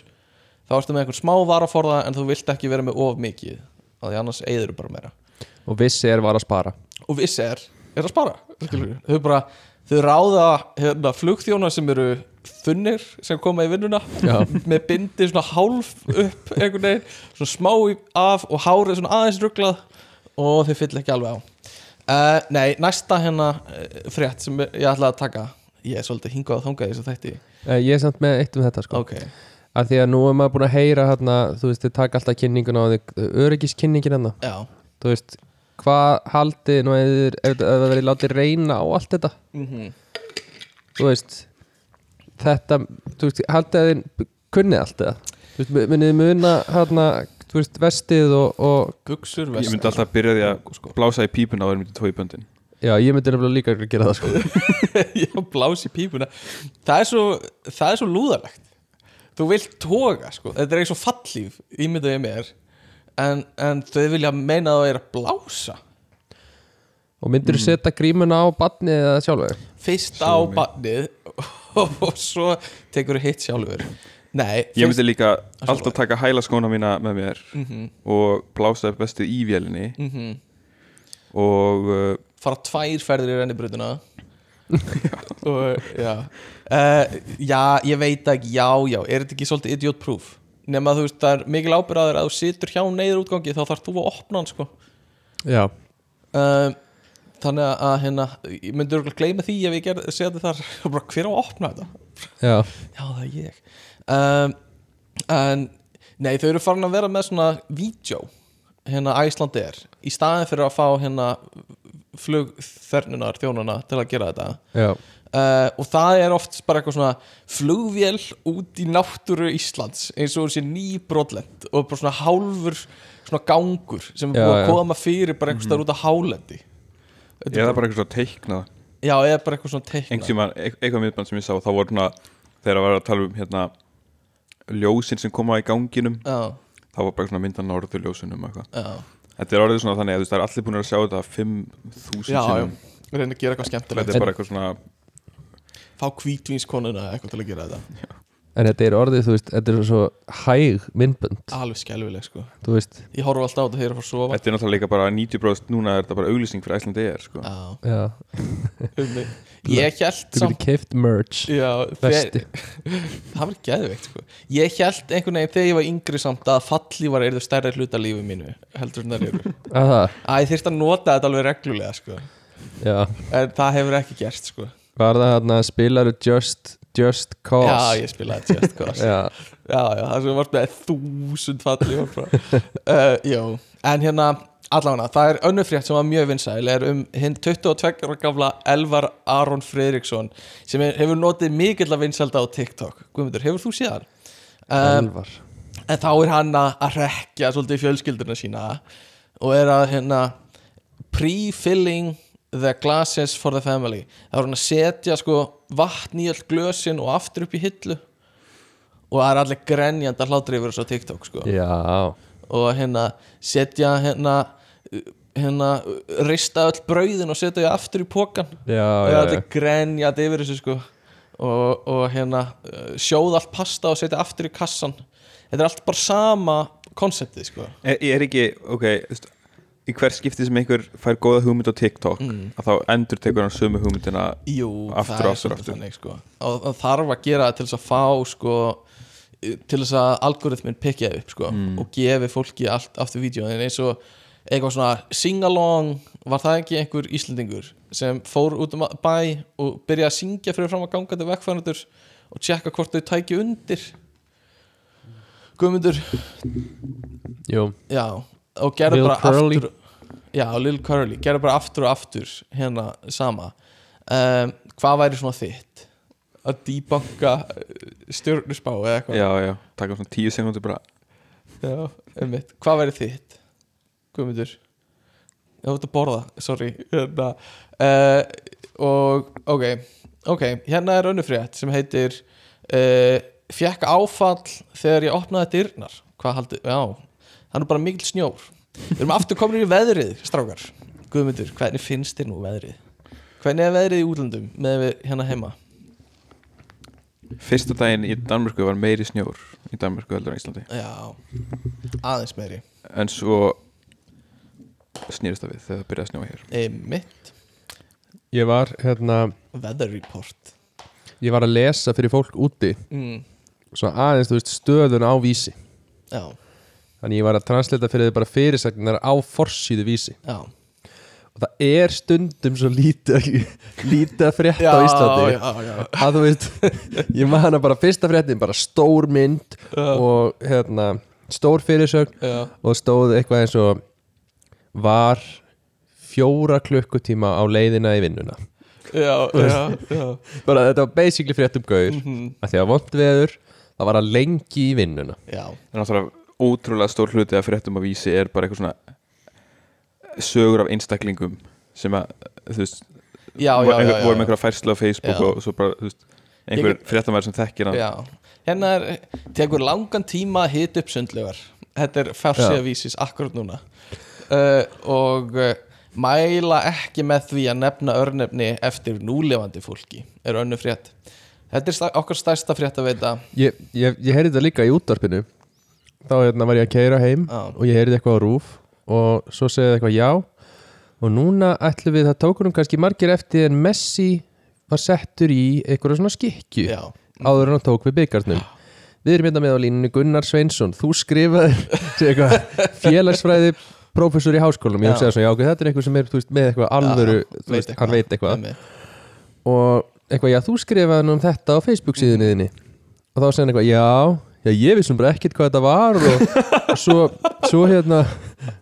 [SPEAKER 2] þá ertu með einhvern smá varaforða en þú vilt ekki vera með of mikið af því annars eigður bara meira
[SPEAKER 1] og vissi er var að spara
[SPEAKER 2] og vissi er, er að spara skilur. þau bara, þau ráða hérna, flugþjóna sem eru þunnir sem koma í vinnuna
[SPEAKER 1] Já.
[SPEAKER 2] með bindi svona hálf upp einhvern veginn, svona smá í- af og hárið svona aðeins ruglað og þau fyll ekki alveg á uh, nei, næsta hérna uh, frétt sem ég ætla að taka ég er svolítið hingað og þangað í þessu þætti
[SPEAKER 1] Eh, Ég er samt með eitt um þetta sko
[SPEAKER 2] ok,
[SPEAKER 1] Af því að nú er maður búin að heyra hérna, þú veist, þið taka alltaf kynninguna og þið öryggiskinningin hérna
[SPEAKER 2] já
[SPEAKER 1] Þú veist, hvað haldið nú ef þið- ef það verið látið reyna á allt þetta
[SPEAKER 2] mm
[SPEAKER 1] Þú veist, þetta, þú veist, haldið að þið kunnið allt þetta Þú veist, mu- munið þið muna hérna, þú veist, vestið og, og
[SPEAKER 2] buksur,
[SPEAKER 3] Ég myndi alltaf byrja því
[SPEAKER 2] Sko,
[SPEAKER 3] að blása í pípuna og erum myndi tói í böndin
[SPEAKER 1] Já, ég myndi nefnilega líka að gera það sko
[SPEAKER 2] Já, blás í pípuna Það er svo, það er svo lúðalegt Þú vilt toga, sko Þetta er eins og fallíf, ímyndaðu ég mér En, en þau vilja meina að það er að blása
[SPEAKER 1] Og myndir þú setja grímuna á badnið eða sjálfur
[SPEAKER 2] Fyrst á
[SPEAKER 3] Sjálfur mig.
[SPEAKER 2] bannið Og svo tekur hitt sjálfur Nei,
[SPEAKER 3] Ég myndi líka alltaf
[SPEAKER 2] Sjálfur.
[SPEAKER 3] taka hæla skóna mína með mér
[SPEAKER 2] Mhm.
[SPEAKER 3] og blása upp vestið í vélinni og uh,
[SPEAKER 2] fara tvær ferðir í rennibrutuna og já uh, já, ég veit ekki, já, já er þetta ekki svolítið idiot proof nema þú veist, það er mikil ábyrðaður að þú situr hjá neyður útgangi þá þarf þú að opna hann sko
[SPEAKER 1] Já
[SPEAKER 2] uh, þannig að, að hérna, ég myndi örgulega gleyma því ef ég ger, segja þetta þar, bara, hver á að opna þetta
[SPEAKER 1] Já,
[SPEAKER 2] já, það er ég um, en, nei, þau eru farin að vera með svona vídeo, hérna Æslandir í staðin fyrir að fá hérna flugþernunar þjónuna til að gera þetta
[SPEAKER 1] já,
[SPEAKER 2] Uh, og það er oft bara eitthvað svona flugvél út í náttúru Íslands eins og þessi nýbrotlend og bara svona hálfur svona gangur sem
[SPEAKER 1] Já,
[SPEAKER 2] er
[SPEAKER 1] Mhm.
[SPEAKER 2] búið að
[SPEAKER 1] já.
[SPEAKER 2] koma fyrir bara einhvers staðar út á hálendi Þetta er
[SPEAKER 3] eða bara eitthvað svona teiknað
[SPEAKER 2] já, eða bara eitthvað svona teikna
[SPEAKER 3] einhvers tíma, eitthvað myndband sem ég sá þá voru svona, þegar að vera að tala um hérna, ljósin sem koma í ganginum
[SPEAKER 2] já,
[SPEAKER 3] þá var bara svona mynda norður ljósunum eitthvað
[SPEAKER 2] já,
[SPEAKER 3] Þetta er orðið svona þannig að þú veist það er allir búin að sjá þetta 5.000
[SPEAKER 2] já, já
[SPEAKER 3] sinnum
[SPEAKER 2] reyna að gera eitthvað
[SPEAKER 3] Þetta
[SPEAKER 2] skemmtilegt
[SPEAKER 3] er bara eitthvað svona
[SPEAKER 2] fá kvítvínskonuna eitthvað til að gera þetta
[SPEAKER 1] en þetta er orðið, þú veist, þetta er svo hæg myndbönd,
[SPEAKER 2] alveg skelvileg sko
[SPEAKER 1] þú veist
[SPEAKER 2] ég horfa alltaf á þetta þegar ég er að fara að sofa
[SPEAKER 3] Þetta er náttúrulega líka bara 90% núna er þetta bara auglýsing fyrir Æslandi er sko.
[SPEAKER 2] já,
[SPEAKER 1] Já,
[SPEAKER 2] um mig. ég held
[SPEAKER 1] þú
[SPEAKER 2] samt
[SPEAKER 1] getur keift merch
[SPEAKER 2] já, þegar-
[SPEAKER 1] Vesti
[SPEAKER 2] það var geðveikt sko. ég held einhvern veginn þegar ég var yngri samt að fallívar eru stærri hluta af lífi mínu heldur en það eru
[SPEAKER 1] að það,
[SPEAKER 2] að ég þyrst að nota þetta alveg reglulega sko.
[SPEAKER 1] já
[SPEAKER 2] en það hefur ekki gerst sko.
[SPEAKER 1] var það hérna, spilaru Just Just Cause
[SPEAKER 2] já ég spilaði sko. Just Cause já.
[SPEAKER 1] já,
[SPEAKER 2] já það sem var með þúsund fallívar frá. uh, já, en hérna allavega það er önnur frétt sem var mjög vinsæl er um hinn 22 ára gamla Elvar Aron Fredriksson sem er- hefur notið mikill að vinsælda á TikTok Guðmundur, hefur þú séð hann? Um,
[SPEAKER 1] Elvar
[SPEAKER 2] en þá er hann að að rekja svolítið fjölskyldurna sína og er að hérna pre-filling the glasses for the family það er hann að setja sko vatn í öll glösin og aftur upp í hillu og það er allir grenjandi að hlátri yfir þessu á TikTok sko
[SPEAKER 1] já,
[SPEAKER 2] og hérna setja hérna hérna rista öll brauðin og setja þau aftur í pokan
[SPEAKER 1] já,
[SPEAKER 2] og
[SPEAKER 1] já,
[SPEAKER 2] það er
[SPEAKER 1] já.
[SPEAKER 2] allir grenjað yfir þessu sko og, og hérna uh, sjóða allt pasta og setja aftur í kassan þetta er allt bara sama konseptið sko
[SPEAKER 3] er, er ekki, ok þú veist, Í hver skipti sem einhver fær góða hugmynd á TikTok að þá endur tekur hann sömu hugmyndina
[SPEAKER 2] Jú,
[SPEAKER 3] Aftur,
[SPEAKER 2] það er
[SPEAKER 3] aftur,
[SPEAKER 2] svolítið
[SPEAKER 3] aftur.
[SPEAKER 2] þannig sko og það þarf að gera það til þess að fá sko til þess að algoritmin pekja upp sko
[SPEAKER 3] Mm.
[SPEAKER 2] og gefi fólki allt aftur vídjóin eins og eitthvað svona sing-along var það ekki einhver Íslendingur sem fór út um að- bæ og byrjaði að syngja fyrir fram að gangandi vekkfærandur og tjekka hvort þau tæki undir Guðmundur
[SPEAKER 1] Jú.
[SPEAKER 2] Já, og gerði
[SPEAKER 1] Lil
[SPEAKER 2] bara
[SPEAKER 1] Curly.
[SPEAKER 2] aftur Já, Lil Curly, gerði bara aftur og aftur hérna sama um, Hvað væri svona þitt? Að debunka eh, stjörnuspá eða eitthvað
[SPEAKER 3] Já, já, taka svona 10 sekundur bara
[SPEAKER 2] Já, einmitt. Hvað væri þitt? Guðmundur Ég út að borða, sorry hérna. uh, Og, ok Ok, hérna er önnur frétt sem heitir uh, Fjekk áfall þegar ég opnaði dyrnar Hvað haldi, já Það er nú bara mikil snjór Við erum aftur komin í veðrið, strákar Guðmundur, hvernig finnst þér nú veðrið? Hvernig er veðrið í útlöndum með við hérna heima?
[SPEAKER 3] Fyrsta daginn í Danmörku var meiri snjór í Danmörku heldur en á Íslandi
[SPEAKER 2] Já, aðeins meiri
[SPEAKER 3] en svo snýrist það við þegar það byrjaði að snjóa hér
[SPEAKER 2] Einmitt
[SPEAKER 1] Ég var, hérna,
[SPEAKER 2] Weather report
[SPEAKER 1] ég var að lesa fyrir fólk úti
[SPEAKER 2] mm,
[SPEAKER 1] Svo aðeins, þú veist, stöðun á vísi
[SPEAKER 2] Já,
[SPEAKER 1] Þannig ég var að translita fyrir þau bara fyrirsagnar á forsýðu vísi
[SPEAKER 2] já
[SPEAKER 1] Og það er stundum svo lítið, lítið að frétta á Íslandi
[SPEAKER 2] já, já.
[SPEAKER 1] að þú veist, ég man að bara fyrsta fréttin, bara stór mynd og hérna, stór fyrirsögn
[SPEAKER 2] Já.
[SPEAKER 1] og stóð eitthvað eins og var fjóra klukkutíma á leiðina í vinnuna
[SPEAKER 2] Já, já, já,
[SPEAKER 1] bara þetta var basically frétt um gaur mm
[SPEAKER 2] Mhm.
[SPEAKER 1] að því að vond veður, það var að lengi í vinnuna
[SPEAKER 2] já,
[SPEAKER 3] en náttúrulega ótrúlega stór hluti að fréttum að vísi er bara eitthvað svona sögur af einstaklingum sem að þú veist
[SPEAKER 2] já,
[SPEAKER 3] voru
[SPEAKER 2] já, já,
[SPEAKER 3] einhver- voru með
[SPEAKER 2] já,
[SPEAKER 3] einhverja færslu á Facebook
[SPEAKER 2] Já.
[SPEAKER 3] og svo bara þú veist einhver
[SPEAKER 2] Ég-
[SPEAKER 3] fréttamæður sem þekkir hann
[SPEAKER 2] já. Hérna er, tekur langan tíma að hita upp sundlegar Þetta er fjársíða vísis akkurat núna uh, Og uh, mæla ekki með því að nefna örnefni eftir núlefandi fólki Er önnu frétt Þetta er sta- okkar stærsta frétt að veita
[SPEAKER 1] ég, ég, ég heyrði þetta líka í útvarpinu þá hérna, var ég að keira heim
[SPEAKER 2] Já.
[SPEAKER 1] og ég heyrði eitthvað á rúf og svo segði eitthvað já og núna ætlum við það tókunum kannski margir eftir en Messi var settur í eitthvað svona skikju
[SPEAKER 2] Já,
[SPEAKER 1] áður en hann tók við byggarnum við erum hérna með á línunni Gunnar Sveinsson þú skrifaðir sé eitthvað, félagsfræði prófessor í háskólanum ég
[SPEAKER 2] Já.
[SPEAKER 1] hugsaði svona, já ok, þetta er eitthvað sem er þú veist, með eitthvað alvöru, þú veist, hann veit eitthvað
[SPEAKER 2] einmitt.
[SPEAKER 1] og eitthvað, já, þú skrifaði nú um þetta á Facebook síðunni þinni og þá segir hann eitthvað, já, já, ég vissum bara ekkert hvað þetta var og, og svo, svo hérna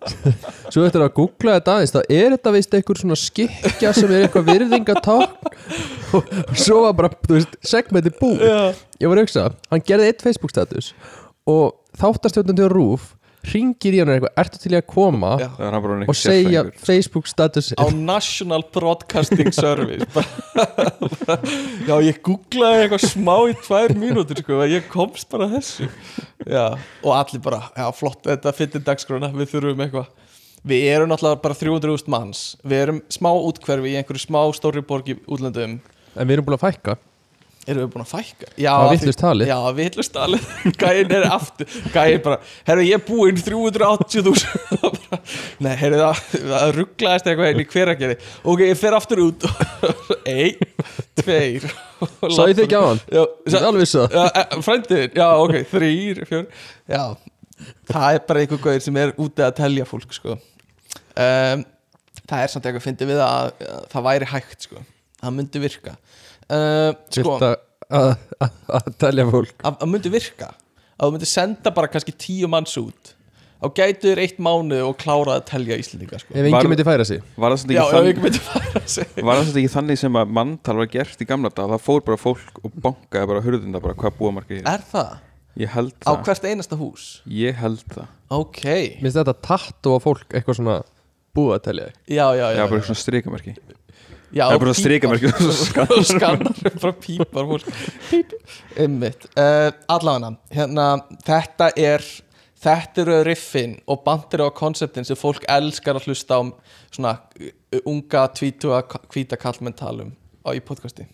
[SPEAKER 1] svo eftir að googla þetta aðeins þá er þetta veist eitthvað svona skikja sem er eitthvað virðingatákn og, og svo var bara, þú veist, segmenti búið ég var að hugsa, hann gerði eitt Facebook status og þáttastjóðnandi á Rúf ringir í hann og er eitthvað, ertu til ég að koma
[SPEAKER 2] Já.
[SPEAKER 3] það er hann bara
[SPEAKER 1] og segja Facebook status
[SPEAKER 2] á National Broadcasting Service bara, bara, já ég googlaði eitthvað smá í tvær mínútur sko, en ég komst bara að þessu já, og allir bara, já flott þetta fyrir dagskrona, við þurfum eitthvað við erum náttúrulega bara 300.000 manns við erum smá útkverfi í einhverju smá stóri borg í útlöndum
[SPEAKER 1] en við erum búin að fækka
[SPEAKER 2] erum við búin að fækka já,
[SPEAKER 1] Það var
[SPEAKER 2] af því-
[SPEAKER 1] vitlaust talið.
[SPEAKER 2] já, vittlust talið, gæin er aftur gæin bara, herru ég er búinn 380.000 Bara, nei, herru það, það rugglaðist eitthvað henni hver að gera, ok, ég fer aftur út ein, tveir
[SPEAKER 1] Sá ég þig ekki á hann?
[SPEAKER 2] já,
[SPEAKER 1] Ég er alveg viss að-
[SPEAKER 2] frændiðin, já, ok, þrýr, fjör já, það er bara einhver gauðir sem er úti að telja fólk sko. um, það er samt eitthvað fyndi við að, að það væri hægt sko. það myndi virka Uh, sko,
[SPEAKER 1] Viltu að, að, að telja fólk
[SPEAKER 2] að, að myndi virka að þú myndi senda bara kannski tíu manns út þá gætu þér eitt mánu og klára að telja Íslendinga sko.
[SPEAKER 1] ef enginn
[SPEAKER 3] Var-
[SPEAKER 1] myndi færa sig
[SPEAKER 3] var það svolítið
[SPEAKER 2] já,
[SPEAKER 3] ekki
[SPEAKER 2] ef
[SPEAKER 3] þannig-
[SPEAKER 2] ekki myndi fara sig
[SPEAKER 3] Var það svolítið ekki þannig sem að manntal var gert í gamla dag Það fór bara fólk og bankaði bara hurðinda bara hvað búa margir hér
[SPEAKER 2] er það?
[SPEAKER 3] Ég held
[SPEAKER 2] á
[SPEAKER 3] það
[SPEAKER 2] hvert einasta hús?
[SPEAKER 3] Ég held það
[SPEAKER 2] ok,
[SPEAKER 1] Mér finnst þetta tattu á fólk eitthvað svona búið að telja þig
[SPEAKER 2] já, já,
[SPEAKER 3] Já,
[SPEAKER 2] já,
[SPEAKER 3] bara svona strikamerki
[SPEAKER 2] já
[SPEAKER 3] það er bara
[SPEAKER 2] pípar-
[SPEAKER 3] strikamerki og skannar.
[SPEAKER 2] og skannar bara pípar fólk píp, ummitt uh, allavega, hérna, þetta er þetta eru riffin og bandir á konseptin sem fólk elskar að hlusta á svona uh, unga, tvítuga, hvíta kallmenn talum á í podcasti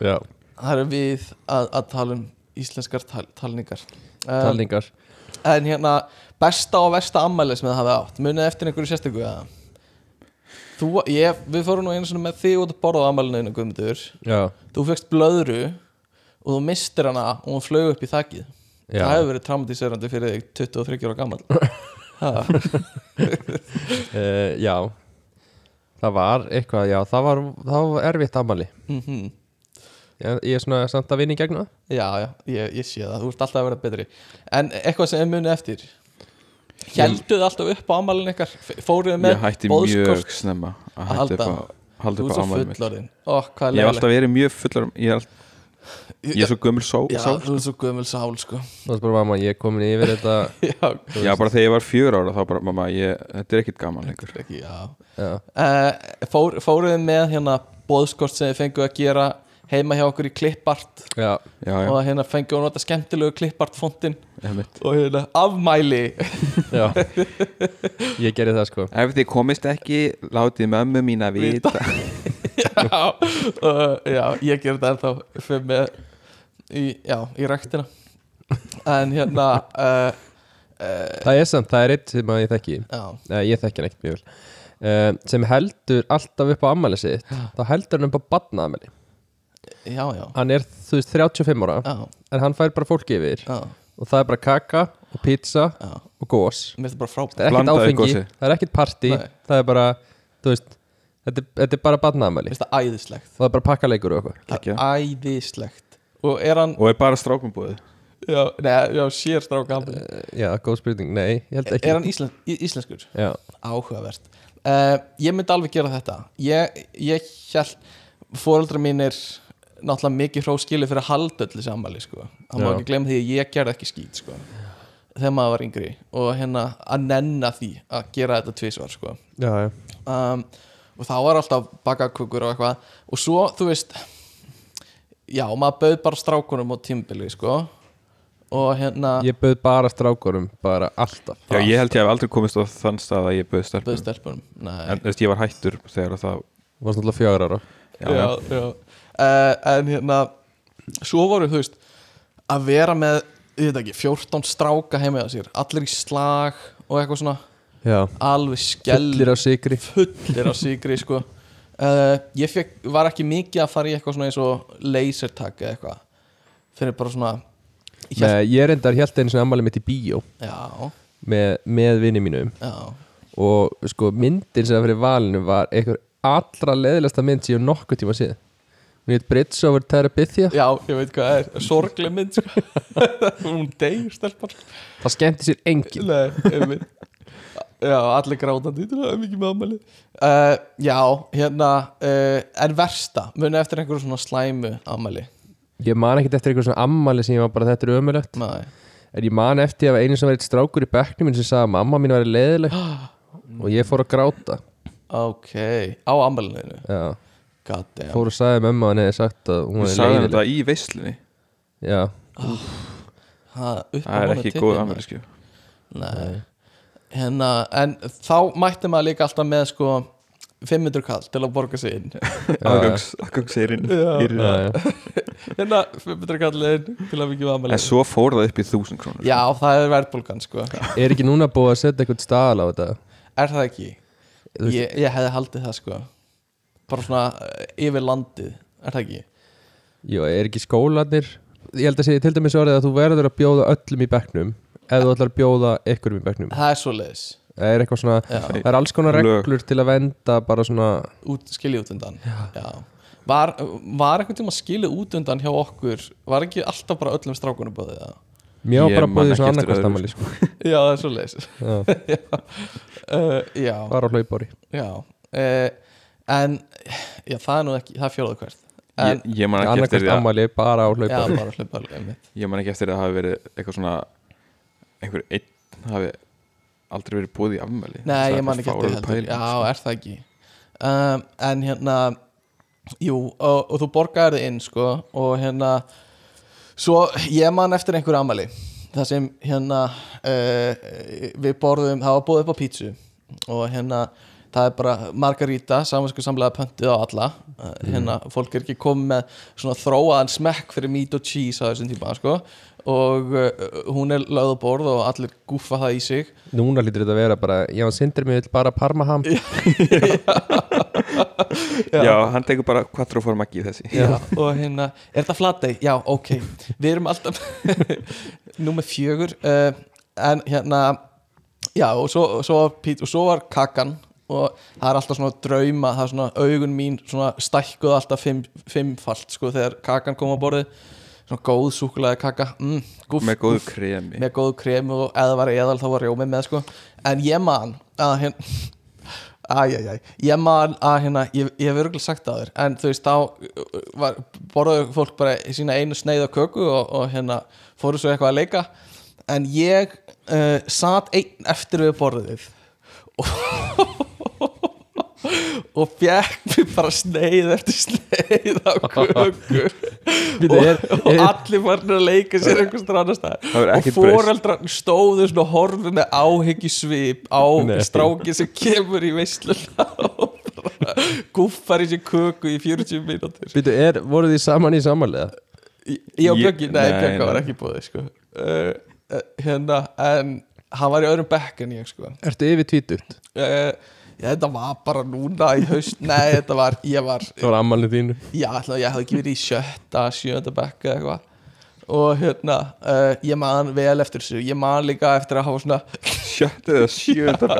[SPEAKER 1] Já,
[SPEAKER 2] Það eru við að, að tala um íslenskar tal, talningar uh,
[SPEAKER 1] talningar
[SPEAKER 2] En hérna, besta og versta ammæli sem það hafi átt Munið eftir einhverju sérstöku eða? Þú, ég, Við fórum nú einu sinni með þig út að borða á ammælinu einu guðmundur
[SPEAKER 1] Já,
[SPEAKER 2] Þú fegst blöðru og þú mistir hana og hún flög upp í þakið
[SPEAKER 1] Já.
[SPEAKER 2] Það hefur verið traumatiserandi fyrir þig 23 ára gammal Ha,
[SPEAKER 1] uh, já Það var eitthvað, já, það var, það var erfitt ammali
[SPEAKER 2] mhm.
[SPEAKER 1] ég, ég er svona samt að vinna í gegna
[SPEAKER 2] Já, já, ég, ég sé það, þú ert alltaf að vera betri En eitthvað sem er munið eftir Hjælduð alltaf upp á ammælinu ykkar F- Fóruðu með
[SPEAKER 3] Ég hætti
[SPEAKER 2] boðskort?
[SPEAKER 3] mjög snemma að
[SPEAKER 2] Að
[SPEAKER 3] hætti upp á
[SPEAKER 2] halda.
[SPEAKER 3] Haldi
[SPEAKER 2] Þú
[SPEAKER 3] upp
[SPEAKER 2] ert
[SPEAKER 3] á
[SPEAKER 2] svo
[SPEAKER 3] afmælið mitt
[SPEAKER 2] fullorðin Ó, hvað
[SPEAKER 3] Ég
[SPEAKER 2] er
[SPEAKER 3] hef alltaf verið mjög fullar Ég er, all... ég er svo gömul sá,
[SPEAKER 2] Já,
[SPEAKER 3] sá.
[SPEAKER 2] þú ert svo gömul sál, sko
[SPEAKER 1] Það var bara mamma, ég er komin yfir þetta
[SPEAKER 2] Já,
[SPEAKER 3] Já, bara þegar ég var fjör ára þá bara mamma, ég, þetta er ekkit gaman lengur
[SPEAKER 2] ekki, já
[SPEAKER 1] Já,
[SPEAKER 2] uh, fór, Fóruðu með hérna boðskort sem þið fenguð að gera heima hjá okkur í klippart
[SPEAKER 1] já,
[SPEAKER 3] Já, já,
[SPEAKER 2] og hérna fenguð að nota skemmtilegu klippart fontin
[SPEAKER 3] ég mitt
[SPEAKER 2] og hérna afmæli
[SPEAKER 1] já Ég gerði það sko
[SPEAKER 3] Ef þið komist ekki, látið mömmu mína vita
[SPEAKER 2] já, uh, já, ég ger þetta ennþá fyrir með í, já, í rektina en hérna uh, uh,
[SPEAKER 1] Það er samt, það er eitt sem að ég þekki
[SPEAKER 2] já,
[SPEAKER 1] Nei, ég þekki hann ekkert mjög vel Uh, sem heldur alltaf upp á ammæli sitt þá heldur hann upp á badnaðamæli
[SPEAKER 2] já, já,
[SPEAKER 1] hann er þú veist 35 ára
[SPEAKER 2] já,
[SPEAKER 1] en hann fær bara fólk yfir
[SPEAKER 2] já,
[SPEAKER 1] og það er bara kaka og pizza
[SPEAKER 2] já.
[SPEAKER 1] og gós
[SPEAKER 2] mér er þetta bara frábært
[SPEAKER 1] það er ekkert
[SPEAKER 3] Blandaði
[SPEAKER 1] áfengi,
[SPEAKER 3] gosi.
[SPEAKER 1] það er ekkert party
[SPEAKER 2] Nei.
[SPEAKER 1] það er bara, þú veist þetta, er- þetta er bara
[SPEAKER 2] mér
[SPEAKER 1] badnaðamæli
[SPEAKER 2] er þetta æðislegt
[SPEAKER 1] það er bara pakkaleikur og eitthvað
[SPEAKER 2] Það
[SPEAKER 3] Gekkja.
[SPEAKER 2] er æðislegt og er hann,
[SPEAKER 3] og er bara strákum búið
[SPEAKER 2] já, neða, já, sér stráka hann,
[SPEAKER 1] já, góð spurning, nei, ég held Eh, ekki
[SPEAKER 2] er hann íslen, í- íslenskur?
[SPEAKER 1] já,
[SPEAKER 2] áhugavert uh, ég myndi alveg gera þetta ég, ég held fóreldra mínir náttúrulega mikið hróskili fyrir að halda öllu sammæli sko. hann má
[SPEAKER 1] Já.
[SPEAKER 2] ekki glemma því að ég gerði ekki skýt sko. þegar maður var yngri og hérna að nenna því að gera þetta tvisvar sko.
[SPEAKER 1] já, já,
[SPEAKER 2] um, og þá var alltaf bakakukur og eitthvað og svo, þú veist já, maður bauð bara strákunum á tímbili sko. og hérna
[SPEAKER 1] ég bauð bara strákurum bara alltaf
[SPEAKER 3] já, ég held ég hef aldrei komist á þann stað að ég bauð stelpum
[SPEAKER 2] bauð stelpunum Nei.
[SPEAKER 3] en þú veist, ég var hættur þegar að það
[SPEAKER 1] varst náttúrulega fjögur ára
[SPEAKER 3] já, já.
[SPEAKER 2] já, já. Uh, en hérna svo voru þú veist að vera með, ég veit ekki, 14 stráka heima hjá sér, allir í slag og eitthvað svona,
[SPEAKER 1] já,
[SPEAKER 2] alveg skellir
[SPEAKER 1] gællir á sigri
[SPEAKER 2] fullir á sigri sko uh, ég fekk, var ekki mikið að fara í eitthvað svona eins og lasertag eða eitthvað fyrir bara svona ég hélt-
[SPEAKER 1] Nei, ég reyndar held einu sinni ammæli mitt í bíó
[SPEAKER 2] já,
[SPEAKER 1] með, með vinni mínum
[SPEAKER 2] já,
[SPEAKER 1] og sko myndin sem var fyrir valinu var einhver allra leðilegsta mynd sem ég hef nokkuð tíma síðan hún heit Brits over Terabithia
[SPEAKER 2] já, ég veit hvað það er sorgleg mynd sko hún deyr stelpar
[SPEAKER 1] það skemmti sér engin
[SPEAKER 2] Nei, einmitt Já, allir grátandi, þetta er mikið með ámæli uh, Já, hérna uh, En versta, muni eftir einhverju svona slæmu ámæli
[SPEAKER 1] ég man ekkert eftir einhver svona ammæli sem ég var bara þetta er ömulegt
[SPEAKER 2] Nei,
[SPEAKER 1] en ég man eftir að einu sem var eitt strákur í bekknum minn sem sagði að mamma mín var leðileg og ég fór að gráta
[SPEAKER 2] ok Á ámælinu,
[SPEAKER 1] já,
[SPEAKER 2] god damn
[SPEAKER 1] fór og sagði mömmu að hann hefði sagt að hún
[SPEAKER 3] Ég
[SPEAKER 1] var
[SPEAKER 3] sagði hann
[SPEAKER 1] leiðileg
[SPEAKER 3] þetta í veislinni
[SPEAKER 1] já,
[SPEAKER 2] ha, upp á
[SPEAKER 3] það er
[SPEAKER 2] honum
[SPEAKER 3] ekki
[SPEAKER 2] titlið,
[SPEAKER 3] góð sko.
[SPEAKER 2] maður.
[SPEAKER 3] amerísku
[SPEAKER 2] Nei Hérna, en þá mætti maður líka alltaf með sko 500 kall til að borga sig inn
[SPEAKER 3] aðgangsseirinn
[SPEAKER 1] já, já.
[SPEAKER 2] Hérna, 500 kall inn til að mikið með ámæli
[SPEAKER 3] en svo fór það upp í þúsund krónur
[SPEAKER 2] Já, það er verðbólgan sko
[SPEAKER 1] er ekki núna búið að setja eitthvað staðal á þetta
[SPEAKER 2] Er það ekki?
[SPEAKER 1] Þú veist-
[SPEAKER 2] Ég, ég hefði haldið það sko Bara svona eh, yfir landið Er það ekki?
[SPEAKER 1] Jó, er ekki skólanir Ég held að segja til dæmis orðið að þú verður að bjóða öllum í bekknum ef þú ætlar að bjóða ykkur í bekknum
[SPEAKER 2] Það er svoleiðis
[SPEAKER 1] Það er eitthvað svona,
[SPEAKER 2] Já.
[SPEAKER 1] það er alls konar
[SPEAKER 3] Lög.
[SPEAKER 1] reglur til að venda bara svona
[SPEAKER 2] út, Skilja út undan Já. Var, var eitthvað tíma skilja út undan hjá okkur Var ekki alltaf bara öllum strákunum bóðið það?
[SPEAKER 1] Mér var
[SPEAKER 3] Ég
[SPEAKER 1] bara
[SPEAKER 3] man
[SPEAKER 1] búið í
[SPEAKER 3] ekki
[SPEAKER 1] svona
[SPEAKER 3] eftir öðru,
[SPEAKER 1] annarkostamæli sko.
[SPEAKER 2] Já, það er svoleiðis
[SPEAKER 1] Já,
[SPEAKER 2] uh, Já,
[SPEAKER 1] Bara á hlaupári
[SPEAKER 2] já uh, En já, það er nú ekki, það er fjóðu hvert En,
[SPEAKER 3] ég, ég man ekki eftir því að
[SPEAKER 1] Annarkostamæli bara á
[SPEAKER 2] já,
[SPEAKER 1] hlaupári
[SPEAKER 2] bara hlupa alveg mitt
[SPEAKER 3] ég man ekki eftir því að það hafi verið eitthvað svona einhver einn hafi aldrei verið búið í afmæli
[SPEAKER 2] Nei, ég man ekki eftir því heldur Já, er það ekki um, En hérna Jú, og, og þú borgaði þið inn sko Og hérna Svo ég man eftir einhver amali Það sem hérna uh, Við borðum, það var búið upp á pítsu Og hérna Það er bara margaríta, samansku samlega pöntið á alla uh, Hérna, fólk er ekki komið með svona þróaðan smekk fyrir meat og cheese á þessum tíma, sko Og uh, hún er lögð á borð og allir gúffa það í sig
[SPEAKER 1] Núna lítur þetta að vera bara, já, sindir mig vill bara parmaham
[SPEAKER 3] já. já, hann tekur bara quattro formaggi í þessi
[SPEAKER 2] já, og hérna, er þetta flatei? Já, ok, við erum alltaf nummer fjögur uh, en hérna já, og svo, og svo, var pít, og svo var kakan og það er alltaf svona drauma það er svona augun mín svona stækkuð alltaf fimm, fimmfalt sko þegar kakan kom á borðið svona góð súkulega kaka mm, gúff,
[SPEAKER 3] með góðu
[SPEAKER 2] gúff
[SPEAKER 3] kremi
[SPEAKER 2] með góðu krem og eða var eðal þá var rjómi með sko en ég man að hérna Æjæjæ, ég man að hérna, ég, ég hef örgulega sagt það þér En þú veist, þá uh, var, borðaðu fólk bara í sína einu sneið af köku og, og hérna, fóru svo eitthvað að leika En ég uh, sat einn eftir við borðið Og, og fekk mér bara sneið eftir sneið af köku
[SPEAKER 1] Bíddu,
[SPEAKER 2] og,
[SPEAKER 1] er-
[SPEAKER 2] og
[SPEAKER 1] er-
[SPEAKER 2] allir farnir að leika sér einhvers annars
[SPEAKER 3] Það
[SPEAKER 2] staðar
[SPEAKER 3] hefur
[SPEAKER 2] og
[SPEAKER 3] ekkert breyst.
[SPEAKER 2] foreldrar stóðu svona horfið með áhyggju svip á
[SPEAKER 1] Nei.
[SPEAKER 2] stráki sem kemur í veisluna og Guffar í sér köku í 40 mínútur
[SPEAKER 1] Býtu, er, voru þið saman í samanlega?
[SPEAKER 2] Ég og
[SPEAKER 3] Ég-
[SPEAKER 2] Bjöggi, nei,
[SPEAKER 3] nei,
[SPEAKER 2] Bjöggi var
[SPEAKER 3] nei.
[SPEAKER 2] ekki búið sko. uh, uh, Hérna, en hann var í öðrum bekk en ég sko uh,
[SPEAKER 1] Ertu yfir tvítugt?
[SPEAKER 2] Já, þetta var bara núna í haust Nei, þetta var, ég var
[SPEAKER 1] Það var ammalið þínu
[SPEAKER 2] Já, alltaf, ég hafði ekki verið í sjötta, sjönda bekk eða eitthvað Og hérna, uh, ég man vel eftir þessu Ég man líka eftir að hafa svona
[SPEAKER 3] Sjötta eða sjötta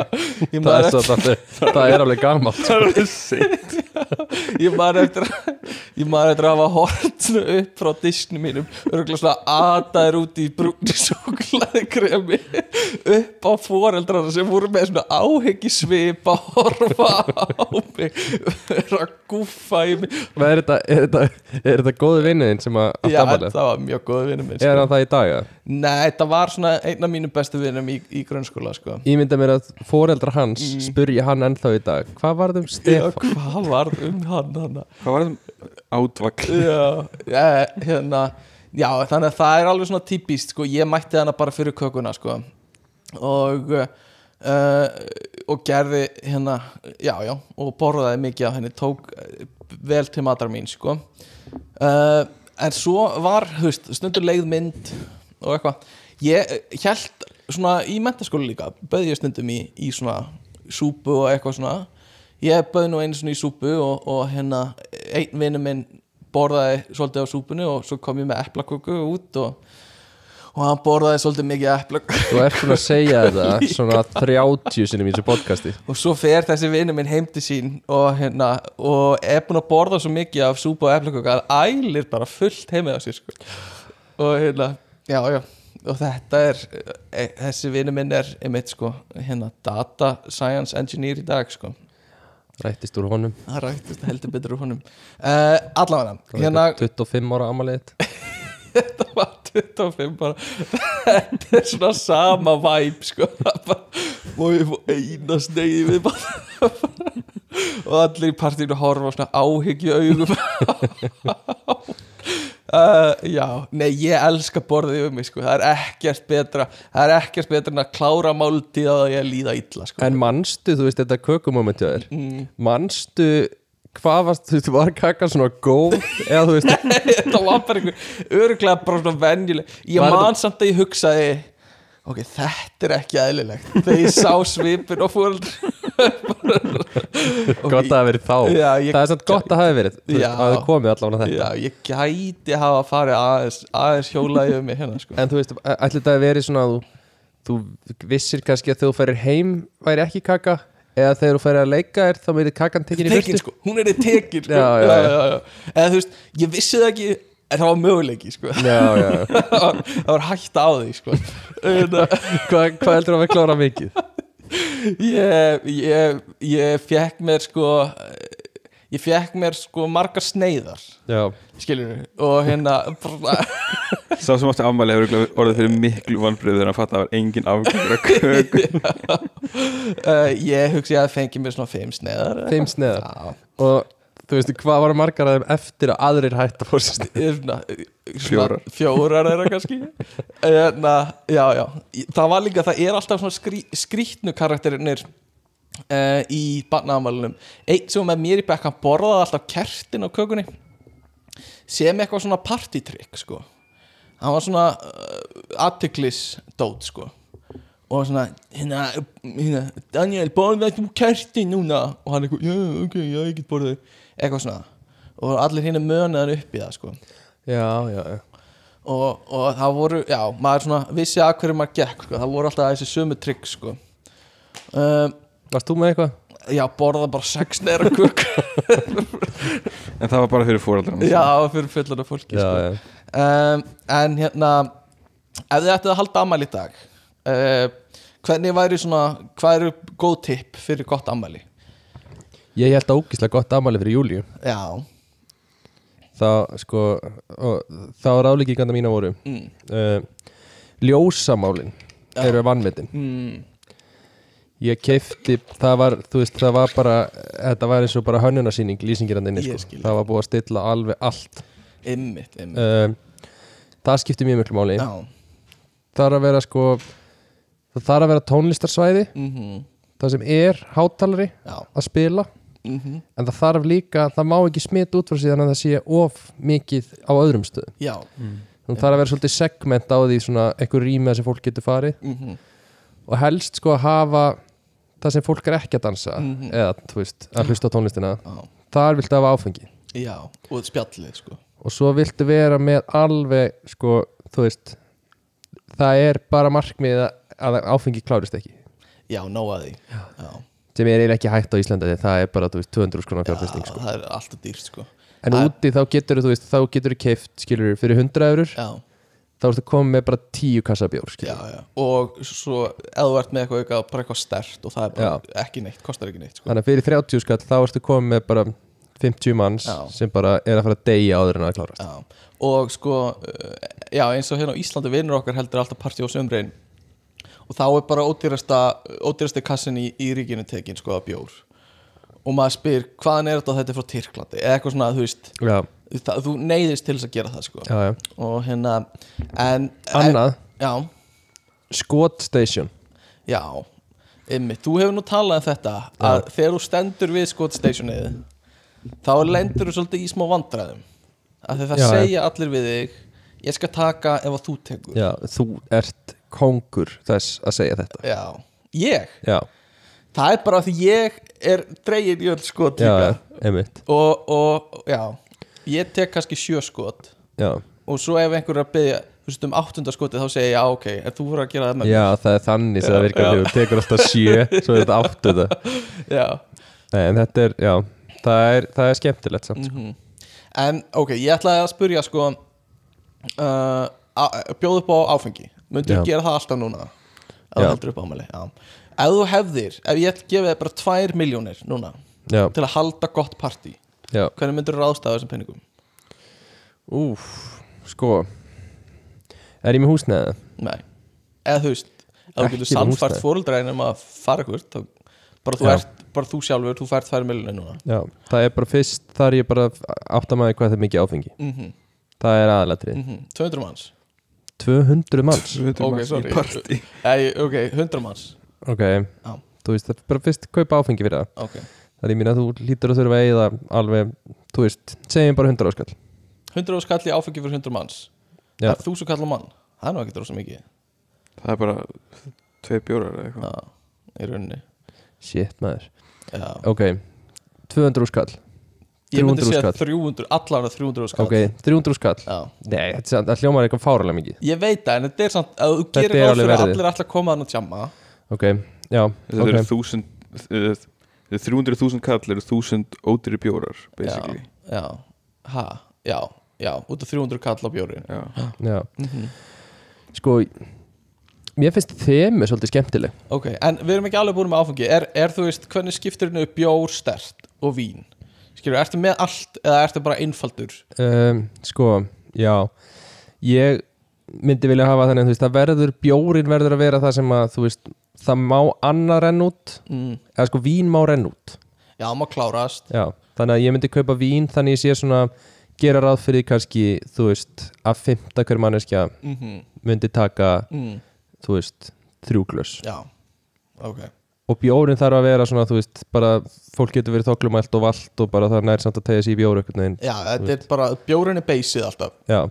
[SPEAKER 2] Ég
[SPEAKER 1] það
[SPEAKER 2] man,
[SPEAKER 1] er, svo, það, er, það er alveg gamalt sko.
[SPEAKER 3] Það er alveg seint
[SPEAKER 2] eftir, ég man eftir að Ég man eftir að hafa hort svona upp frá disknum mínum Örgulega svona aðaðir út í brúni súklaði kremi Upp á foreldrana sem voru með svona áhyggjusvip Að horfa á mig Vera að gúffa í mig
[SPEAKER 1] Hvað Er þetta, er þetta, er þetta góðu vinnuðin sem að átt
[SPEAKER 2] Já,
[SPEAKER 1] ammalið?
[SPEAKER 2] það var mjög góð vinur minn sko.
[SPEAKER 1] Er hann það í dag? eða?
[SPEAKER 2] Nei, þetta var svona einn af mínum bestu vinum í, í grunnskóla sko.
[SPEAKER 1] Ímynda mér að foreldrar hans spurja hann ennþá í dag Hvað var það um
[SPEAKER 2] Mm. Já,
[SPEAKER 1] Stefán?
[SPEAKER 2] hvað varð um hann hana?
[SPEAKER 3] Hvað var það? Átvagl
[SPEAKER 2] Já, eh, hérna, já, þannig að það er alveg svona típist sko. Ég mætti hana bara fyrir kökuna sko. og, uh, og gerði hérna, já, já, og borðaði mikið á henni Tók eh, vel til matar mín sko. uh, En svo var, þú veist, stundur leið mynd og eitthvað Ég held svona í mentaskóla líka Böði ég stundum í, í svona súpu og eitthvað svona Ég böði nú einu svona í súpu og, og hérna einn vinur minn borðaði svolítið á súpunni og svo kom ég með eplaköku út og, og hann borðaði svolítið mikið eplaköku
[SPEAKER 1] Þú ert búin að segja þetta svona 30 sinnum í þessu podcasti
[SPEAKER 2] og svo fer þessi vinnu minn heim til sín og, hérna, og er búinn að borða svo mikið af súpa og eflaköku að hann ælir bara fullt heimið á sér sko. og hérna, já, já og þetta er, e, þessi vinnu minn er einmitt sko, hérna data science engineer í dag sko
[SPEAKER 1] Rættist úr honum
[SPEAKER 2] það rættist heldur betur úr honum uh, allavega,
[SPEAKER 1] Það
[SPEAKER 2] hérna
[SPEAKER 1] er 25 ára ammalið
[SPEAKER 2] þetta var 25 bara þetta er svona sama væp sko Það bara, má ég fó eina snegi við bara og allir í partíinu horfa á svona áhyggju augum uh, já, nei ég elska borðið um mig sko, það er ekkert betra það er ekkert betra en að klára máltíð að ég líða illa sko
[SPEAKER 1] En manstu, þú veist þetta kökumóment hjá þér mm. Manstu hvað varst, þú veist, var kakan svona góð eða þú veist,
[SPEAKER 2] þetta var bara einhver örglega bara svona venjuleg ég
[SPEAKER 1] Var
[SPEAKER 2] man samt að ég hugsaði ok, þetta er ekki eðlilegt þegar ég sá svipin og fóröld
[SPEAKER 1] gott að hafa verið þá
[SPEAKER 2] Já, ég-
[SPEAKER 1] það er samt gott að hafa verið þú veist,
[SPEAKER 2] Já.
[SPEAKER 1] að það komið allavega þetta
[SPEAKER 2] já, ég gæti hafa farið aðeins, aðeins hjólaði um mig hérna sko.
[SPEAKER 1] en þú veist, æ- ætli þetta að verið svona að þú, þú vissir kannski að þegar þú færir heim væri ekki kaka eða þegar þú færir að leika þér þá meiri kakan tekin í
[SPEAKER 2] tekin
[SPEAKER 1] fyrstu
[SPEAKER 2] sko, hún er í tekin sko.
[SPEAKER 1] Já, já, já.
[SPEAKER 2] eða þú veist, ég vissi það ekki en það var möguleiki sko.
[SPEAKER 1] já, já, já.
[SPEAKER 2] það var, það var hægt á því sko. Hérna,
[SPEAKER 1] Hva, hvað heldur að við klára mikið
[SPEAKER 2] ég, ég, ég fekk mér sko ég fekk mér sko margar sneiðar
[SPEAKER 1] já,
[SPEAKER 2] skilur við og hérna bara,
[SPEAKER 3] Sá sem átti afmæli hefur örugglega orðið fyrir miklu vonbröður en að fatta að það var engin afgjör að köku
[SPEAKER 2] uh, ég hugsi að fengi mér svona fimm sneiðar
[SPEAKER 1] þeim sneðar
[SPEAKER 2] Já,
[SPEAKER 1] og þú veist, hvað var margar af þeim eftir að aðrir hætt að fórst
[SPEAKER 2] ég er svona, eh, svona
[SPEAKER 3] Fjórar.
[SPEAKER 2] fjórar er það kannski hérna, já, já Í- það var líka, það er alltaf svona skrí, skrítnu karakterinir uh, í barnaðamælunum einn sem var með mér í bekk, hann borðaði alltaf kertin á kökunni sem eitthvað svona partytrykk sko hann var svona uh, athyglisdót sko og svona hérna, hérna Daniel borðaði þú kerti núna og hann eitthvað, já ok, já ég get borðið eitthvað svona og allir hérna mönaðan upp í það sko
[SPEAKER 1] já, já, já
[SPEAKER 2] og, og það voru, já, maður svona vissi að hverju maður gekk sko, það voru alltaf þessi sömu trygg sko um,
[SPEAKER 1] varst þú með eitthvað?
[SPEAKER 2] já, borða bara sex neira kök
[SPEAKER 3] En það var bara fyrir fóraldur
[SPEAKER 2] já, fyrir fullan af fólki sko.
[SPEAKER 1] já, já.
[SPEAKER 2] um, En hérna Ef þið ættu að halda ammæli í dag uh, Hvernig væri svona Hvað eru góð tipp fyrir gott ammæli
[SPEAKER 1] ég held að ógislega gott afmæli fyrir Júlíu
[SPEAKER 2] Já,
[SPEAKER 1] þá sko og, þá ráðlíkinganda mína voru mm. uh, ljósamálin eru vannmetin
[SPEAKER 2] mm,
[SPEAKER 1] ég keifti, það var þú veist, það var bara, þetta var eins og bara hönnunarsýning lýsingirandinni
[SPEAKER 2] Ég
[SPEAKER 1] sko,
[SPEAKER 2] skil.
[SPEAKER 1] það var búið að stilla alveg allt
[SPEAKER 2] ymmit, ymmit
[SPEAKER 1] um, það skipti mjög miklu máli
[SPEAKER 2] Já,
[SPEAKER 1] það er að vera sko það þarf að vera tónlistarsvæði
[SPEAKER 2] mhm,
[SPEAKER 1] það sem er hátalari
[SPEAKER 2] já,
[SPEAKER 1] að spila
[SPEAKER 2] Mhm.
[SPEAKER 1] en það þarf líka, það má ekki smita út frá síðan að það sé of mikið á öðrum stöðum
[SPEAKER 2] Já
[SPEAKER 1] þannig þarf að vera svolítið segment á því svona eitthvað rýmið sem fólk getur farið
[SPEAKER 2] mhm,
[SPEAKER 1] og helst sko að hafa það sem fólk er ekki að dansa
[SPEAKER 2] Mhm.
[SPEAKER 1] eða þú veist, að hlusta á tónlistina
[SPEAKER 2] Já
[SPEAKER 1] þar viltu hafa áfengi
[SPEAKER 2] Já, og spjallið sko
[SPEAKER 1] og svo viltu vera með alveg sko, þú veist það er bara markmið að- að áfengi klárist ekki
[SPEAKER 2] Já, nóa því Já,
[SPEAKER 1] sem er eiginlega ekki hægt á Íslandi því það er bara, þú veist, 200 skrónar fjárfesting sko.
[SPEAKER 2] það er alltaf dýrt sko
[SPEAKER 1] en
[SPEAKER 2] það-
[SPEAKER 1] úti þá getur þú veist, þá getur þú keift skilur fyrir 100 eurur,
[SPEAKER 2] Já,
[SPEAKER 1] þá ertu komið með bara 10 kassa bjór,
[SPEAKER 2] já,
[SPEAKER 1] skilur
[SPEAKER 2] já Og svo, ef þú ert með eitthvað auka bara eitthvað stert og það er bara ekki neitt, kostar ekki neitt sko
[SPEAKER 1] þannig að fyrir 30 skall þá ertu komið með bara 50 manns
[SPEAKER 2] Já.
[SPEAKER 1] sem bara er að fara að deyja áður en að klárast
[SPEAKER 2] Já, og sko uh, já, eins og hérna á Íslandi vinnur okkar heldur alltaf partí á sömrein og þá er bara ódýrasta ódýrasti kassin í, í ríkinu tekin sko að bjór og maður spyr hvaðan er þetta þetta er frá Tyrklandi eða eitthvað svona þú veist
[SPEAKER 1] já,
[SPEAKER 2] það, þú neyðist til þess að gera það sko
[SPEAKER 1] já, já.
[SPEAKER 2] og hérna en
[SPEAKER 1] annað,
[SPEAKER 2] en, já,
[SPEAKER 1] Skot Station
[SPEAKER 2] já Ymmi, þú hefur nú talað um þetta að þegar þú stendur við skotstationið þá lendur þú svolítið í smá vandræðum af því það
[SPEAKER 1] Já, já.
[SPEAKER 2] segja allir við þig ég skal taka ef að þú tekur
[SPEAKER 1] já, þú ert kongur þess að segja þetta
[SPEAKER 2] Já. ég,
[SPEAKER 1] já,
[SPEAKER 2] það er bara af því ég er dregin í öll skot
[SPEAKER 1] já,
[SPEAKER 2] líka
[SPEAKER 1] já, einmitt
[SPEAKER 2] og, og já, ég tek kannski sjö skot
[SPEAKER 1] já,
[SPEAKER 2] og svo ef einhver er að byggja þú veist um áttunda skotið þá segja ég já ok, ef þú voru að gera það með
[SPEAKER 1] já, það er þannig sem það virkar
[SPEAKER 2] já.
[SPEAKER 1] þegar þú tekur alltaf 7 svo er þetta 8 þetta
[SPEAKER 2] mér." já.
[SPEAKER 1] Nei, en þetta er, já, það er, það er skemmtilegt samt, sko.
[SPEAKER 2] Mhm. en ok, ég ætlaði að spurja sko uh, á- bjóð upp á áfengi myndur
[SPEAKER 1] Já.
[SPEAKER 2] þú gera það alltaf núna ef
[SPEAKER 1] Já.
[SPEAKER 2] þú heldur upp ámæli já. ef þú hefðir, ef ég gefið þér bara tvær miljónir núna
[SPEAKER 1] Já,
[SPEAKER 2] til að halda gott partí
[SPEAKER 1] já.
[SPEAKER 2] hvernig myndur þú ráðstafa þessum penningum?
[SPEAKER 1] Úf, sko, er ég með húsnæðið?
[SPEAKER 2] Nei, eða þú veist ef þú
[SPEAKER 1] Ekki
[SPEAKER 2] getur
[SPEAKER 1] með
[SPEAKER 2] sannfært
[SPEAKER 1] húsnæði.
[SPEAKER 2] fóruldra einum að fara ykkur þá bara þú,
[SPEAKER 1] Já.
[SPEAKER 2] ert, bara þú sjálfur, þú fært þær miljonir núna
[SPEAKER 1] Já, það er bara fyrst, þar er ég bara áttamæði hvað það er mikið áfengi.
[SPEAKER 2] mm -hmm.
[SPEAKER 1] Það er aðalatrið.
[SPEAKER 2] 200 mhm. manns
[SPEAKER 1] 200 manns?
[SPEAKER 2] Ok,
[SPEAKER 3] okay,
[SPEAKER 2] sorry.
[SPEAKER 3] í partí
[SPEAKER 2] Ei, ok, 100 manns
[SPEAKER 1] Ok,
[SPEAKER 2] Já.
[SPEAKER 1] þú veist, það er bara fyrst kaupa áfengi fyrir það.
[SPEAKER 2] ok,
[SPEAKER 1] Það er ég mín að þú lítur að þurfa að eigða alveg, þú veist, segjum bara 100 áskall.
[SPEAKER 2] 100 og skalli áfengi fyrir 100 manns
[SPEAKER 1] Já.
[SPEAKER 2] það er 1000 kallar mann það er nú ekkert rosa mikið
[SPEAKER 3] það er bara tvei bjórar eða eitthvað
[SPEAKER 2] Já, í rauninni
[SPEAKER 1] Shit, maður.
[SPEAKER 2] Já.
[SPEAKER 1] Ok, 200 skall.
[SPEAKER 2] ég myndi
[SPEAKER 1] 300
[SPEAKER 2] segja
[SPEAKER 1] skall.
[SPEAKER 2] 300, allavega 300 skall
[SPEAKER 1] Ok, 300 skall.
[SPEAKER 2] Já.
[SPEAKER 1] Nei, þetta er samt- það hljómar eitthvað fáralega mikið.
[SPEAKER 2] ég veit það, en þetta er samt að þú
[SPEAKER 1] Þetta
[SPEAKER 2] gerir
[SPEAKER 1] er
[SPEAKER 2] ráð
[SPEAKER 1] alveg
[SPEAKER 2] fyrir að
[SPEAKER 1] verðið.
[SPEAKER 2] allir ætla að koma þannig að tjama
[SPEAKER 1] Ok, já,
[SPEAKER 3] þetta
[SPEAKER 1] ok.
[SPEAKER 3] eru þúsund uh, 300.000 kall eru þúsund ódýri bjórar basically
[SPEAKER 2] já, já, ha, já, já út af 300 kall á bjóri
[SPEAKER 3] já.
[SPEAKER 1] Já Sko Mér finnst þemu svolítið skemmtileg
[SPEAKER 2] Ok, en við erum ekki alveg búin með áfengi Er, er þú veist, hvernig skiptir henni upp bjór, stert og vín? Skilur, ertu með allt eða ertu bara einfaldur?
[SPEAKER 1] um, Sko, já Ég myndi vilja hafa þannig þú veist, að verður, bjórin verður að vera það sem að þú veist, það má annað renn út
[SPEAKER 2] Mm.
[SPEAKER 1] eða sko vín má renn út
[SPEAKER 2] Já, maður klárast
[SPEAKER 1] já, þannig að ég myndi kaupa vín þannig ég sé svona gera ráð fyrir kannski, þú veist, að fymta hver manneskja
[SPEAKER 2] mm
[SPEAKER 1] myndi taka
[SPEAKER 2] mm.
[SPEAKER 1] þú veist, þrjúglös
[SPEAKER 2] Já, ok
[SPEAKER 1] og bjórin þarf að vera svona, þú veist, bara fólk getur verið þoklumælt og vald og bara það er nær samt að tegja sér í bjóru einhvern veginn
[SPEAKER 2] Já, þetta er bara, bjórin er beysið alltaf
[SPEAKER 1] Já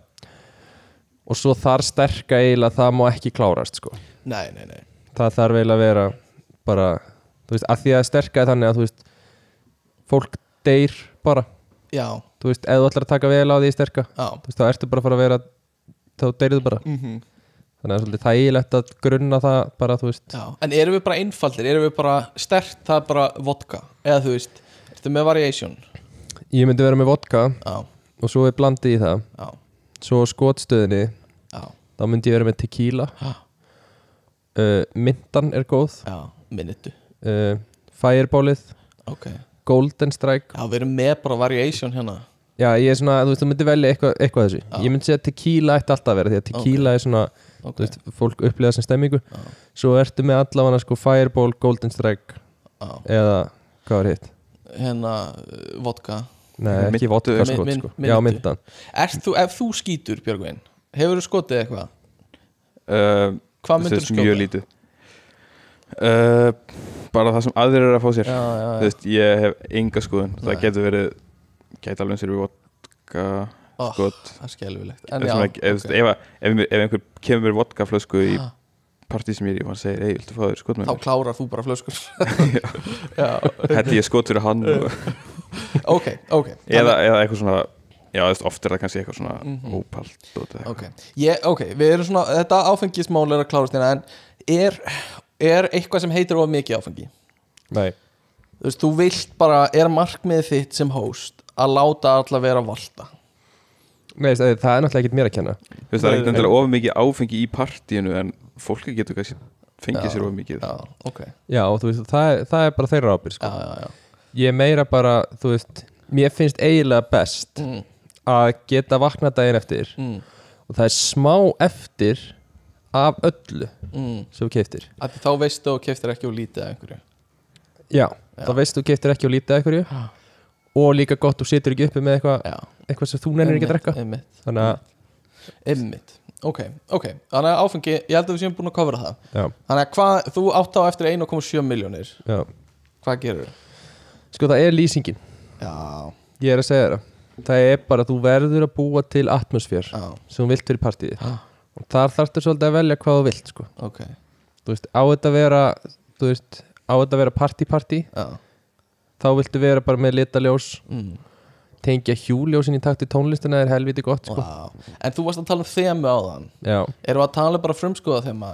[SPEAKER 1] Og svo þar sterka eiginlega það má ekki klárast sko.
[SPEAKER 2] Nei, nei, nei
[SPEAKER 1] Það þarf eiginlega að vera bara, þú veist, að því að sterka er þannig að þú veist, fólk deyr bara,
[SPEAKER 2] Já,
[SPEAKER 1] þú veist, ef þú ætlar að taka vel á því sterka,
[SPEAKER 2] já
[SPEAKER 1] þú veist, þá ertu bara að fara að vera þá deyrðu bara,
[SPEAKER 2] mm
[SPEAKER 1] þannig að svolítið þægilegt að grunna það bara, þú veist,
[SPEAKER 2] Já, en erum við bara einfaldir? Erum við bara stert, það er bara vodka Eða þú veist, ertu með variation
[SPEAKER 1] ég myndi vera með vodka
[SPEAKER 2] Já,
[SPEAKER 1] og svo við blandið í það,
[SPEAKER 2] já,
[SPEAKER 1] svo á skotstöðinni
[SPEAKER 2] já,
[SPEAKER 1] þá myndi ég vera með tequila
[SPEAKER 2] Ha.
[SPEAKER 1] uh, myndan er góð
[SPEAKER 2] já, minutu
[SPEAKER 1] uh, fireballið,
[SPEAKER 2] Ok
[SPEAKER 1] golden strike
[SPEAKER 2] Já, við erum með bara variation hérna
[SPEAKER 1] Já, ég er svona, þú veist, þú myndir velja eitthvað, eitthvað þessu Ég myndi segja að tequila ætti alltaf að vera Því að tequila er svona,
[SPEAKER 2] Ok,
[SPEAKER 1] þú veist, fólk upplifa sem stemmingu
[SPEAKER 2] Já.
[SPEAKER 1] Svo ertu með allavega sko Fireball, Golden Strike
[SPEAKER 2] já
[SPEAKER 1] Eða, hvað var hitt?
[SPEAKER 2] hérna uh, vodka
[SPEAKER 1] Nei,
[SPEAKER 3] Myntu-
[SPEAKER 1] ekki vodka
[SPEAKER 2] Myn-
[SPEAKER 1] skot,
[SPEAKER 2] myn-
[SPEAKER 1] sko
[SPEAKER 2] myntu.
[SPEAKER 1] Já, myndan
[SPEAKER 2] Ert þú, ef þú skýtur Björgvin hefur þú skotið eitthvað?
[SPEAKER 3] Uh,
[SPEAKER 2] Hvað myndur þú
[SPEAKER 3] mjög
[SPEAKER 2] skjóta?
[SPEAKER 3] lítið uh, bara það sem aðrir eru að fá sér
[SPEAKER 2] já, já,
[SPEAKER 3] Þú
[SPEAKER 2] já.
[SPEAKER 3] veist, ég hef enga skoðun það
[SPEAKER 2] Nei.
[SPEAKER 3] getur verið, gæti alveg sér við vodka sko,
[SPEAKER 2] Oh,
[SPEAKER 3] skot
[SPEAKER 2] það er skelvilegt
[SPEAKER 3] ef, sem ekki- ef,
[SPEAKER 2] ok.
[SPEAKER 3] ef, ef, ef einhver kemur mér vodka flösku í
[SPEAKER 2] Ah,
[SPEAKER 3] partí sem ég er í og hann segir, ei, viltu fá þér skot með
[SPEAKER 2] þá
[SPEAKER 3] mér
[SPEAKER 2] klárar þú bara flöskur já,
[SPEAKER 3] hætti ég skot fyrir hann og,
[SPEAKER 2] ok, ok
[SPEAKER 3] eða, eða eitthvað svona já, þú veist, oft er það kannski eitthvað svona mm
[SPEAKER 2] Mhm.
[SPEAKER 3] -hmm. ópalt og þetta
[SPEAKER 2] ok, ég, ok, við erum svona þetta áfengismál er að klárast hérna en er, er eitthvað sem heitir of mikið áfengi
[SPEAKER 1] Nei,
[SPEAKER 2] þú veist, þú vilt bara, er markmiðið þitt sem host að láta alla vera valda
[SPEAKER 1] Nei, það er náttúrulega ekkert mér að kenna
[SPEAKER 3] Þú veist, það er
[SPEAKER 2] Nei,
[SPEAKER 3] ekkert endilega of mikið áfengi í partíinu en fólki getur kannski fengið
[SPEAKER 2] Já.
[SPEAKER 3] sér of mikið
[SPEAKER 2] já, ok,
[SPEAKER 1] Já, og þú veist, það er, það er bara þeirra ábyrg
[SPEAKER 2] já,
[SPEAKER 1] sko.
[SPEAKER 2] já, já
[SPEAKER 1] Ég er meira bara, þú veist Mér finnst eiginlega best
[SPEAKER 2] mm,
[SPEAKER 1] að geta vakna daginn eftir
[SPEAKER 2] mm,
[SPEAKER 1] og það er smá eftir af öllu
[SPEAKER 2] mm.
[SPEAKER 1] sem þú keiftir
[SPEAKER 2] Að því þá veistu og keftir ekki og lítið af einhverju
[SPEAKER 1] Já,
[SPEAKER 2] Já.
[SPEAKER 1] þá veist þú keiftir ekki og lítið af einhverju
[SPEAKER 2] Ha.
[SPEAKER 1] og líka gott þú situr ekki uppi með eitthvað
[SPEAKER 2] já,
[SPEAKER 1] eitthvað sem þú nennir ekki að drekka
[SPEAKER 2] einmitt,
[SPEAKER 1] Þannig að,
[SPEAKER 2] einmitt ok, ok, þannig að áfengi ég held að við séum búin að kofra það
[SPEAKER 1] já,
[SPEAKER 2] þannig að hvað, þú átt á eftir 1,7 miljónir
[SPEAKER 1] já
[SPEAKER 2] hvað gerur
[SPEAKER 1] Sko það er lýsingin,
[SPEAKER 2] já,
[SPEAKER 1] ég er að segja það Það er bara að þú verður að búa til atmosfér
[SPEAKER 2] já,
[SPEAKER 1] sem þú vilt fyrir partíði
[SPEAKER 2] já,
[SPEAKER 1] og þar þarftu svolítið að velja hvað þú vilt sko.
[SPEAKER 2] ok
[SPEAKER 1] þú veist, á þetta að vera þú veist, á þetta að vera partí-partí
[SPEAKER 2] já,
[SPEAKER 1] þá viltu vera bara með litaljós
[SPEAKER 2] mm.
[SPEAKER 1] tengja hjúljósin í takt í tónlistina er helviti gott sko.
[SPEAKER 2] Vá. En þú varst að tala um þemu á þann
[SPEAKER 1] Já.
[SPEAKER 2] Erum við að tala bara frumskoða þema?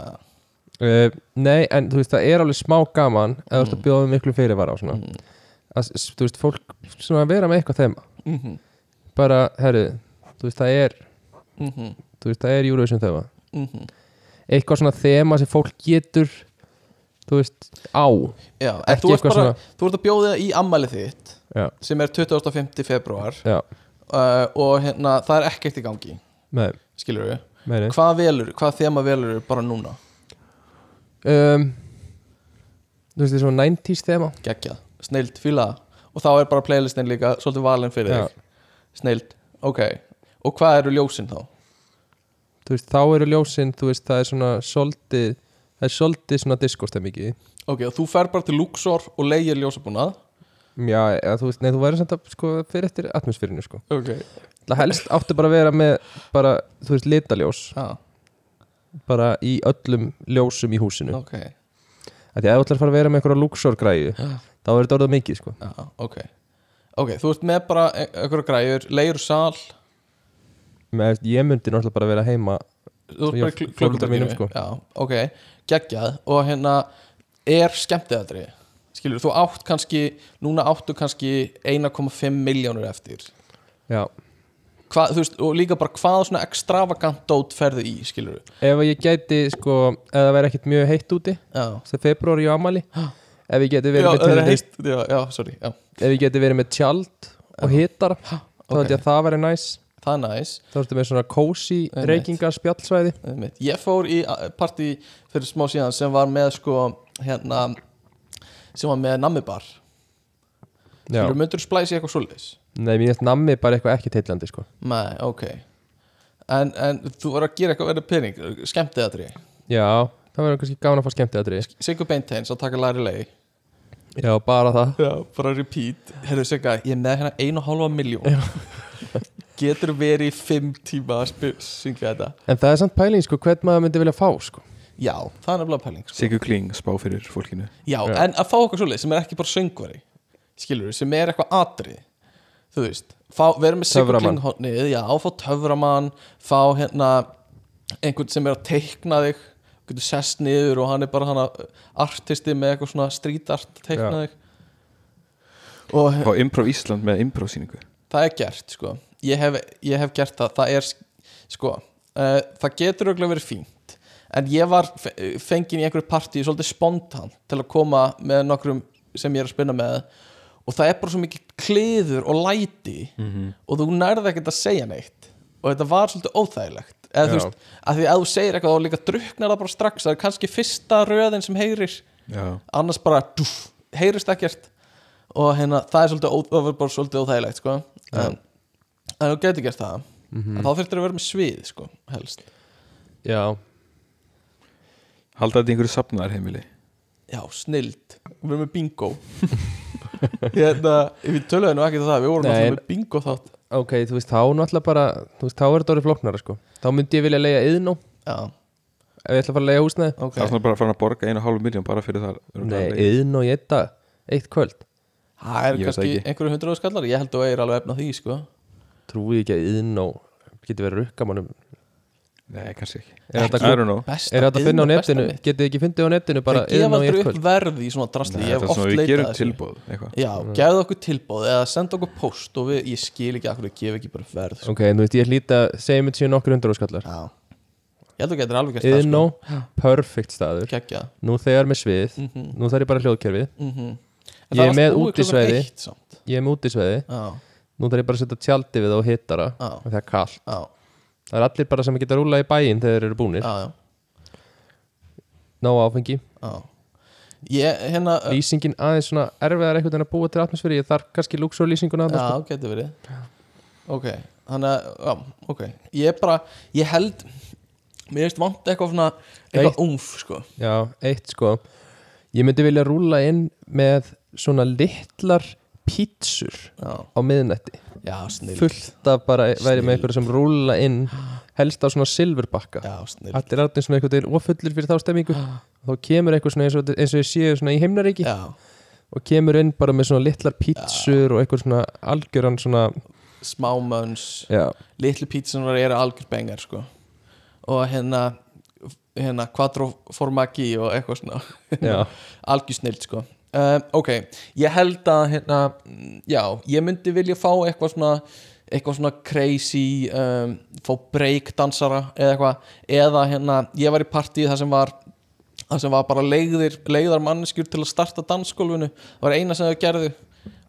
[SPEAKER 1] Uh, nei, en þú veist, það er alveg smá gaman eða þú ert að bjóða með miklu fyrirvara á svona
[SPEAKER 2] Mm.
[SPEAKER 1] að, s- þú veist, fólk sem að vera með eitthvað þema
[SPEAKER 2] Mm
[SPEAKER 1] Mhm,
[SPEAKER 2] -hmm.
[SPEAKER 1] bara, herru, þú veist, það er
[SPEAKER 2] Mm -hmm.
[SPEAKER 1] þú veist, það er júruvísum þema
[SPEAKER 2] Mm
[SPEAKER 1] mhm.
[SPEAKER 2] -hmm.
[SPEAKER 1] eitthvað svona þema sem fólk getur þú veist, á
[SPEAKER 2] Já, en
[SPEAKER 1] Ekki
[SPEAKER 2] þú ert,
[SPEAKER 1] eitthvað
[SPEAKER 2] bara,
[SPEAKER 1] svona-
[SPEAKER 2] þú ert að bjóða í ammæli þitt
[SPEAKER 1] Já.
[SPEAKER 2] sem er 25. februar
[SPEAKER 1] já,
[SPEAKER 2] uh, og hérna, það er ekkert í gangi
[SPEAKER 1] með,
[SPEAKER 2] skilur við,
[SPEAKER 1] með
[SPEAKER 2] hvað velur hvað þema velur bara núna
[SPEAKER 1] um, þú veist, það er svona 90s þema
[SPEAKER 2] geggjað, sneild, fíla það. og þá er bara playlistin líka svolítið valin fyrir
[SPEAKER 1] Já.
[SPEAKER 2] þig sneild, ok og hvað eru ljósin þá?
[SPEAKER 1] þú veist, þá eru ljósin, þú veist, það er svona svolítið, það er svolítið svona diskostemmingi,
[SPEAKER 2] ok, og þú fer bara til Luxor og leigir ljósabúnað
[SPEAKER 1] já, eða, þú veist, nei, þú væri samt að, sko, fyrir eftir atmosférinu, sko
[SPEAKER 2] ok,
[SPEAKER 1] það helst áttu bara að vera með bara, þú veist, litaljós
[SPEAKER 2] já,
[SPEAKER 1] bara í öllum ljósum í húsinu,
[SPEAKER 2] ok já,
[SPEAKER 1] af því að ef þú ætlar að fara að vera með einhverja luxorgræju, þá er þetta orðað mikið, sko
[SPEAKER 2] ok ok, þú ert með bara ein- einhverja græjur leigir sal,
[SPEAKER 1] með, ég myndi náttúrulega bara að vera heima
[SPEAKER 2] þú ert
[SPEAKER 1] Já,
[SPEAKER 2] bara í kl-
[SPEAKER 1] foreldrar mínum, sko.
[SPEAKER 2] klukkutíma já, ok, geggjað og hérna er skemmtiðatri skilur, þú átt kannski núna áttu kannski 1,5 miljónur eftir
[SPEAKER 1] já,
[SPEAKER 2] Hva, þú veist, og líka bara hvað svona extravagant dót ferðu í, skilur
[SPEAKER 1] ef ég gæti, sko ef það væri ekkert mjög heitt úti
[SPEAKER 2] já,
[SPEAKER 1] það er februar í amali
[SPEAKER 2] Ha.
[SPEAKER 1] ef ég geti
[SPEAKER 2] já,
[SPEAKER 1] verið,
[SPEAKER 2] það
[SPEAKER 1] með,
[SPEAKER 2] er
[SPEAKER 1] til,
[SPEAKER 2] heitt, já, já, sorry já.
[SPEAKER 1] ef ég geti verið með tjald og hitara, þá held ég að það væri næs
[SPEAKER 2] það er næs
[SPEAKER 1] Þá ertu með svona kósi
[SPEAKER 2] Einmitt.
[SPEAKER 1] reykingar spjallsvæði
[SPEAKER 2] einmitt. ég fór í a- partí fyrir smá síðan sem var með sko hérna, sem var með nammibar
[SPEAKER 1] Já.
[SPEAKER 2] skilur, myndur splæsi eitthvað svoleiðis
[SPEAKER 1] Nei, mér finnst nammi bara eitthvað ekki teillandi sko.
[SPEAKER 2] nei, ok en, en þú voru að gera eitthvað verið pening skemmtið að
[SPEAKER 1] Já, það verður kannski gaman að fá skemmtið aðri
[SPEAKER 2] Sigur Beinteins að taka læri lei
[SPEAKER 1] Já, bara það
[SPEAKER 2] Já, bara repeat Herðu Sigga, ég er með hérna einu og hálfa miljón Getur verið í fimm tíma að spil- syngja þetta
[SPEAKER 1] En það er samt pæling, sko, hvern maður myndi vilja fá sko.
[SPEAKER 2] Já, það er nefnilega pæling sko.
[SPEAKER 3] Sigur Kling spá fyrir fólkinu
[SPEAKER 2] Já,
[SPEAKER 1] Já.
[SPEAKER 2] en að fá okkur svoleið sem er ekki bara söngvari Skilur sem er eitthvað atrið Þú veist, fá, verið með Sigur
[SPEAKER 1] Töframann.
[SPEAKER 2] Klinghornið Já, fá töframann Fá hérna einhvern sem er að teikna þig Getur sest niður og hann er bara hana artisti með eitthvað svona street art að teikna
[SPEAKER 1] Já.
[SPEAKER 2] þig Og
[SPEAKER 3] á Improv Ísland með Improv síningu
[SPEAKER 2] það er gert sko ég hef, ég hef gert það, það er sko, uh, það getur auðvitað verið fínt en ég var fe- fenginn í einhverju partí svolítið spontan til að koma með nokkrum sem ég er að spinna með og það er bara svo mikið kliður og læti og þú nærði ekkert að segja neitt og þetta var svolítið óþægilegt eða þú
[SPEAKER 1] Já.
[SPEAKER 2] veist, að því að þú segir eitthvað þá líka druknar það bara strax, það er kannski fyrsta röðin sem heyrir
[SPEAKER 3] Já.
[SPEAKER 2] annars bara dúf, heyrist ekkert og hérna það er svolítið, ó, það var bara svolítið óþægilegt sko. en, en þú getur gert það
[SPEAKER 1] Mhm.
[SPEAKER 2] en þá þurftir að vera með svið sko, helst
[SPEAKER 1] Já,
[SPEAKER 3] halda þetta í einhverju safnaðarheimili
[SPEAKER 2] já, snild Við erum með bingo Hérna, við töluðum nú ekkert um það Við vorum
[SPEAKER 1] Nei,
[SPEAKER 2] alltaf
[SPEAKER 1] en-
[SPEAKER 2] með bingo þátt
[SPEAKER 1] ok, þú veist, þá náttúrulega bara þú veist, þá er þetta orðið flóknara sko þá myndi ég vilja leiða yðnó
[SPEAKER 2] Já,
[SPEAKER 1] ef ég ætla að fara að leiða húsnæði
[SPEAKER 2] ok
[SPEAKER 3] Það er svona bara að fara að borga einu og hálfu miljón bara fyrir það
[SPEAKER 1] nei, yðnó í eitt dag, eitt kvöld
[SPEAKER 2] Það er
[SPEAKER 3] Ég veit
[SPEAKER 2] kannski
[SPEAKER 3] ekki.
[SPEAKER 2] einhverju hundruðu skallar Ég held að þú eigir alveg efna því, sko
[SPEAKER 1] trúi ekki að yðnó geti verið rukkamannum
[SPEAKER 3] Nei, kannski ekki
[SPEAKER 1] er þetta
[SPEAKER 3] I don't know
[SPEAKER 2] Besta
[SPEAKER 1] er þetta að finna á
[SPEAKER 2] iðn og besta
[SPEAKER 1] netinu,
[SPEAKER 2] mitt.
[SPEAKER 1] getið þið ekki fundið á netinu bara
[SPEAKER 2] Það gefa
[SPEAKER 1] yðnó í
[SPEAKER 2] aldrei
[SPEAKER 1] eitt
[SPEAKER 2] upp
[SPEAKER 1] kvöld
[SPEAKER 2] verð í svona drasli
[SPEAKER 3] Nei,
[SPEAKER 2] Ég hef
[SPEAKER 3] þetta er
[SPEAKER 2] oft
[SPEAKER 3] svona við
[SPEAKER 2] leitað
[SPEAKER 3] gerum
[SPEAKER 2] að þessu.
[SPEAKER 3] tilbóð eitthvað
[SPEAKER 2] Já, gefðu okkur tilbóð eða senda okkur post og við, ég skil ekki akkur að gefa ekki bara verð sko.
[SPEAKER 1] ok, en þú veist, ég hlýta, segjum þetta séu nokkur hundra skallar
[SPEAKER 2] Já Ég held að þú getur alveg gert sko.
[SPEAKER 1] yðnó, perfect staður
[SPEAKER 2] Kekja
[SPEAKER 1] nú þegar með svið,
[SPEAKER 2] mm -hmm.
[SPEAKER 1] nú þarf ég bara hljóðkerfið
[SPEAKER 2] mm
[SPEAKER 1] Ég er með útisvæði. ég er með útisveði,
[SPEAKER 2] Já,
[SPEAKER 1] nú þarf ég bara að setja tjaldi við það og hittara,
[SPEAKER 2] já,
[SPEAKER 1] af því það er kall
[SPEAKER 2] já,
[SPEAKER 1] það er allir bara sem geta rúla í bæinn þegar þeir eru búnir,
[SPEAKER 2] já, já,
[SPEAKER 1] ná áfengi
[SPEAKER 2] já. Ég, hérna uh,
[SPEAKER 1] lýsingin aðeins svona erfiðar eitthvað en að búa til atmosfæri, ég þarf kannski lúksurlýsinguna
[SPEAKER 2] Já,
[SPEAKER 1] sko.
[SPEAKER 2] getur verið Ok, þannig að, já, ok Ég er bara, ég held Mér veist vant eitthvað svona
[SPEAKER 1] Eitt.
[SPEAKER 2] Eitthvað umf, sko
[SPEAKER 1] já, eitt sko ég myndi vilja rúla inn með svona litlar pítsur
[SPEAKER 2] Já,
[SPEAKER 1] á miðnætti
[SPEAKER 2] já snill
[SPEAKER 1] fullt af bara væri
[SPEAKER 2] Snilld.
[SPEAKER 1] með einhverju sem rúla inn helst á svona silfurbakka
[SPEAKER 2] Já, snill
[SPEAKER 1] allir allir svona einhvern veginn ofullir fyrir þá stemmingu þá kemur einhver svona eins og, eins og ég séu svona í heimnaríki
[SPEAKER 2] Já,
[SPEAKER 1] og kemur inn bara með svona litlar pítsur og einhver svona algjöran svona
[SPEAKER 2] smámöns
[SPEAKER 1] já,
[SPEAKER 2] Litlu pítsunar eru algjör bengar, sko Og hérna hérna, quattro formaggi og eitthvað svona
[SPEAKER 1] já,
[SPEAKER 2] algjör snilt sko uh, ok, ég held að hérna, mm, já, ég myndi vilja fá eitthvað svona eitthvað svona crazy um, fá breakdansara eða eitthvað, eða hérna ég var í partíð þar sem var þar sem var bara leiðir, leiðar manneskjur til að starta dansskólfinu, það var eina sem þau gerðu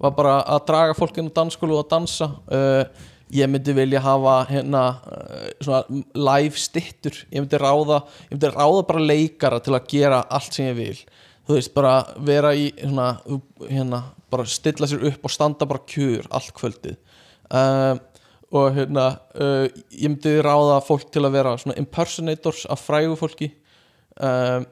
[SPEAKER 2] var bara að draga fólk inn á dansskólu og að dansa uh, ég myndi vilja hafa hérna uh, svona live stittur ég myndi ráða, ég myndi ráða bara leikara til að gera allt sem ég vil þú veist, bara vera í hérna, hérna bara stilla sér upp og standa bara kjur allt kvöldið um, og hérna uh, ég myndi ráða fólk til að vera svona impersonators af frægu fólki um,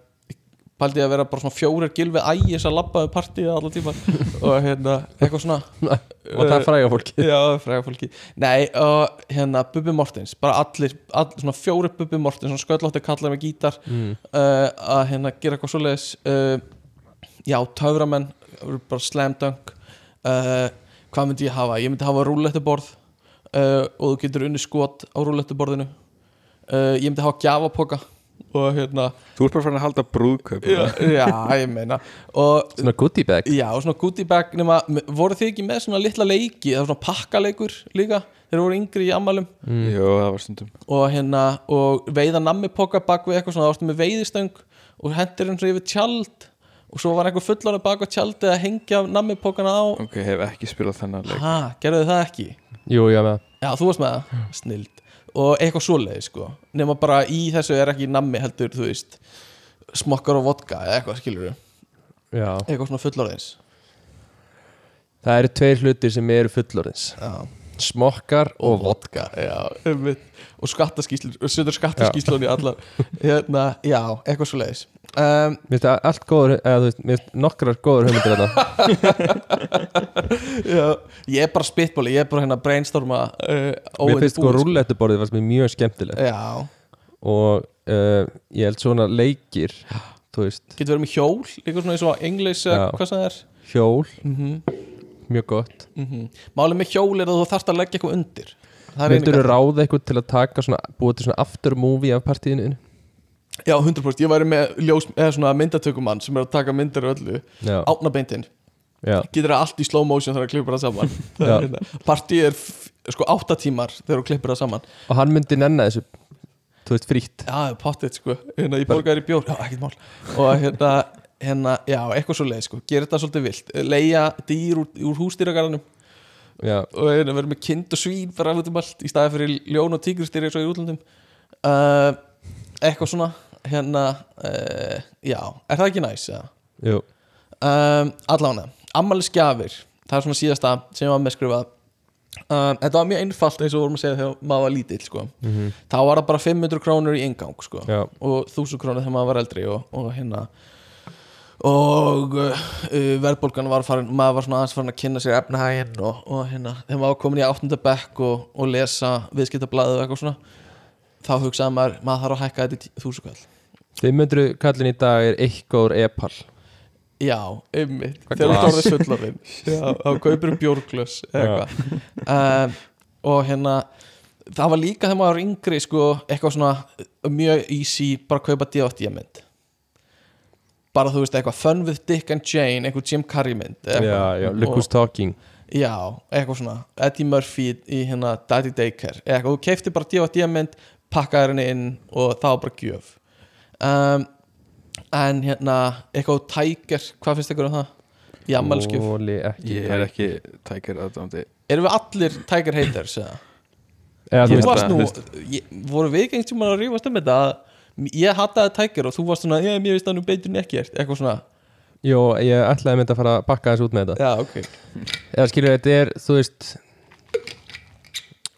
[SPEAKER 2] pældi ég að vera bara svona fjórir gilfið ægis að labba um partíð allar tíma og hérna, eitthvað svona
[SPEAKER 1] og það er fræga fólki
[SPEAKER 2] Já, fræga fólki Nei, og hérna Bubbi Mortens Bara allir, allir svona fjóri Bubbi Mortens Svona sköllótti kallar með gítar
[SPEAKER 1] mm.
[SPEAKER 2] uh, Að hérna gera eitthvað svoleiðis uh, Já, töframenn voru Bara slam dunk uh, Hvað myndi ég hafa? Ég myndi hafa rúllettuborð uh, Og þú getur unni skot á rúllettuborðinu uh, Ég myndi hafa gjafapoka Og hérna
[SPEAKER 3] Þú ert bara farin að halda brúðkaup
[SPEAKER 2] Já, já ég meina Og
[SPEAKER 1] svona goodie bag
[SPEAKER 2] Já, svona goodie bag nema, voru þið ekki með svona litla leiki eða svona pakkaleikur líka þeir voru yngri í ammalum
[SPEAKER 1] Mm.
[SPEAKER 3] Jó, það var stundum
[SPEAKER 2] og, hérna, og veiða nammipoka bak við eitthvað svona, það varstu með veiðistöng og hendur hann svona yfir tjald og svo var einhver fullan bak á tjaldið að hengja nammipokana á
[SPEAKER 3] Ok, hef ekki spilað þennan leik
[SPEAKER 2] ha, gerðu það ekki?
[SPEAKER 1] jú, já, með
[SPEAKER 2] Já, þú varst með það, snild og eitthvað svoleiði sko nema bara í þessu er ekki nammi heldur, þú veist smokkar og vodka eða eitthvað skilur
[SPEAKER 1] Já.
[SPEAKER 2] eitthvað svona fullorðins
[SPEAKER 1] Það eru tveir hlutir sem eru fullorðins
[SPEAKER 2] Já
[SPEAKER 1] Smokkar og vodka
[SPEAKER 2] já, einmitt. og skattaskýslun og setur skattaskýslun í allar hérna, já, eitthvað svo leiðis um,
[SPEAKER 1] Mér finnst það allt góður eða, þú veist, Mér finnst nokkrar góður hugmyndir þetta
[SPEAKER 2] já, ég er bara spitbóli, ég er bara hérna brainstorma uh,
[SPEAKER 1] Mér
[SPEAKER 2] óundirbúið,
[SPEAKER 1] finnst sko rúllettuborðið var mér mjög skemmtilegt
[SPEAKER 2] já,
[SPEAKER 1] og uh, ég held svona leikir þú veist,
[SPEAKER 2] getur verið með hjól eitthvað svona eins og englis
[SPEAKER 1] Já.
[SPEAKER 2] hvað sem það er
[SPEAKER 1] hjól,
[SPEAKER 2] mm
[SPEAKER 1] Mhm.
[SPEAKER 2] -hmm,
[SPEAKER 1] mjög gott
[SPEAKER 2] málið með hjól er að þú þarft að leggja eitthvað undir Það er eini
[SPEAKER 1] Myndur þú
[SPEAKER 2] gallinn.
[SPEAKER 1] ráða eitthvað til að taka svona, búið til svona after movie af partíinu þínu?
[SPEAKER 2] já, 100% ég væri með ljós, eða svona myndatökumann sem er að taka myndir og öllu
[SPEAKER 1] Já,
[SPEAKER 2] átnabeintinn
[SPEAKER 1] já,
[SPEAKER 2] getur það allt í slow motion þegar það klippur það saman Það
[SPEAKER 1] Já.
[SPEAKER 2] er hérna. partíð er f- sko átta tímar þegar þú klippur það saman
[SPEAKER 1] og hann myndi nenna þessu þú veist, frítt
[SPEAKER 2] já, pottet sko, hérna ég borgaði í bjór já, ekkert mál og hérna, hérna já, eitthvað svo leið sko, gera þetta svolítið vilt leia dýr úr, úr hústýragarðanum
[SPEAKER 1] Já,
[SPEAKER 2] og hérna, verður með kind og svín fyrir alveg um allt í staði fyrir ljón og tígristýri eins og í útlöndum uh, eitthvað svona hérna, uh, já, er það ekki næs? Ja?
[SPEAKER 1] jú,
[SPEAKER 2] um, allána, ammælisgjafir það er svona síðasta sem ég var með skrifað um, þetta var mjög einfalt eins og við vorum að segja þegar maður var lítill sko. þá var það bara 500 krónur í ingang sko.
[SPEAKER 1] já,
[SPEAKER 2] og 1000 krónur þegar maður var eldri og, og hérna og uh, uh, verðbólgan var farin maður var svona aðeins farin að kynna sér efnahægin og, og hérna, þegar maður var komin í áttunda bekk og, og lesa viðskiptablaðið og eitthvað svona þá hugsaði maður, maður þarf að hækka þetta í þúsukall
[SPEAKER 1] 500 kallin í dag er eitthvað úr e-pall
[SPEAKER 2] Já, einmitt, þegar þú
[SPEAKER 3] glas?
[SPEAKER 2] orðið fullarinn Já, þá kaupir um bjórglöss eða eitthvað um, og hérna það var líka þegar maður var yngri sko, eitthvað svona uh, mjög easy bara kaupa D8D mynd bara þú veist eitthvað Fun with Dick and Jane, eitthvað Jim Carrey mynd eða eitthvað.
[SPEAKER 1] já, já, look who's talking
[SPEAKER 2] Já, eitthvað svona Eddie Murphy í hérna Daddy Daycare eða eitthvað, þú keifti bara DVD mynd pakkaði henni inn og það var bara gjöf um, en hérna eitthvað Tiger, hvað finnst ykkur um það? Í ammælskjöf
[SPEAKER 1] Óli ekki
[SPEAKER 3] Ég er ekki tækir aðdándi
[SPEAKER 2] Erum við allir Tiger haters eða?
[SPEAKER 1] Eða, þú
[SPEAKER 2] Þú
[SPEAKER 3] held
[SPEAKER 1] veist,
[SPEAKER 2] varst
[SPEAKER 3] að-
[SPEAKER 2] nú,
[SPEAKER 3] þú
[SPEAKER 2] ég, voru við ekki einhvern tímann að rífast um þetta að ég hataði Tiger og þú varst svona, ég, mér veist að nú beitur en ekkert eitthvað svona,
[SPEAKER 1] Jó, ég ætlaði myndi að fara að bakka þessu út með þetta
[SPEAKER 2] já ok
[SPEAKER 1] eða skilur þetta er, þú veist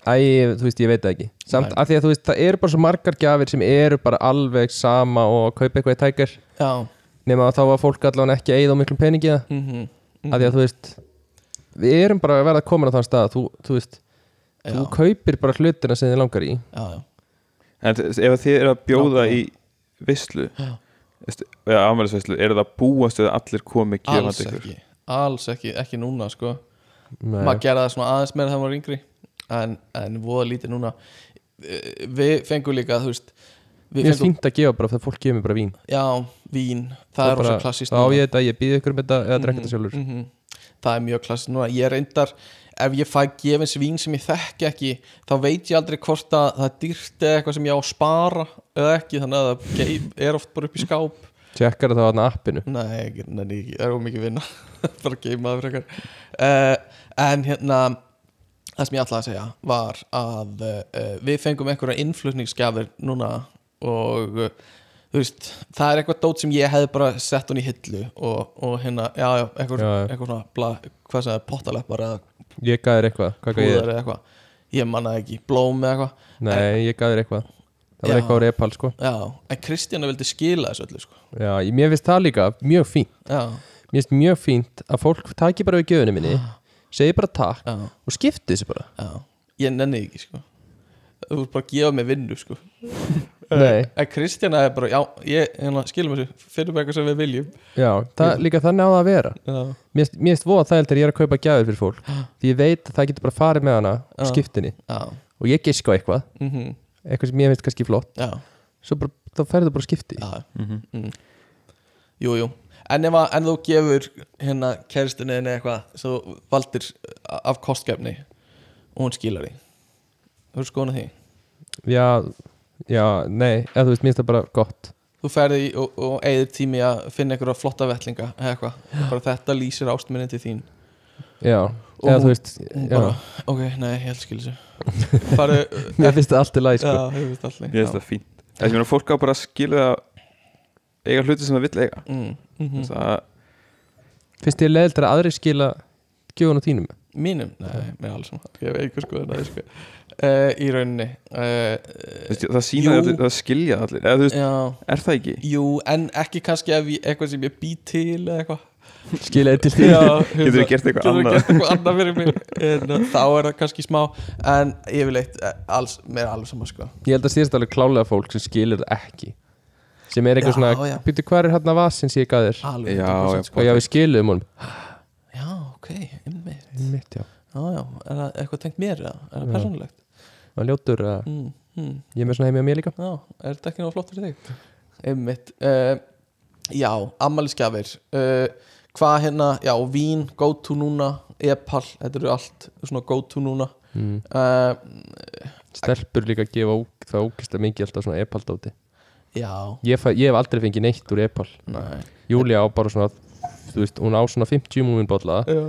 [SPEAKER 1] Æ, þú veist, ég veit það ekki Samt
[SPEAKER 2] Nei.
[SPEAKER 1] af því að þú veist, það eru bara svo margar gjafir sem eru bara alveg sama og að kaupa eitthvað í tækir
[SPEAKER 2] Já,
[SPEAKER 1] nema að þá var fólk allavega ekki að eyða á miklum peningi í það
[SPEAKER 2] mhm
[SPEAKER 1] af því að þú veist við erum bara að verða komin á þann stað þú, þú veist,
[SPEAKER 2] já,
[SPEAKER 1] þú kaupir bara hlutina sem þið langar í
[SPEAKER 2] já, já,
[SPEAKER 3] En þess- ef þið eru að bjóða í visslu
[SPEAKER 2] Já.
[SPEAKER 3] eða afmælisvisslu, eru það búast eða allir komi
[SPEAKER 2] alls
[SPEAKER 3] gefandi ykkur
[SPEAKER 2] ekki alls ekki, ekki núna sko
[SPEAKER 1] Nei.
[SPEAKER 2] maður gerði það svona aðeins meira þegar maður var yngri en, en voða lítið núna Eh, við fengum líka þú veist við
[SPEAKER 1] Mér er
[SPEAKER 2] fengum,
[SPEAKER 1] fínt að gefa bara, þegar fólk gefur mér bara vín
[SPEAKER 2] já, vín það er
[SPEAKER 1] bara,
[SPEAKER 2] rosa Mhm. klassist
[SPEAKER 1] Þá á ég þetta, ég býð ykkur um þetta eða drekka þetta sjálfur
[SPEAKER 2] það er mjög klassist núna ég reyndar, ef ég fæ gefins vín sem ég þekki ekki, þá veit ég aldrei hvort að það er dýrt eða eitthvað sem ég á að spara eða ekki, þannig að það ge- er oft bara upp í skáp
[SPEAKER 1] Tjekkar það á þarna appinu
[SPEAKER 2] Nei, ég nenni ekki, það er ómikið vinna bara geima það frekar uh, En hérna það sem ég ætlaði að segja var að uh, við fengum einhverja innflutningsgjafir núna og uh, þú veist, það er eitthvað dót sem ég hefði bara sett hún í hillu og, og hérna, já, já, eitthvað,
[SPEAKER 1] Já, já.
[SPEAKER 2] eitthvað svona bla, hvað sem það er, pottaleppar eða
[SPEAKER 1] Ég gaf þér eitthvað, hvað gaf ég
[SPEAKER 2] húðar
[SPEAKER 1] þér?
[SPEAKER 2] eða eitthvað ég manna ekki, blóm eða eitthvað
[SPEAKER 1] Nei, ég gaf þér eitthvað Það var
[SPEAKER 2] Já.
[SPEAKER 1] eitthvað á repal sko
[SPEAKER 2] Já, en Kristjana vildi skila þessu öllu sko.
[SPEAKER 1] Já, ég- mér finnst það líka mjög fínt
[SPEAKER 2] Já,
[SPEAKER 1] Mér finnst mjög fínt að fólk taki bara við gjöfunni minni segi bara takk
[SPEAKER 2] já,
[SPEAKER 1] og skipti þessu bara
[SPEAKER 2] já Ég nenni því ekki, sko Þú ert bara að gefa mig vinnu, sko
[SPEAKER 1] Nei,
[SPEAKER 2] En Kristjana er bara, já, ég, hérna, skilum þessu Finnum eitthvað sem við viljum
[SPEAKER 1] já, það, líka þannig á það að vera
[SPEAKER 2] Já,
[SPEAKER 1] Mér finnst- mér finnst voða þægild þegar ég er að kaupa gjafir fyrir fólk Því ég veit að það getur bara farið með hana og
[SPEAKER 2] Já.
[SPEAKER 1] skiptinni
[SPEAKER 2] já,
[SPEAKER 1] og ég gisk á eitthvað,
[SPEAKER 2] mm
[SPEAKER 1] eitthvað sem ég finnst kannski flott
[SPEAKER 2] já,
[SPEAKER 1] svo bara, þá færðu bara skipti
[SPEAKER 2] já
[SPEAKER 3] Mhm.
[SPEAKER 2] mm. Jú, jú En ef að, en þú gefur hérna kæristinu eða eitthvað Svo þú valdir af kostgefni Og hún skilar því Þú er skoðan að því
[SPEAKER 1] Já, já, nei, eða þú veist, mér finnst það bara gott
[SPEAKER 2] Þú ferði í- og, og eigðir tími að finna einhverja flotta vettlinga eða eitthvað Bara þetta lýsir ástminni til þín
[SPEAKER 1] Já,
[SPEAKER 2] Og
[SPEAKER 1] eða
[SPEAKER 2] hún-
[SPEAKER 1] þú veist
[SPEAKER 2] Hún
[SPEAKER 1] já,
[SPEAKER 2] bara, ok, nei, ég held skil þessu Farðu,
[SPEAKER 1] Mér finnst það allt í lagi sko.
[SPEAKER 2] Já, hefur þetta allir
[SPEAKER 3] Ég finnst það fínt Það sem er að fólk á bara að skilja eiga hluti sem það vill eiga
[SPEAKER 2] mm, mm
[SPEAKER 3] mm. það,
[SPEAKER 1] Finnst ég leiðild að aðri skila gjöfun og þínum
[SPEAKER 2] Mínum? Nei, með alls saman. Ég hef einhver skoðun að sko. uh, Í rauninni uh,
[SPEAKER 3] veist, það sýna
[SPEAKER 2] Jú.
[SPEAKER 3] allir, það skilja allir eða, þú veist,
[SPEAKER 2] Já,
[SPEAKER 3] Er það ekki?
[SPEAKER 2] jú, en ekki kannski ef ég, eitthvað sem ég bý til eða eitthvað
[SPEAKER 1] Skilaði til
[SPEAKER 2] Já, hérna,
[SPEAKER 3] Getur þú gert eitthvað
[SPEAKER 2] Getur þú
[SPEAKER 3] annað?
[SPEAKER 2] gert eitthvað annað fyrir mig En, uh, Þá er það kannski smá En yfirleitt, eh, alls, með alls saman sko.
[SPEAKER 1] Ég held að síðast alveg klálega fólk sem skilur það ekki sem er eitthvað
[SPEAKER 2] Já, já. Ah,
[SPEAKER 1] svona býttu hver er hérna vasin sem ég gaf þér
[SPEAKER 2] Alveg
[SPEAKER 3] Já,
[SPEAKER 2] 100%
[SPEAKER 3] já.
[SPEAKER 1] og já við skilum honum
[SPEAKER 2] já, ok, einmitt
[SPEAKER 1] mitt já
[SPEAKER 2] Já, já, er það eitthvað tengt mér? eða? Er það
[SPEAKER 1] Já.
[SPEAKER 2] persónulegt?
[SPEAKER 1] og ljótur að
[SPEAKER 2] Mm, mm.
[SPEAKER 1] ég er með svona heimi á mér líka
[SPEAKER 2] Já, er þetta ekki náttúrulega flott fyrir þig? Einmitt uh, Já, ammælisgjafir uh, Hvað hérna, já, vín, go to núna Epal, þetta eru allt svona go to núna
[SPEAKER 1] mm.
[SPEAKER 2] uh,
[SPEAKER 1] stelpur líka að gefa ók, það ókist að mikið alltaf svona epal dóti
[SPEAKER 2] Já,
[SPEAKER 1] ég, fæ, ég hef aldrei fengið neitt úr epal
[SPEAKER 2] nei
[SPEAKER 1] Júlia á bara svona þú veist hún á svona 50 múminbolla
[SPEAKER 2] Já,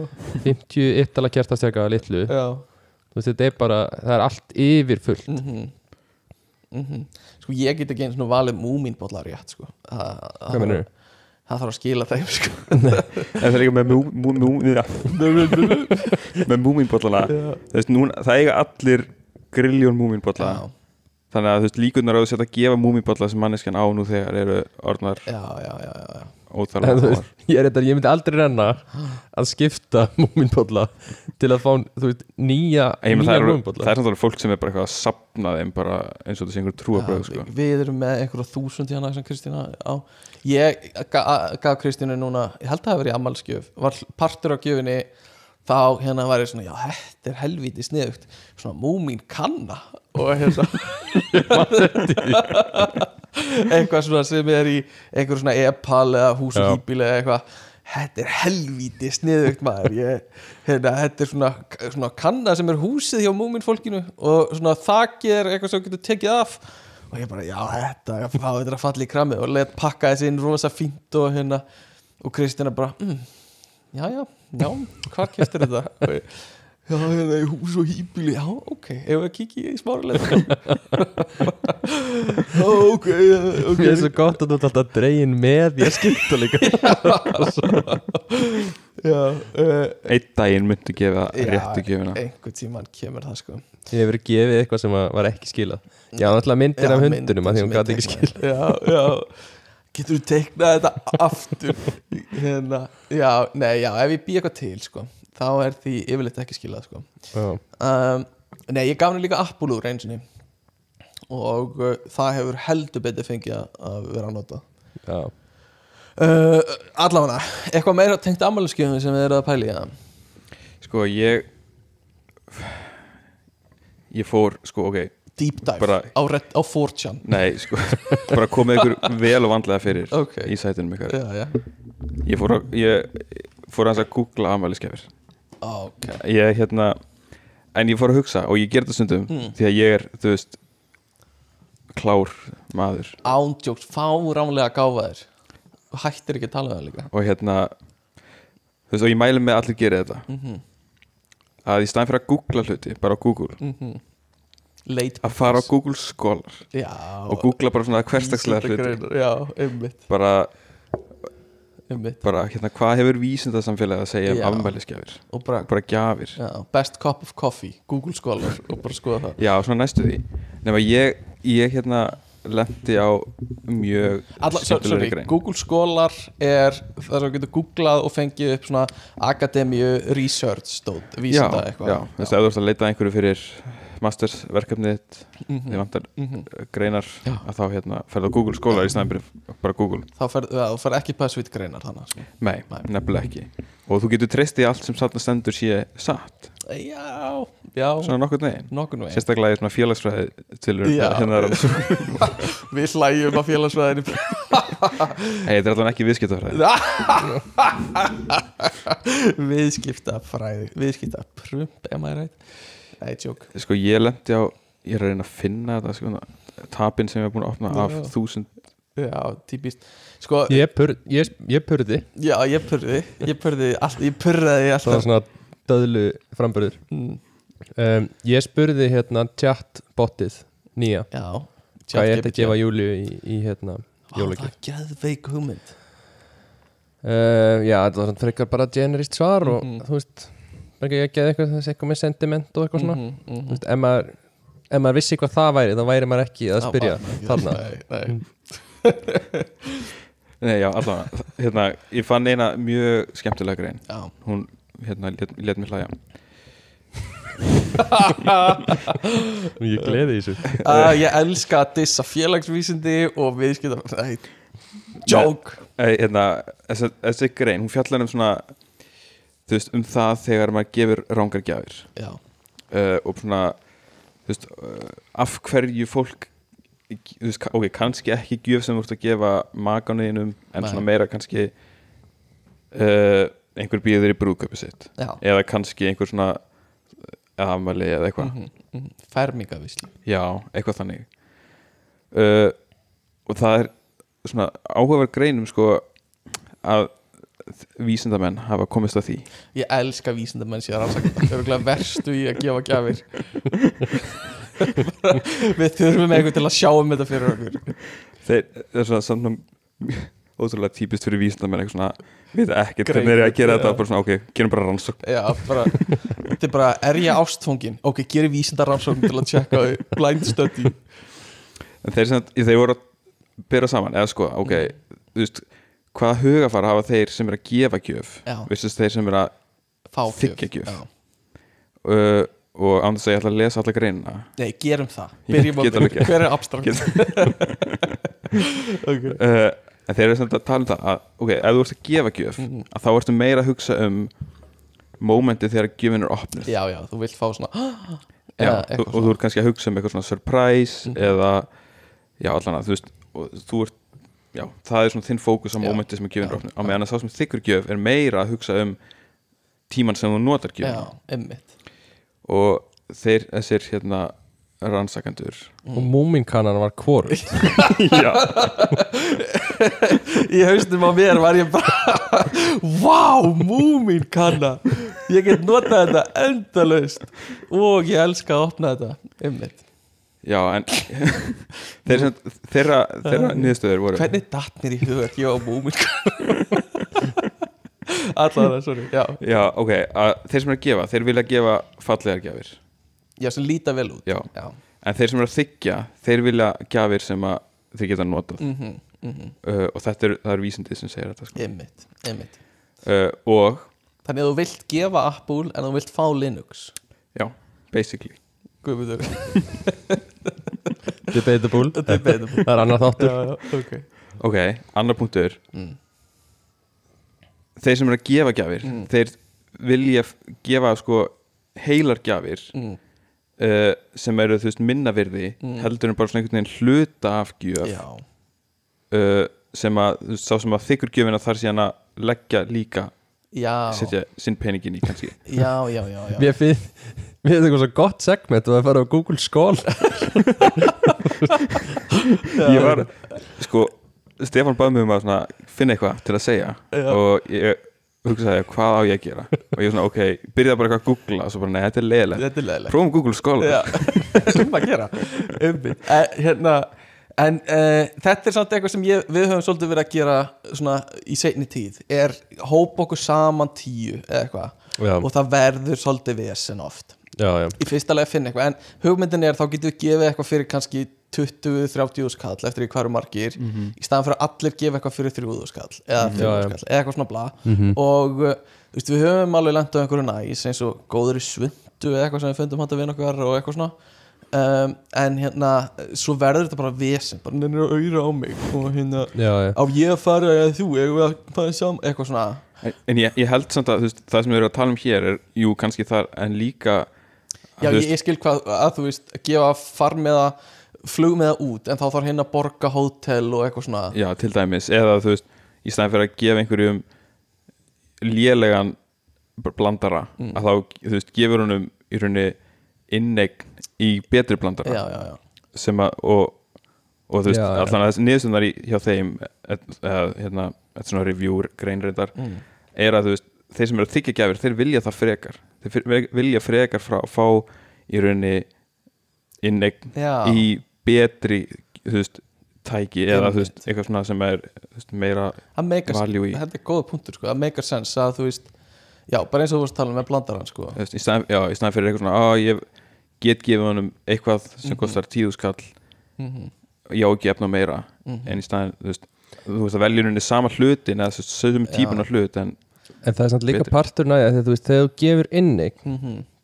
[SPEAKER 1] 50 yttala kertastjaka litlu
[SPEAKER 2] já
[SPEAKER 1] þú veist þetta er bara það er allt yfir fullt
[SPEAKER 2] mm -hmm. Sko, ég get ekki einu svona valið múmínbollar rétt, sko Þa-
[SPEAKER 1] hvað
[SPEAKER 2] það-
[SPEAKER 1] mennur
[SPEAKER 2] Það þarf að skila þeim, sko
[SPEAKER 3] En það er líka með mú- mú- mú- ja. með múminbollana Þú veist, núna- það eiga allir grilljón múminbolla
[SPEAKER 2] Já,
[SPEAKER 3] þannig að þú veist líkunar á þess að setja að gefa múminbolla sem manneskjan á nú þegar eru orðnar
[SPEAKER 2] já, já, já, já.
[SPEAKER 1] En þú
[SPEAKER 3] óþarlega
[SPEAKER 1] veist, ég, er þetta, ég myndi aldrei renna að skipta múminbolla til að fá þú veist, nýja,
[SPEAKER 3] Ég, meina,
[SPEAKER 1] nýja
[SPEAKER 3] það, er, það
[SPEAKER 1] múminbolla
[SPEAKER 3] er samtalið fólk sem er bara eitthvað að sapna þeim bara eins og þessi einhver trúabröð sko.
[SPEAKER 2] Við erum með einhverja þúsund hérna sem Kristína á Ég ga- gaf Kristínu núna, ég held að það hafi verið ammalskjöf Var partur á gjöfinni Þá hérna var ég svona, já, þetta er helvíti sniðugt Svona múmin kanna Og hérna Eitthvað svona sem er í Einhver svona e-pal eða hús og
[SPEAKER 1] Já.
[SPEAKER 2] hýbíl eða eitthvað Þetta er helvíti sniðugt maður ég, hérna, Þetta er svona, svona kanna sem er húsið hjá múmin fólkinu og svona þakið er eitthvað sem þú getur tekið af og ég bara, já, þetta, já, þetta er að falla í kramið og let pakka þessi inn rosa fínt og hérna, og Kristina bara mm, já, já, já, hvar keftir þetta? Og ég, já, hérna, í hús og hýbíli, já, ok ef við kikið í smárulega ok, ok
[SPEAKER 1] Mér er svo gott að þú ert alltaf dregin með ég skipta líka
[SPEAKER 2] já, uh,
[SPEAKER 3] Einn daginn myndi gefa
[SPEAKER 2] Já, e-
[SPEAKER 3] réttu gefina
[SPEAKER 2] einhvern tímann kemur það sko
[SPEAKER 1] Ég hefur gefið eitthvað sem að var ekki skilað Já, náttúrulega myndir af hundunum að því hún gæti ekki skilað
[SPEAKER 2] já, já. getur þú teiknað þetta aftur hérna, já, nei, já, ef ég bý eitthvað til sko, þá er því yfirleitt ekki skilað sko.
[SPEAKER 1] Já.
[SPEAKER 2] um, nei, ég gaf henni líka appul úr einsinni og uh, það hefur heldur betur fengið að- að vera að nota
[SPEAKER 1] Já.
[SPEAKER 2] uh, allavega, eitthvað meira tengt ammæliskefum sem þið eru að pæli já,
[SPEAKER 3] Sko ég Ég fór, sko ok
[SPEAKER 2] deep dive
[SPEAKER 3] Bara-
[SPEAKER 2] á, red, á 4chan
[SPEAKER 3] Nei, sko, bara komið ykkur vel og vandlega fyrir
[SPEAKER 2] Ok.
[SPEAKER 3] í sætinum ykkar
[SPEAKER 2] já, já,
[SPEAKER 3] Ég fór, að, ég fór aðeins að googla afmæliskefir
[SPEAKER 2] ok
[SPEAKER 3] Ég hérna, en ég fór að hugsa og ég ger þetta stundum því að ég er, þú veist klár maður
[SPEAKER 2] ándjóks, fáránlega gáfaðir hættir ekki að tala um það líka
[SPEAKER 3] og hérna þú veist, og ég mæli með að allir gera þetta
[SPEAKER 2] Mhm,
[SPEAKER 3] að í staðin fyrir að googla hluti bara á Google,
[SPEAKER 2] mhm. late
[SPEAKER 3] að fara á Google Scholar
[SPEAKER 2] já,
[SPEAKER 3] og googla bara svona hverstagslega hluti
[SPEAKER 2] vísindagreinar, já, einmitt,
[SPEAKER 3] bara,
[SPEAKER 2] einmitt
[SPEAKER 3] bara hérna, hvað hefur vísindasamfélagið að segja um
[SPEAKER 2] Já.
[SPEAKER 3] afmælisgjafir
[SPEAKER 2] og bara,
[SPEAKER 3] bara gjafir
[SPEAKER 2] já, best cup of coffee Google Scholar og bara skoða það
[SPEAKER 3] Já, svona næstu því Nefna ég, ég hérna lendi á mjög
[SPEAKER 2] Alla, so-
[SPEAKER 3] skemmtilegri
[SPEAKER 2] sorry,
[SPEAKER 3] grein
[SPEAKER 2] Google Scholar er það sem getur googlað og fengið upp svona akademíu research stóð,
[SPEAKER 3] Já,
[SPEAKER 2] vísinda eitthvað
[SPEAKER 3] já, þú veist, ef þú ert að leita að einhverju fyrir mastersverkefnið þitt
[SPEAKER 2] mm
[SPEAKER 3] þið vantar
[SPEAKER 2] Mhm.
[SPEAKER 3] eh, greinar
[SPEAKER 2] Já.
[SPEAKER 3] að þá hérna ferðu á Google skólar í snæðin bara Google,
[SPEAKER 2] þá fer, já, þú fer ekki passvít greinar þannig sko.
[SPEAKER 3] nei,
[SPEAKER 2] Nei.
[SPEAKER 3] nefnilega ekki og þú getur treyst í allt sem satna stendur sé satt,
[SPEAKER 2] já, já,
[SPEAKER 3] svona nokkurn veginn
[SPEAKER 2] nokkurn veginn
[SPEAKER 3] sérstaklega í svona félagsfræði til
[SPEAKER 2] Já.
[SPEAKER 3] hérna
[SPEAKER 2] við hlægjum að félagsvæðinu
[SPEAKER 3] hey, þetta er allan ekki viðskiptafræði
[SPEAKER 2] viðskipta fræði viðskipta prump, ef maður er rætt Nei, tjók
[SPEAKER 3] sko ég lendi á ég er að reyna að finna þetta sko, tapin sem ég er búin að opna af
[SPEAKER 2] Já.
[SPEAKER 3] þúsund
[SPEAKER 2] Já, típist Sko,
[SPEAKER 1] Ég, pur, ég, ég purði
[SPEAKER 2] já, ég purði Ég purði allt, ég
[SPEAKER 1] Það
[SPEAKER 2] purraði
[SPEAKER 1] var
[SPEAKER 2] alltaf
[SPEAKER 1] svona döðlu framburður
[SPEAKER 2] Mm,
[SPEAKER 1] um, Ég spurði hérna chat botið nýja
[SPEAKER 2] Já
[SPEAKER 1] Hvað ég ætti að gefa Júliu í, í hérna
[SPEAKER 2] jólagi
[SPEAKER 1] jólagjöf
[SPEAKER 2] Það er geðveik hugmynd
[SPEAKER 1] uh, Já, þetta var svona frekar bara generist svar og
[SPEAKER 2] Mhm.
[SPEAKER 1] þú veist bara ekki að geða eitthvað, þessi eitthvað með sentiment og eitthvað svona
[SPEAKER 2] Mhm, mhm.
[SPEAKER 1] Þú veist, ef maður ef maður vissi hvað það væri, þá væri maður ekki að
[SPEAKER 2] Já,
[SPEAKER 1] spyrja
[SPEAKER 2] bara-
[SPEAKER 1] þarna
[SPEAKER 2] Nei, nei
[SPEAKER 3] Nei, já, allavega, hérna, ég fann eina mjög skemmtilega grein
[SPEAKER 2] Já
[SPEAKER 3] Hún, hérna, let, let mér hlæja
[SPEAKER 4] Ég gleði þessu
[SPEAKER 2] uh, Ég elska að dissa félagsvísindi og viðskipta Nei, Jók
[SPEAKER 3] Ei, hérna, þessi, þessi grein, hún fjallar um svona Þú veist, um það þegar maður gefur rángar gjafir
[SPEAKER 2] Já,
[SPEAKER 3] uh, Og svona, þú veist, uh, af hverju fólk Þú veist, ka- ok, kannski ekki gjöf sem þú ert að gefa maganiðinum En
[SPEAKER 2] Nei.
[SPEAKER 3] svona meira kannski uh, Einhver býður í brúðköpi sitt
[SPEAKER 2] já
[SPEAKER 3] Eða kannski einhver svona eða Afmæli eða eitthvað
[SPEAKER 2] Mhm, mhm. Fermingavíslu
[SPEAKER 3] Já, eitthvað þannig uh, og það er svona áhugaverð greinum sko að vísindamenn hafa komist að því
[SPEAKER 2] Ég elska vísindamenn sem ég rannsaka örgulega verstu í að gefa gjafir Við þurfum eitthvað til að sjá um þetta fyrir okkur
[SPEAKER 3] þeir það er svona samt ótrúlega típist fyrir vísindamenn eitthvað svona við ekkert
[SPEAKER 2] Grein,
[SPEAKER 3] hvernig er ég að gera
[SPEAKER 2] já.
[SPEAKER 3] þetta bara svona ok, gerum bara rannsókn
[SPEAKER 2] Já, bara, þetta er bara, er ég ástfóngin? Ok, gerir vísindarannsókn til að tjekka blind study Mm.
[SPEAKER 3] en þeir, sem, þeir voru að bera saman eða sko, ok, þú veist hvaða hugafara hafa þeir sem er að gefa gjöf
[SPEAKER 2] Já.
[SPEAKER 3] vissist þeir sem er að
[SPEAKER 2] fá gjöf.
[SPEAKER 3] Þiggja gjöf.
[SPEAKER 2] Já.
[SPEAKER 3] uh, og án þess að ég ætla að lesa alla greina
[SPEAKER 2] Nei, gerum það
[SPEAKER 3] Ég
[SPEAKER 2] Byrjum að
[SPEAKER 3] get alveg gert.
[SPEAKER 2] hver er abstrakt
[SPEAKER 3] Get- uh, en þeir eru samt að tala um það að, ok, ef þú ert að gefa gjöf
[SPEAKER 2] Mm-hmm.
[SPEAKER 3] að þá ertu meira að hugsa um momentið þegar gjöfin er opnur
[SPEAKER 2] Já, já, þú vilt fá svona
[SPEAKER 3] Já,
[SPEAKER 2] eða
[SPEAKER 3] þú,
[SPEAKER 2] eitthvað Mm-hmm.
[SPEAKER 3] og þú ert kannski að hugsa um eitthvað svona surprise eða, já allan að þú veist og þú ert, já, það er svona þinn fókus á
[SPEAKER 2] Já,
[SPEAKER 3] mómentið sem er gjöfin
[SPEAKER 2] já,
[SPEAKER 3] rofnur á meðan að sá sem þykkur gjöf er meira að hugsa um tíman sem þú notar
[SPEAKER 2] Já,
[SPEAKER 3] gjöfin
[SPEAKER 2] einmitt
[SPEAKER 3] og þeir, þessir hérna rannsakandur
[SPEAKER 1] og múminkanan var kvoru
[SPEAKER 3] já,
[SPEAKER 2] Í haustum á mér var ég bara Vá, múmin kanna Ég get notað þetta endalaust Og ég elska að opna þetta Einmitt
[SPEAKER 3] já, en þeir sem, þeirra, þeirra niðurstöður voru
[SPEAKER 2] Hvernig datt mér í hug að gefa múmin kanna Alla það, sorry Já,
[SPEAKER 3] já, ok, að, þeir sem er að gefa, þeir vilja gefa fallegar gjafir
[SPEAKER 2] já sem líta vel út
[SPEAKER 3] já,
[SPEAKER 2] Já,
[SPEAKER 3] en þeir sem er að þykja þeir vilja gjafir sem að þeir geta notað
[SPEAKER 2] mhm, mhm
[SPEAKER 3] uh, og þetta er, það er vísindið sem segir þetta sko.
[SPEAKER 2] Einmitt, einmitt
[SPEAKER 3] uh, og,
[SPEAKER 2] Þannig að þú vilt gefa Apple en þú vilt fá Linux
[SPEAKER 3] já, basically
[SPEAKER 2] Guðmundur
[SPEAKER 1] debatable
[SPEAKER 2] Debatable.
[SPEAKER 1] það er annar þáttur
[SPEAKER 2] já, ok
[SPEAKER 3] ok, annar punktur
[SPEAKER 2] Mm,
[SPEAKER 3] þeir sem eru að gefa gjafir þeir vilja f- gefa sko heilar gjafir
[SPEAKER 2] mm,
[SPEAKER 3] uh, sem eru þú veist minna virði heldur en bara svona einhvern veginn hluta af gjöf
[SPEAKER 2] Já,
[SPEAKER 3] uh, sem að, þú veist, sá sem að þykkur gjöfina þar síðan að leggja líka
[SPEAKER 2] já
[SPEAKER 3] setja sinn peningin í kannski
[SPEAKER 2] Já, já, já, já.
[SPEAKER 1] Mér finnst Mér finnst eitthvað svo gott segment og það fara á Google Scholar
[SPEAKER 3] ég var, sko Stefán baði mig um að svona, finna eitthvað til að segja
[SPEAKER 2] Já.
[SPEAKER 3] og ég hugsaði hvað á ég að gera og ég var svona ok, byrjaði bara eitthvað að googla og svo bara nei, þetta er leiðilegt,
[SPEAKER 2] Þetta er leðilegt
[SPEAKER 3] prófum Google skóla
[SPEAKER 2] Já, um sko. að gera Einmitt. Eh, Hérna En uh, þetta er samt eitthvað sem ég, við höfum svolítið verið að gera svona í seinni tíð er hópa okkur saman tíu eða eitthvað
[SPEAKER 1] Já.
[SPEAKER 2] og það verður svolítið vesen oft
[SPEAKER 1] Já, já
[SPEAKER 2] í fyrsta lega að finna eitthvað en hugmyndin er þá getum við gefið eitthvað fyrir kannski 20-30 skall eftir því hverju margir í staðan fyrir að allir gefa eitthvað fyrir 30 skall eða 50
[SPEAKER 1] Mhm. Já, já.
[SPEAKER 2] skall eða eitthvað svona bla
[SPEAKER 3] Mm.
[SPEAKER 1] Mhm.
[SPEAKER 2] og uh, þú veist, við höfum alveg lent á einhverju næs eins og góður í svundu eða eitthvað sem við fundum handa við okkar og eitthvað svona um, en hérna svo verður þetta bara vesen bara nefnir að auðra á mig og hérna
[SPEAKER 1] Já, já
[SPEAKER 2] á ég að fara eða þú eigum við að fara saman eitthvað svona
[SPEAKER 3] en ég, ég held samt að þú veist, það sem við erum að tala um hér er jú kannski þar en líka
[SPEAKER 2] Já,
[SPEAKER 3] þú
[SPEAKER 2] ég, ég skil hvað að þú veist að gefa farmiða flugmiða út en þá þarf hinn að borga hótel og eitthvað svona
[SPEAKER 3] já, til dæmis, eða þú veist í staðan fyrir að gefa einhverjum lélegan b- blandara
[SPEAKER 2] Mm.
[SPEAKER 3] að þá, þú veist, gefur honum í rauninni innegn í betri blandara
[SPEAKER 2] Já, já, já,
[SPEAKER 3] sem að og, og þú veist,
[SPEAKER 1] Já, já.
[SPEAKER 3] allan að þessi niðurstöndar í- hjá þeim eh, eh, hérna, þetta svona review greinreitar er að þú veist, þeir sem eru að þykja gjafir þeir vilja það frekar þeir fyr- vilja frekar frá fá í rauninni innegn
[SPEAKER 2] Já.
[SPEAKER 3] í betri þú veist, tæki eða þú veist,
[SPEAKER 2] Einmitt.
[SPEAKER 3] eitthvað svona sem er þú veist, meira
[SPEAKER 2] það meikar
[SPEAKER 3] Value í.
[SPEAKER 2] þetta er góða punktur sko, það meikar sens að þú veist já, bara eins og þú veist tala með blandarann sko
[SPEAKER 3] þú veist, í staðan, já, í staðan fyrir eitthvað svona að ég get gefið honum eitthvað sem
[SPEAKER 2] Mhm.
[SPEAKER 3] kostar tíðu skall ég á ekki efna meira en í staðan, þú veist, þú veist að veljurinn er sama hlutin eða sögum típun af hlut en
[SPEAKER 1] En það er samt líka
[SPEAKER 3] Betur.
[SPEAKER 1] partur næja þegar þú veist þegar þú gefur inni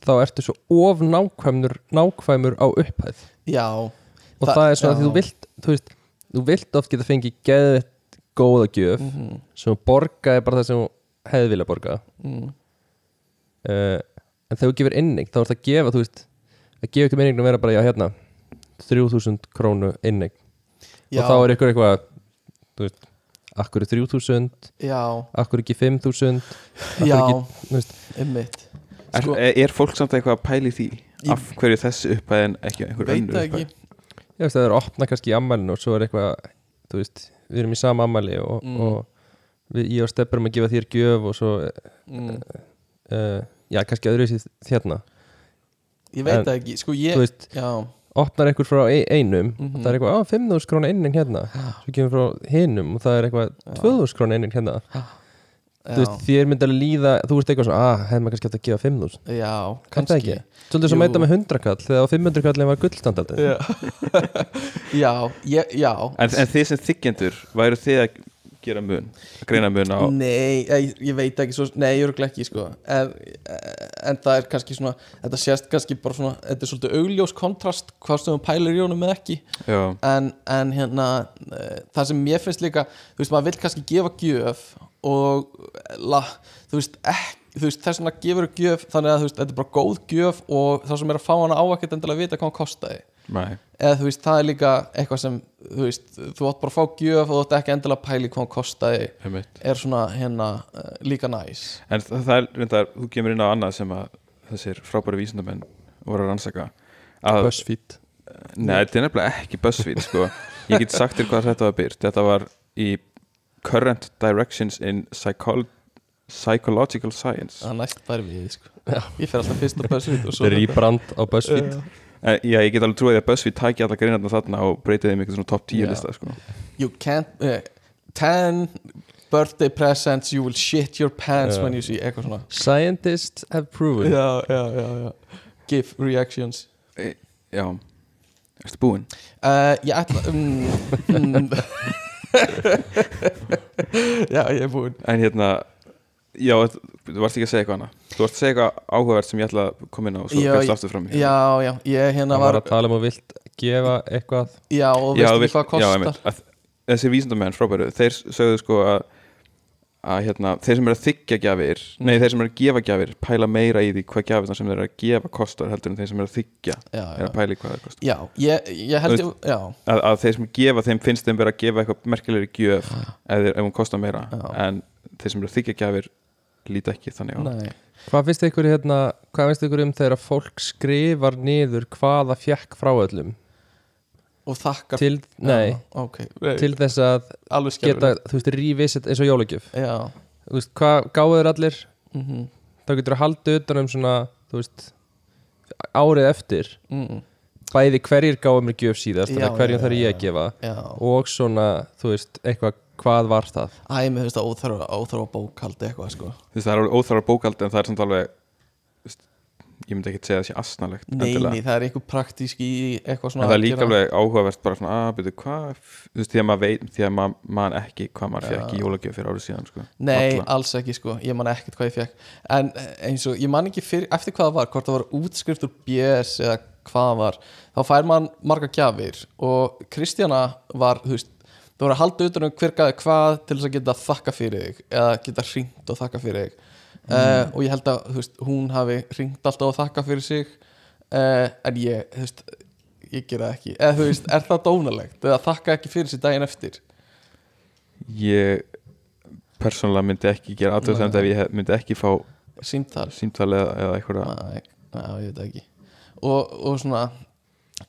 [SPEAKER 1] þá ertu svo of nákvæmur nákvæmur á upphæð
[SPEAKER 2] Já,
[SPEAKER 1] og það, er svona því þú vilt þú veist, þú vilt oft geta fengið geðvett góða gjöf
[SPEAKER 2] Mhm.
[SPEAKER 1] sem þú borgaði bara það sem þú hefði vilja borga uh, en þegar þú gefur innig þá er það að gefa, þú veist að gefa ykkur innig að vera bara, já hérna 3000 krónu innig
[SPEAKER 2] já,
[SPEAKER 1] og þá er ykkur eitthvað þú veist, akkur er 3000
[SPEAKER 2] Já,
[SPEAKER 1] akkur ekki 5000 af hverju
[SPEAKER 2] já,
[SPEAKER 1] ekki, þú veist,
[SPEAKER 2] einmitt
[SPEAKER 3] er,
[SPEAKER 2] Sko-
[SPEAKER 3] er fólk samt eitthvað að pæli því
[SPEAKER 2] Ég-
[SPEAKER 3] af hverju þessi upphæð en ekki einhver
[SPEAKER 2] Veit
[SPEAKER 3] önnur
[SPEAKER 2] það ekki
[SPEAKER 3] upphæð
[SPEAKER 1] ég veist að það er að opna kannski í ammælinu og svo er eitthvað, þú veist við erum í sama ammæli og,
[SPEAKER 2] Mm.
[SPEAKER 1] og við, ég og Stepp erum að gefa þér gjöf og svo,
[SPEAKER 2] mm.
[SPEAKER 1] uh, já kannski hérna. öðru sér þérna,
[SPEAKER 2] Ég veit
[SPEAKER 1] En-
[SPEAKER 2] það ekki, sko ég
[SPEAKER 1] þú veist,
[SPEAKER 2] Já,
[SPEAKER 1] opnar einhver frá e- einum
[SPEAKER 2] Mhm.
[SPEAKER 1] og það er eitthvað, á, 5.000 krónu einning hérna svo kemur frá hinum og það er eitthvað 2.000 krónu einning hérna þú
[SPEAKER 2] já,
[SPEAKER 1] veist, þér myndar að líða, þú veist eitthvað svona ah, hefði maður kannski átt að gefa 5.000
[SPEAKER 2] já
[SPEAKER 1] Er það ekki? Svolítið
[SPEAKER 2] Jú.
[SPEAKER 1] svo mæta með 100 kall þegar á 500 kallin var gullstandardin
[SPEAKER 2] Já, já, já
[SPEAKER 3] en, en þið sem þykjendur væru þið að gera mun að greina mun á
[SPEAKER 2] Mm. Nei, ég, ég veit ekki svo, nei, ég eru ekki sko. en, eh, en það er kannski svona þetta sést kannski bara svona þetta er svolítið augljós kontrast hvað stöðum pælir í honum eða ekki
[SPEAKER 3] já,
[SPEAKER 2] en, en hérna eh, það sem mér finnst líka þú veist, maður vil kannski gefa gjöf og eh, la, þú veist, ekki þú veist, þess vegna gefur gjöf þannig að þú veist, þetta er bara góð gjöf og þá sem er að fá hana á ekkert endilega að vita hvað hann kostaði
[SPEAKER 3] nei,
[SPEAKER 2] eða þú veist, það er líka eitthvað sem þú veist, þú átt bara að fá gjöf og þú átt ekki endilega að pæli hvað hann kostaði
[SPEAKER 3] einmitt.
[SPEAKER 2] er svona hérna uh, líka næs
[SPEAKER 3] en það, það er reyndar, þú kemur inn á annað sem að þessir frábæri vísindamenn voru að rannsaka að,
[SPEAKER 1] Buzzfeed
[SPEAKER 3] nei, þetta er nefnilega ekki BuzzFeed sko. ég get sagt þér hvað þetta var byrt þetta var í Current Directions in Psychol Psychological Science
[SPEAKER 2] það næst væri við sko. ég fer alltaf fyrst á BuzzFeed og svo
[SPEAKER 1] Þetta er íbrand á Buzzfeed
[SPEAKER 3] en, Eh, já, ég get alveg trúið að BuzzFeed tæki alla greinarna þarna og breytið þeim eitthvað svona top 10
[SPEAKER 2] Já.
[SPEAKER 3] lista sko.
[SPEAKER 2] you can't uh, ten birthday presents you will shit your pants
[SPEAKER 1] Já.
[SPEAKER 2] when you see eitthvað svona
[SPEAKER 1] Scientists have proven
[SPEAKER 2] já, já, já, já. give reactions
[SPEAKER 3] já, erstu búinn?
[SPEAKER 2] uh, ég ætla um, um, já, ég er búinn
[SPEAKER 3] En hérna Já, þú varst ekki að segja eitthvað annað Þú varst að segja eitthvað áhugavert sem ég ætla að koma inn á og svo
[SPEAKER 2] Já,
[SPEAKER 3] fyrst
[SPEAKER 2] ég-
[SPEAKER 3] aftur fram í.
[SPEAKER 2] já, já, ég hérna
[SPEAKER 1] Það
[SPEAKER 2] var
[SPEAKER 1] var að tala um að vilt gefa eitthvað
[SPEAKER 2] já, og
[SPEAKER 3] Já,
[SPEAKER 2] veistu
[SPEAKER 3] vill-
[SPEAKER 2] ekki hvað
[SPEAKER 3] já,
[SPEAKER 2] kostar
[SPEAKER 3] einmitt. Að- Þessi vísindamenn frábæru, þeir sögðu sko að að hérna, þeir sem eru að þykja gjafir nei, þeir sem eru að gefa gjafir pæla meira í því hvað gjafir sem þeir eru að gefa kostar heldur en þeir sem eru að þykja
[SPEAKER 2] já,
[SPEAKER 3] er
[SPEAKER 2] já.
[SPEAKER 3] að pæla í hvað það kostar
[SPEAKER 2] já, ég, ég held ég, já
[SPEAKER 3] að, að þeir sem gefa þeim finnst þeim vera að gefa eitthvað merkilegri gjöf ef, þeir- ef hún kostar meira
[SPEAKER 2] Já.
[SPEAKER 3] en þeir sem eru að þykja gjafir líta ekki þannig á
[SPEAKER 2] nei
[SPEAKER 1] Hvað finnst ykkur hérna Hvað finnst ykkur um þegar að fólk skrifar niður hvað það fjekk frá öllum
[SPEAKER 2] og þakkar
[SPEAKER 1] til, nei,
[SPEAKER 2] Já, ok, Nei,
[SPEAKER 1] til þess að geta,
[SPEAKER 2] alveg skelfilegt.
[SPEAKER 1] þú veist, rívisett eins og jólugjöf
[SPEAKER 2] já,
[SPEAKER 1] Þú veist, hvað gáðu þér allir
[SPEAKER 2] mm
[SPEAKER 1] þá getur þú haldið utan um svona þú veist, árið eftir
[SPEAKER 2] mm,
[SPEAKER 1] bæði hverjir gáðu mér gjöf síðast
[SPEAKER 2] Já,
[SPEAKER 1] þannig að hverjum
[SPEAKER 2] já,
[SPEAKER 1] þarf
[SPEAKER 2] já,
[SPEAKER 1] ég að gefa
[SPEAKER 2] já
[SPEAKER 1] og svona, þú veist, eitthvað hvað var það
[SPEAKER 2] æ, mér finnst það óþarfa, óþarfa bókaldi eitthvað sko
[SPEAKER 3] þú veist það er alveg óþára bókald en það er samt alveg þú veist, ég myndi ekki segja það sé asnalegt
[SPEAKER 2] nei,
[SPEAKER 3] endilega.
[SPEAKER 2] nei, það er einhver praktísk í eitthvað
[SPEAKER 3] en
[SPEAKER 2] svona
[SPEAKER 3] það er
[SPEAKER 2] að
[SPEAKER 3] líka
[SPEAKER 2] gera-
[SPEAKER 3] alveg áhugavert bara svona að byrja hvað f- þú veist því að maður veit því að maður man ekki hvað maður
[SPEAKER 2] Já.
[SPEAKER 3] fekk í jólagjöf fyrir árið síðan sko.
[SPEAKER 2] nei,
[SPEAKER 3] Alla.
[SPEAKER 2] alls ekki sko, ég man ekkert hvað ég fekk en eh, eins og, ég man ekki fyrir, eftir hvað það var hvort það var útskrift úr BS eða hvað það var, þá fær man marga gjafir og Kristjana var, þú veist þú voru að halda utan um hver gaði hvað til þess að geta þakka fyrir þig eða geta hringt og þakka fyrir þig uh, og ég held að þú veist, hún hafi hringt alltaf og þakka fyrir sig uh, en ég, þú veist ég gera það ekki, eða þú veist, er það dónalegt eða þakka ekki fyrir sig daginn eftir
[SPEAKER 3] ég persónulega myndi ekki gera aðtöðsend ef ég hef- myndi ekki fá
[SPEAKER 2] símtal
[SPEAKER 3] símtal eða, eða einhverja
[SPEAKER 2] Nei, já, ég veit það ekki og, og svona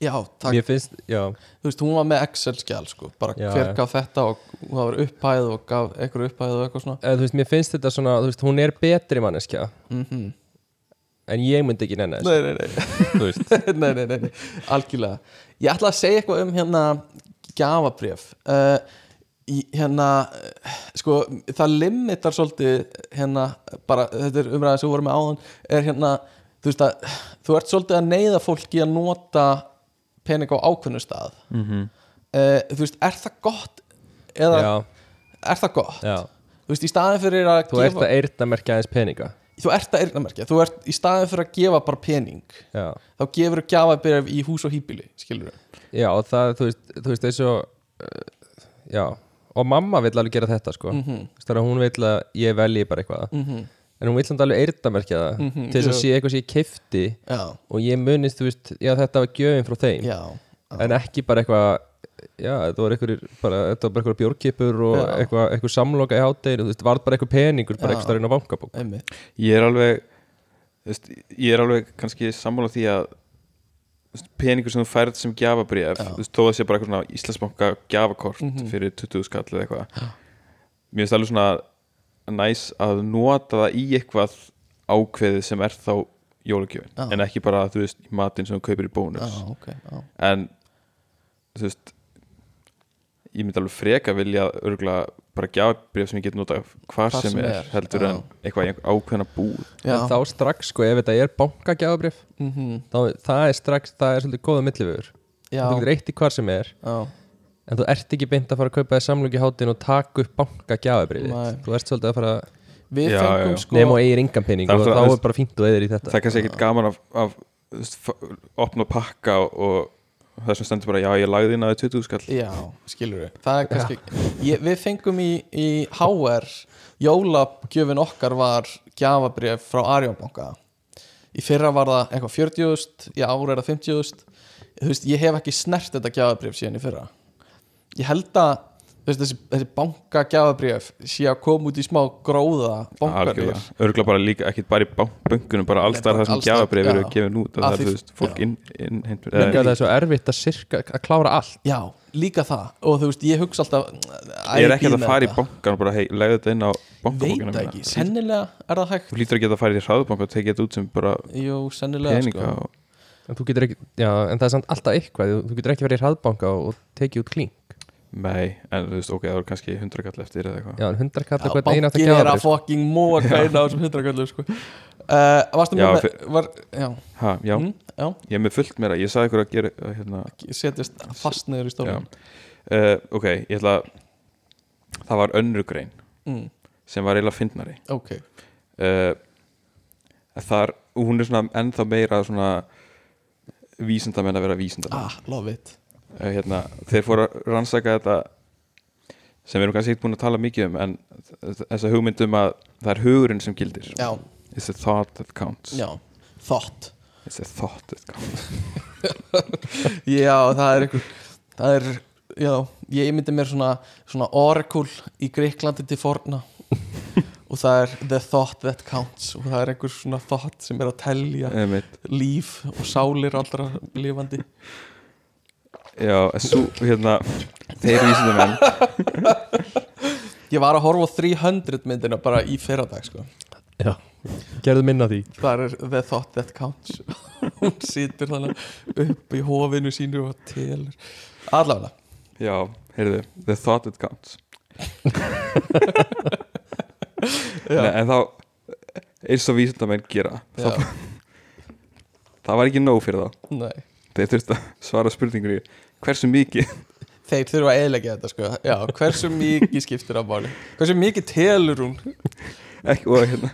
[SPEAKER 2] já, takk,
[SPEAKER 1] Mér finnst, já,
[SPEAKER 2] þú veist, hún var með Excel-skjál sko, bara
[SPEAKER 1] Já,
[SPEAKER 2] hver
[SPEAKER 1] já.
[SPEAKER 2] gaf þetta og og það var upphæð og gaf einhver upphæð og eitthvað svona
[SPEAKER 1] eða, þú veist, mér finnst þetta svona þú veist, hún er betri manneskja
[SPEAKER 2] mm -hmm.
[SPEAKER 1] en ég myndi ekki nenni
[SPEAKER 2] nei, nei, nei,
[SPEAKER 1] þú veist
[SPEAKER 2] nei, nei, nei, nei, algjörlega ég ætla að segja eitthvað um hérna gjafabrif uh, í- hérna eh, sko, það limitar svolítið hérna, bara, þetta er umræðan sem við vorum með áðan er hérna, þú veist að þú ert svolítið að neyða fólki að nota pening á ákveðnu stað
[SPEAKER 3] mm -hmm.
[SPEAKER 2] uh, þú veist, er það gott eða
[SPEAKER 1] Mhm. já,
[SPEAKER 2] er það gott
[SPEAKER 1] já.
[SPEAKER 2] þú veist, í staðin fyrir að
[SPEAKER 1] Þú ert
[SPEAKER 2] gefa
[SPEAKER 1] að eyrna merkja aðeins peninga
[SPEAKER 2] þú ert að eyrnamerkja, þú ert í staðin fyrir að gefa bara pening,
[SPEAKER 1] Já,
[SPEAKER 2] þá gefur þú gjafabyrjaf í hús og hýbili, skilur við
[SPEAKER 1] já og það, þú veist, þú veist eins og uh, Já, og mamma vill alveg gera þetta sko. mm
[SPEAKER 2] Mhm.
[SPEAKER 1] -hmm. Þannig að hún vill að ég velji bara eitthvað En hún vill samt alveg eyrnamerkja það
[SPEAKER 2] Mhm,
[SPEAKER 1] Til þess
[SPEAKER 2] já.
[SPEAKER 1] að sé eitthvað sem ég kefti
[SPEAKER 2] já,
[SPEAKER 1] Og ég munist, þú veist, já þetta var gjöfin frá þeim
[SPEAKER 2] já,
[SPEAKER 1] En ekki bara eitthvað Já, þetta var einhverjir, bara, þetta var bara einhverjir bjórkipur og
[SPEAKER 2] Já.
[SPEAKER 1] eitthvað, eitthvað samloka í hátteginu, þú veist, varð bara eitthvað peningur bara
[SPEAKER 2] Já.
[SPEAKER 1] eitthvað starinn á bankabók.
[SPEAKER 2] einmitt
[SPEAKER 3] ég er alveg þú veist, ég er alveg kannski sammála því að þú veist, peningur sem þú færð sem gjafabrif
[SPEAKER 2] Já.
[SPEAKER 3] þú veist, þó að sé bara eitthvað svona Íslandsbanka gjafakort
[SPEAKER 2] Mhm.
[SPEAKER 3] fyrir 20 skall eða eitthvað mér finnst alveg svona næs að nota það í eitthvað ákveðið sem er þá jólugjöfin,
[SPEAKER 2] Já.
[SPEAKER 3] en ekki bara þú veist, í matinn sem þú kaupir í bónus
[SPEAKER 2] já, ok, já,
[SPEAKER 3] en þú veist ég myndi alveg freka vilja örgulega bara gjafabrif sem ég get nota hvar sem, er, heldur
[SPEAKER 2] Já.
[SPEAKER 3] en eitthvað í einhver- ákveðna búð
[SPEAKER 2] já.
[SPEAKER 1] En þá strax, sko, ef þetta er bankagjáðabrif
[SPEAKER 2] Mhm,
[SPEAKER 1] þá, það er strax, það er svolítið góða millivögur
[SPEAKER 2] já,
[SPEAKER 1] þú getur eitt í hvar sem er
[SPEAKER 2] já,
[SPEAKER 1] en þú ert ekki beint að fara að kaupa þér samlungi hátin og taka upp banka
[SPEAKER 2] Nei.
[SPEAKER 1] gjafabrið þú ert svolítið að fara að
[SPEAKER 2] Við
[SPEAKER 3] Já,
[SPEAKER 2] fengum
[SPEAKER 3] já.
[SPEAKER 2] sko
[SPEAKER 1] nema og eigir engan penning
[SPEAKER 3] Það er
[SPEAKER 1] og
[SPEAKER 3] alltaf-
[SPEAKER 1] þá er bara fínt og eðir í þetta
[SPEAKER 3] það er kannski ekkit gaman af, af þú veist, fa- opna pakka og þessum stendur bara já ég lagði inn að þið 20 skall
[SPEAKER 2] Já, skilur við Það er kannski ég, Við fengum í, í HR Jólagjöfin okkar var gjafabrif frá Arjónbanka Í fyrra var það eitthvað 40.000 Í ára er það 50.000 Þú veist, ég hef ekki snert þetta gjafabrif síðan í fyrra Ég held að þú veist, þessi, þessi banka gjafabrif sé að koma út í smá gróða bankabrif
[SPEAKER 3] örgulega bara líka, ekkit bara í bán- bönkunum bara
[SPEAKER 2] Nei,
[SPEAKER 3] allstar
[SPEAKER 2] bara
[SPEAKER 3] það sem
[SPEAKER 2] alls staðar,
[SPEAKER 3] gjafabrið eru
[SPEAKER 2] já.
[SPEAKER 3] gefin út og
[SPEAKER 2] Að
[SPEAKER 3] það er
[SPEAKER 2] því-
[SPEAKER 3] þú veist fólk
[SPEAKER 2] já.
[SPEAKER 3] inn, inn, inn,
[SPEAKER 1] Líka það er svo erfitt að, sirka, að klára allt
[SPEAKER 2] Já, líka það og þú veist, ég hugsa alltaf æ,
[SPEAKER 3] ég er ekki
[SPEAKER 2] býð
[SPEAKER 3] að
[SPEAKER 2] með
[SPEAKER 3] fara í
[SPEAKER 2] þetta.
[SPEAKER 3] bankan og bara hei, legðu þetta inn á
[SPEAKER 2] Veit
[SPEAKER 3] bankabokkina
[SPEAKER 2] það ekki, sennilega er það hægt
[SPEAKER 3] þú lítur að geta að fara í hraðubanka og tekið þetta út sem bara
[SPEAKER 2] Jú, sennilega
[SPEAKER 3] peninga
[SPEAKER 2] sko.
[SPEAKER 3] og
[SPEAKER 1] en, þú getur ekki, já, en það er samt alltaf eitthvað þú- þú getur ekki verið í hraðbanka og, og tekið út klink
[SPEAKER 3] Nei, en þú veist, ok, það voru kannski 100 kall eftir eða eitthvað
[SPEAKER 1] já, en hundra
[SPEAKER 2] Já,
[SPEAKER 1] kalla hvern
[SPEAKER 2] bankinn
[SPEAKER 1] einasta
[SPEAKER 2] er að
[SPEAKER 1] gjafabrið
[SPEAKER 2] fucking móka eina á þessum hundraköllum sko. uh, Varstu
[SPEAKER 3] Já,
[SPEAKER 2] mér með
[SPEAKER 3] fyr-
[SPEAKER 2] var, Já,
[SPEAKER 3] Ha, já,
[SPEAKER 2] Mm, já,
[SPEAKER 3] ég er með fullt meira, ég sagði ykkur að gera að hérna,
[SPEAKER 2] setjast fast neður í
[SPEAKER 3] já.
[SPEAKER 2] stólum
[SPEAKER 3] Uh, Ok, ég ætla að það var önnur grein
[SPEAKER 2] mm,
[SPEAKER 3] sem var eiginlega fyndnari
[SPEAKER 2] Ok,
[SPEAKER 3] uh, Þar, hún er svona ennþá meira svona vísindamenn að vera vísindamenn
[SPEAKER 2] ah, love it
[SPEAKER 3] uh, hérna, Þeir fóru að rannsaka þetta sem við erum kannski ekkert búin að tala mikið um en þessa hugmyndum að það er hugurinn sem gildir
[SPEAKER 2] Já,
[SPEAKER 3] It's a thought that counts
[SPEAKER 2] já, þátt
[SPEAKER 3] It's a thought that counts
[SPEAKER 2] Já, það er einhver Það er, já, ég myndi mér svona svona orakul í Greiklandi til forna og það er the thought that counts og það er einhver svona thought sem er að telja
[SPEAKER 3] Einmitt.
[SPEAKER 2] líf og sálir allra lifandi
[SPEAKER 3] Já, en svo, hérna Þeir vísindamenn
[SPEAKER 2] Ég var að horfa á 300 myndina bara í fyrradag sko.
[SPEAKER 1] gerðu minna því
[SPEAKER 2] Það er The Thought That Counts Hún situr þannig upp í hofinu sínu og telur Allavega
[SPEAKER 3] Já, heyrðu, the thought it counts Nei, En þá eins og vísindamenn gera
[SPEAKER 2] Já,
[SPEAKER 3] það, það var ekki nóg fyrir þá
[SPEAKER 2] nei.
[SPEAKER 3] Þeir þurfti að svara spurningunni Hversu mikið
[SPEAKER 2] Þeir þurfa að eðleggja þetta sko. Já, Hversu mikið skiptir á máli Hversu mikið telur hún
[SPEAKER 3] ekki, og, hérna,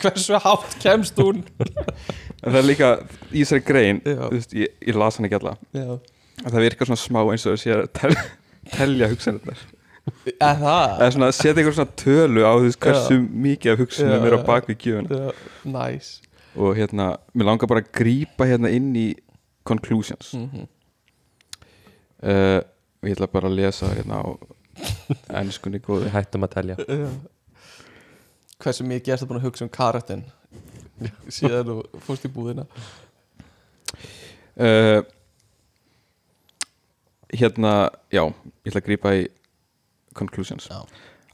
[SPEAKER 2] Hversu hátt kemst hún
[SPEAKER 3] En það er líka í þessari grein
[SPEAKER 2] Já.
[SPEAKER 3] þú veist, ég, ég las hann ekki alla
[SPEAKER 2] Já.
[SPEAKER 3] En það virkar svona smá eins og þau sé að tel, telja hugsanirnar
[SPEAKER 2] Er það
[SPEAKER 3] Eða svona að setja einhver svona tölu á þess hversu mikið af hugsanum
[SPEAKER 2] Já,
[SPEAKER 3] er á
[SPEAKER 2] já.
[SPEAKER 3] bakvið gjöfuna
[SPEAKER 2] Já, Næs
[SPEAKER 3] og hérna, mér langar bara að grípa hérna inn í conclusions mm.
[SPEAKER 2] Mhm.
[SPEAKER 3] og Eh, ég ætla bara að lesa hérna á ennskunni góði
[SPEAKER 1] við hættum að telja
[SPEAKER 2] Já. Hversu mikið ertu búin að hugsa um karatinn síðan þú fórst í búðina
[SPEAKER 3] uh, hérna, já ég ætla að grípa í conclusions
[SPEAKER 2] Já.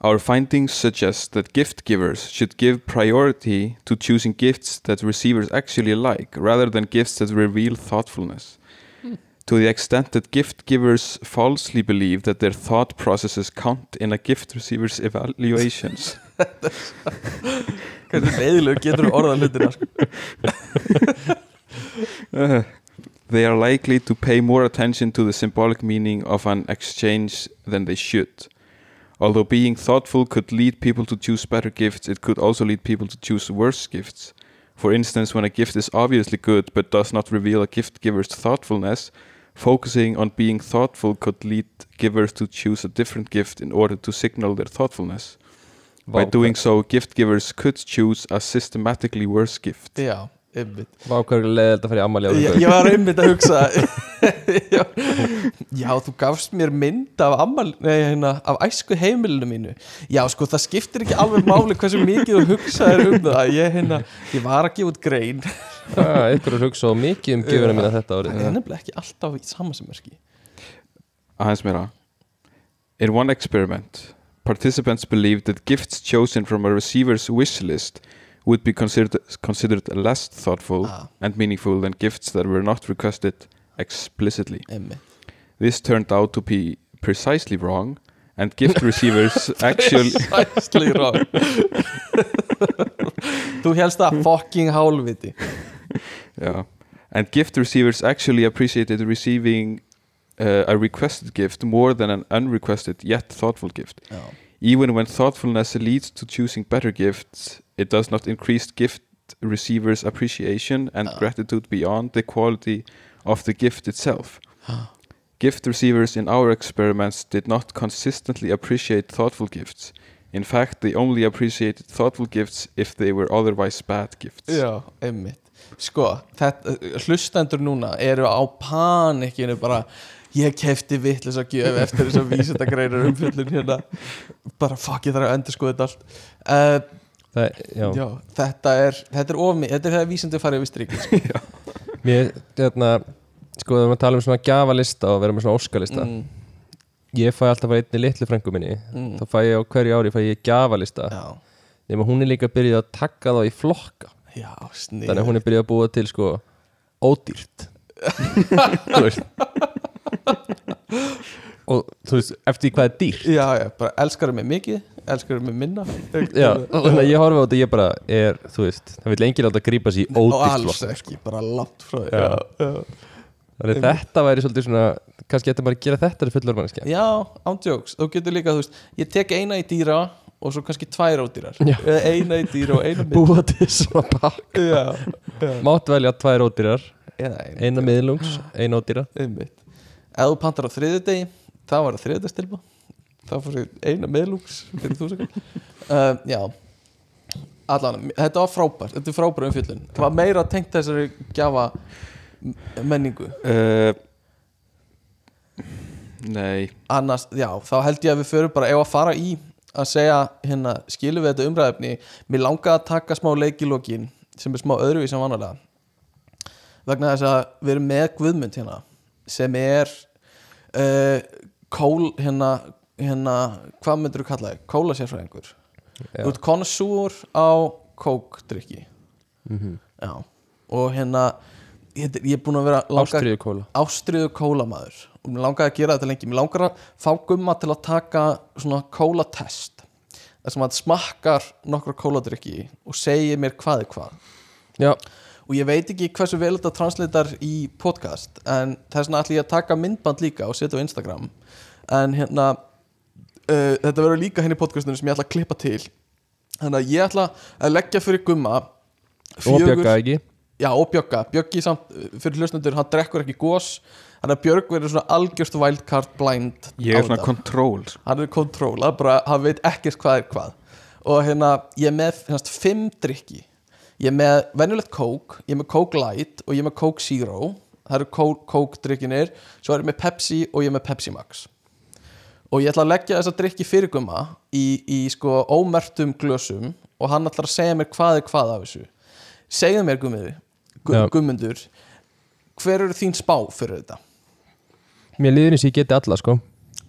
[SPEAKER 3] Our findings suggest that gift givers should give priority to choosing gifts that receivers actually like rather than gifts that reveal thoughtfulness. To the extent that gift givers falsely believe that their thought processes count in a gift receiver's evaluations.
[SPEAKER 2] Hversu leiðilegur getur þú orðað hlutina sko.
[SPEAKER 3] Uh, they are likely to pay more attention to the symbolic meaning of an exchange than they should. Although being thoughtful could lead people to choose better gifts, it could also lead people to choose worse gifts. For instance, when a gift is obviously good but does not reveal a gift giver's thoughtfulness, focusing on being thoughtful could lead givers to choose a different gift in order to signal their thoughtfulness. By doing so, gift givers could choose a systematically worse gift.
[SPEAKER 2] Já, ymmið
[SPEAKER 1] vákvæður leðild að fara í ammali á
[SPEAKER 2] ég, ég var einmitt að hugsa já, já, þú gafst mér mynd af, ammal, nei, hérna, af æsku heimilinu mínu Já, sko, það skiptir ekki alveg máli hversu mikið þú hugsaðir um það ég, hérna, ég var að gefa út grein
[SPEAKER 1] ah, ykkur er hugsað mikið um gefuna mína þetta
[SPEAKER 2] Það
[SPEAKER 1] árið
[SPEAKER 2] er nefnilega ekki alltaf í sama sem örki
[SPEAKER 3] aðeins meira In one experiment, participants believed that gifts chosen from a receiver's wish list would be considered, considered less thoughtful
[SPEAKER 2] ah,
[SPEAKER 3] and meaningful than gifts that were not requested explicitly.
[SPEAKER 2] einmitt.
[SPEAKER 3] This turned out to be precisely wrong and gift receivers actually
[SPEAKER 2] Precisely wrong. Þú helst það fucking hálviti
[SPEAKER 3] yeah, and gift receivers actually appreciated receiving uh, a requested gift more than an unrequested yet thoughtful gift.
[SPEAKER 2] Já.
[SPEAKER 3] Even when thoughtfulness leads to choosing better gifts, it does not increase gift receivers' appreciation and
[SPEAKER 2] Ah.
[SPEAKER 3] gratitude beyond the quality of the gift itself.
[SPEAKER 2] Ah.
[SPEAKER 3] Gift receivers in our experiments did not consistently appreciate thoughtful gifts. In fact, they only appreciated thoughtful gifts if they were otherwise bad gifts.
[SPEAKER 2] Já, einmitt Sko, þetta, hlustendur núna eru á panikinu bara ég kefti vitlis að gjöf eftir þess að vísa þetta greinur umfyllin hérna bara fuck, ég þarf að endur sko þetta allt uh,
[SPEAKER 1] það, er-
[SPEAKER 2] já.
[SPEAKER 1] já,
[SPEAKER 2] þetta er þetta er ofmi, þetta er það vísandi að fara yfir strikið sko.
[SPEAKER 1] mér, hérna sko, þegar maður tala um svona gjavalista og vera með svona óskalista
[SPEAKER 2] mm,
[SPEAKER 1] ég fæ alltaf bara einni litlu frængu minni
[SPEAKER 2] Mm.
[SPEAKER 1] þá fæ ég á hverju ári, fæ ég gjavalista
[SPEAKER 2] já,
[SPEAKER 1] nema hún er líka byrjuð að taka þá í flokka
[SPEAKER 2] já, snið
[SPEAKER 1] þannig að hún er byrjuð að búa til sko ódýrt þú veist og þú veist, eftir því hvað er dýrt
[SPEAKER 2] já, já, bara elskar mig mikið, elskar mig minna
[SPEAKER 1] Já, þannig að ég horfa á þetta ég bara er, þú veist, það vil enginn láta grípa sér í
[SPEAKER 2] og
[SPEAKER 1] ódýrt
[SPEAKER 2] alls
[SPEAKER 1] flokk
[SPEAKER 2] ekki, bara langt frá því
[SPEAKER 1] Já.
[SPEAKER 2] já, já.
[SPEAKER 1] þannig að þetta væri svolítið svona kannski ætti maður að gera þetta til fullur mannskja
[SPEAKER 2] Já, ándjóks, þú getur líka, þú veist Ég tek eina í dýra og svo kannski tvær ódýrar
[SPEAKER 1] Já.
[SPEAKER 2] Eða eina í dýra og eina mið
[SPEAKER 1] búa til svona pakk
[SPEAKER 2] Já, já.
[SPEAKER 1] mátt velja tvær ódýrar,
[SPEAKER 2] eða eina
[SPEAKER 1] eina miðlungs eina ódýra,
[SPEAKER 2] Einmitt. Ef þú pantar á þriðudegi þá var það þriðudagstilba þá fór sér eina meðlúks fyrir þú sekund uh, Já Allan, þetta var frábært, þetta er frábært umfjöllun Það var meira tengt þessari gjafa menningu
[SPEAKER 3] Uh, nei,
[SPEAKER 2] annars, já, þá held ég að við förum bara ef að fara í að segja hérna, skilum við þetta umræðefni mér langaði að taka smá leik í lokin sem er smá öðruvís en vanalega vegna þess að við erum með Guðmund hérna sem er uh, kól hérna, hérna hvað myndur þú kalla þig? Kólasérfræðingur
[SPEAKER 1] Já.
[SPEAKER 2] Þú ert konasúr á kókdrykki Já, og hérna ég, ég er búin að vera langar
[SPEAKER 1] ástriðu kóla
[SPEAKER 2] ástriðu kólamaður og mér langaði að gera þetta lengi mér langar að fá gumma til að taka svona kólatest þar sem hann smakkar nokkra kóladrykki og segir mér hvað er hvað
[SPEAKER 1] já,
[SPEAKER 2] og ég veit ekki hversu vel þetta translatar í podcast en þess vegna ætlum ég að taka myndband líka og setja á Instagram en hérna uh, þetta verður líka henni í podcastinu sem ég ætla að klippa til þannig að ég ætla að leggja fyrir gumma
[SPEAKER 1] og
[SPEAKER 2] fjögur-
[SPEAKER 1] bjögga ekki
[SPEAKER 2] Já, og Björga, Björgi samt uh, fyrir hlustendur, hann drekkur ekki gos Þannig að Björg verður svona algjörst wildcard blind
[SPEAKER 3] ég
[SPEAKER 2] á
[SPEAKER 3] er svona
[SPEAKER 2] þetta.
[SPEAKER 3] kontról
[SPEAKER 2] Hann er kontróla, bara hann veit ekkert hvað er hvað Og hérna, ég er með hérna, fimm drykki Ég er með venjulegt kók, ég er með kók light og ég er með kók zero Það eru kók, kók drykkinir, svo er ég með Pepsi og ég er með Pepsi Max Og ég ætla að leggja þessa drykki fyrir gumma í, í sko ómertum glösum og hann ætlar að segja mér hvað er hvað af þessu Segðu mér gummiði,
[SPEAKER 1] Já.
[SPEAKER 2] gummundur Hver eru þín spá fyrir þetta?
[SPEAKER 1] mér líður eins og ég geti alla sko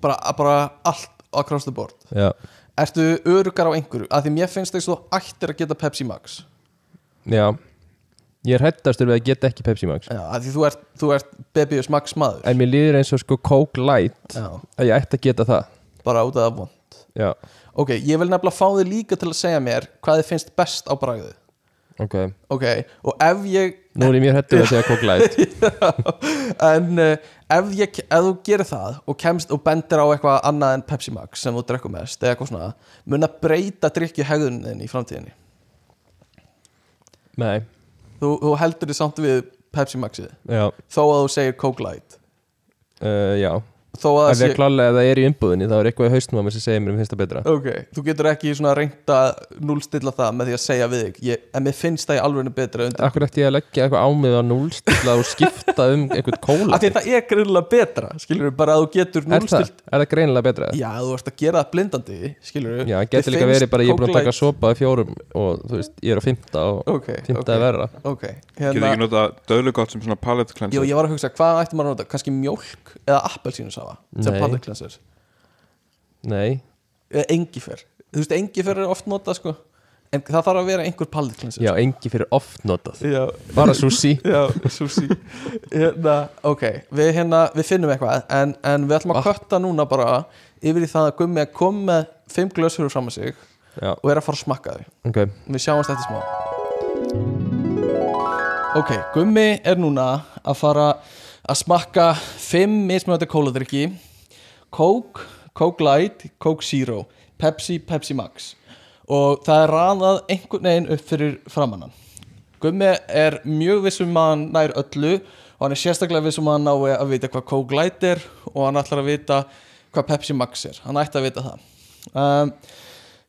[SPEAKER 2] Bara, bara allt across the board
[SPEAKER 1] já,
[SPEAKER 2] Ertu örugar á einhverju? Af því mér finnst þess að þú ættir að geta Pepsi Max
[SPEAKER 1] já ég er hættastur við að geta ekki Pepsi Max
[SPEAKER 2] Já, af því þú ert, þú ert Bebius Max maður
[SPEAKER 1] en mér líður eins og sko kók light
[SPEAKER 2] Já,
[SPEAKER 1] að ég ætti að geta það
[SPEAKER 2] bara út af það von
[SPEAKER 1] já,
[SPEAKER 2] Ok, ég vil nefnilega fá þig líka til að segja mér hvað þið finnst best á bragðið
[SPEAKER 1] ok
[SPEAKER 2] Ok, og ef ég
[SPEAKER 1] nú er ég mjög hættur við að segja kók light
[SPEAKER 2] En uh, ef, ég, ef þú gerir það og kemst og bendir á eitthvað annað en Pepsi Max sem þú drekkum mest eða eitthvað svona mun að breyta drikki hegðunin í framtíðinni
[SPEAKER 1] nei,
[SPEAKER 2] þú, þú heldur þið samt við Pepsi Maxið
[SPEAKER 1] já,
[SPEAKER 2] þó að þú segir Coke Light
[SPEAKER 1] uh, já
[SPEAKER 2] þó að
[SPEAKER 1] Það
[SPEAKER 2] það
[SPEAKER 1] er klálega að það er í umbúðinni, þá er eitthvað í haustum á mér sem segir mér um finnst það betra
[SPEAKER 2] ok, þú getur ekki svona reynt að núlstilla það með því að segja við þig ég, en mér finnst það í alveg betra undir
[SPEAKER 1] Akkur eftir ég að leggja eitthvað ámið á núlstilla og skipta um eitthvað kóla
[SPEAKER 2] af því að það er greinlega betra skilur við bara að þú getur
[SPEAKER 1] Er það,
[SPEAKER 2] núlstilt
[SPEAKER 1] er það greinilega betra?
[SPEAKER 2] já, þú ert að gera það blindandi skilur við
[SPEAKER 1] Já, getur líka verið bara ég er búin að taka sopa í fjórum og þú veist, ég er á fymta og
[SPEAKER 2] Ok,
[SPEAKER 1] fymta
[SPEAKER 2] ok.
[SPEAKER 1] er verra
[SPEAKER 2] ok, hérna-
[SPEAKER 3] Getur ekki nota döðlugott sem svona palette
[SPEAKER 2] Jú,
[SPEAKER 3] cleanser
[SPEAKER 2] ég var að hugsa, hvað ætti maður að nota? Kanski mjólk eða appelsínusafa sem
[SPEAKER 1] Nei.
[SPEAKER 2] palliklenser
[SPEAKER 1] Nei,
[SPEAKER 2] eða engifer Þú veist, engifer er oft notað sko en það þarf að vera einhver palliklenser
[SPEAKER 1] já, engi fyrir oft notað
[SPEAKER 2] já,
[SPEAKER 1] Bara sushi
[SPEAKER 2] já súsí hérna, Ok, við, hérna, við finnum eitthvað en, en við ætlum að kötta núna bara yfir í það að gummi að koma með fimm glösur fram að sig
[SPEAKER 1] Já,
[SPEAKER 2] og er að fara að smakka þau
[SPEAKER 1] ok
[SPEAKER 2] Við sjáumst eftir smá Ok, Gummi er núna að fara að smakka fimm mismunandi kóladrykki Coke, Coke Light, Coke Zero Pepsi, Pepsi Max og það er raðað einhvern veginn upp fyrir framannan Gummi er mjög vissum að hann nær öllu og hann er sérstaklega vissum að hann nái að vita hvað Coke Light er og hann ætlar að vita hvað Pepsi Max er hann ætti að vita það um,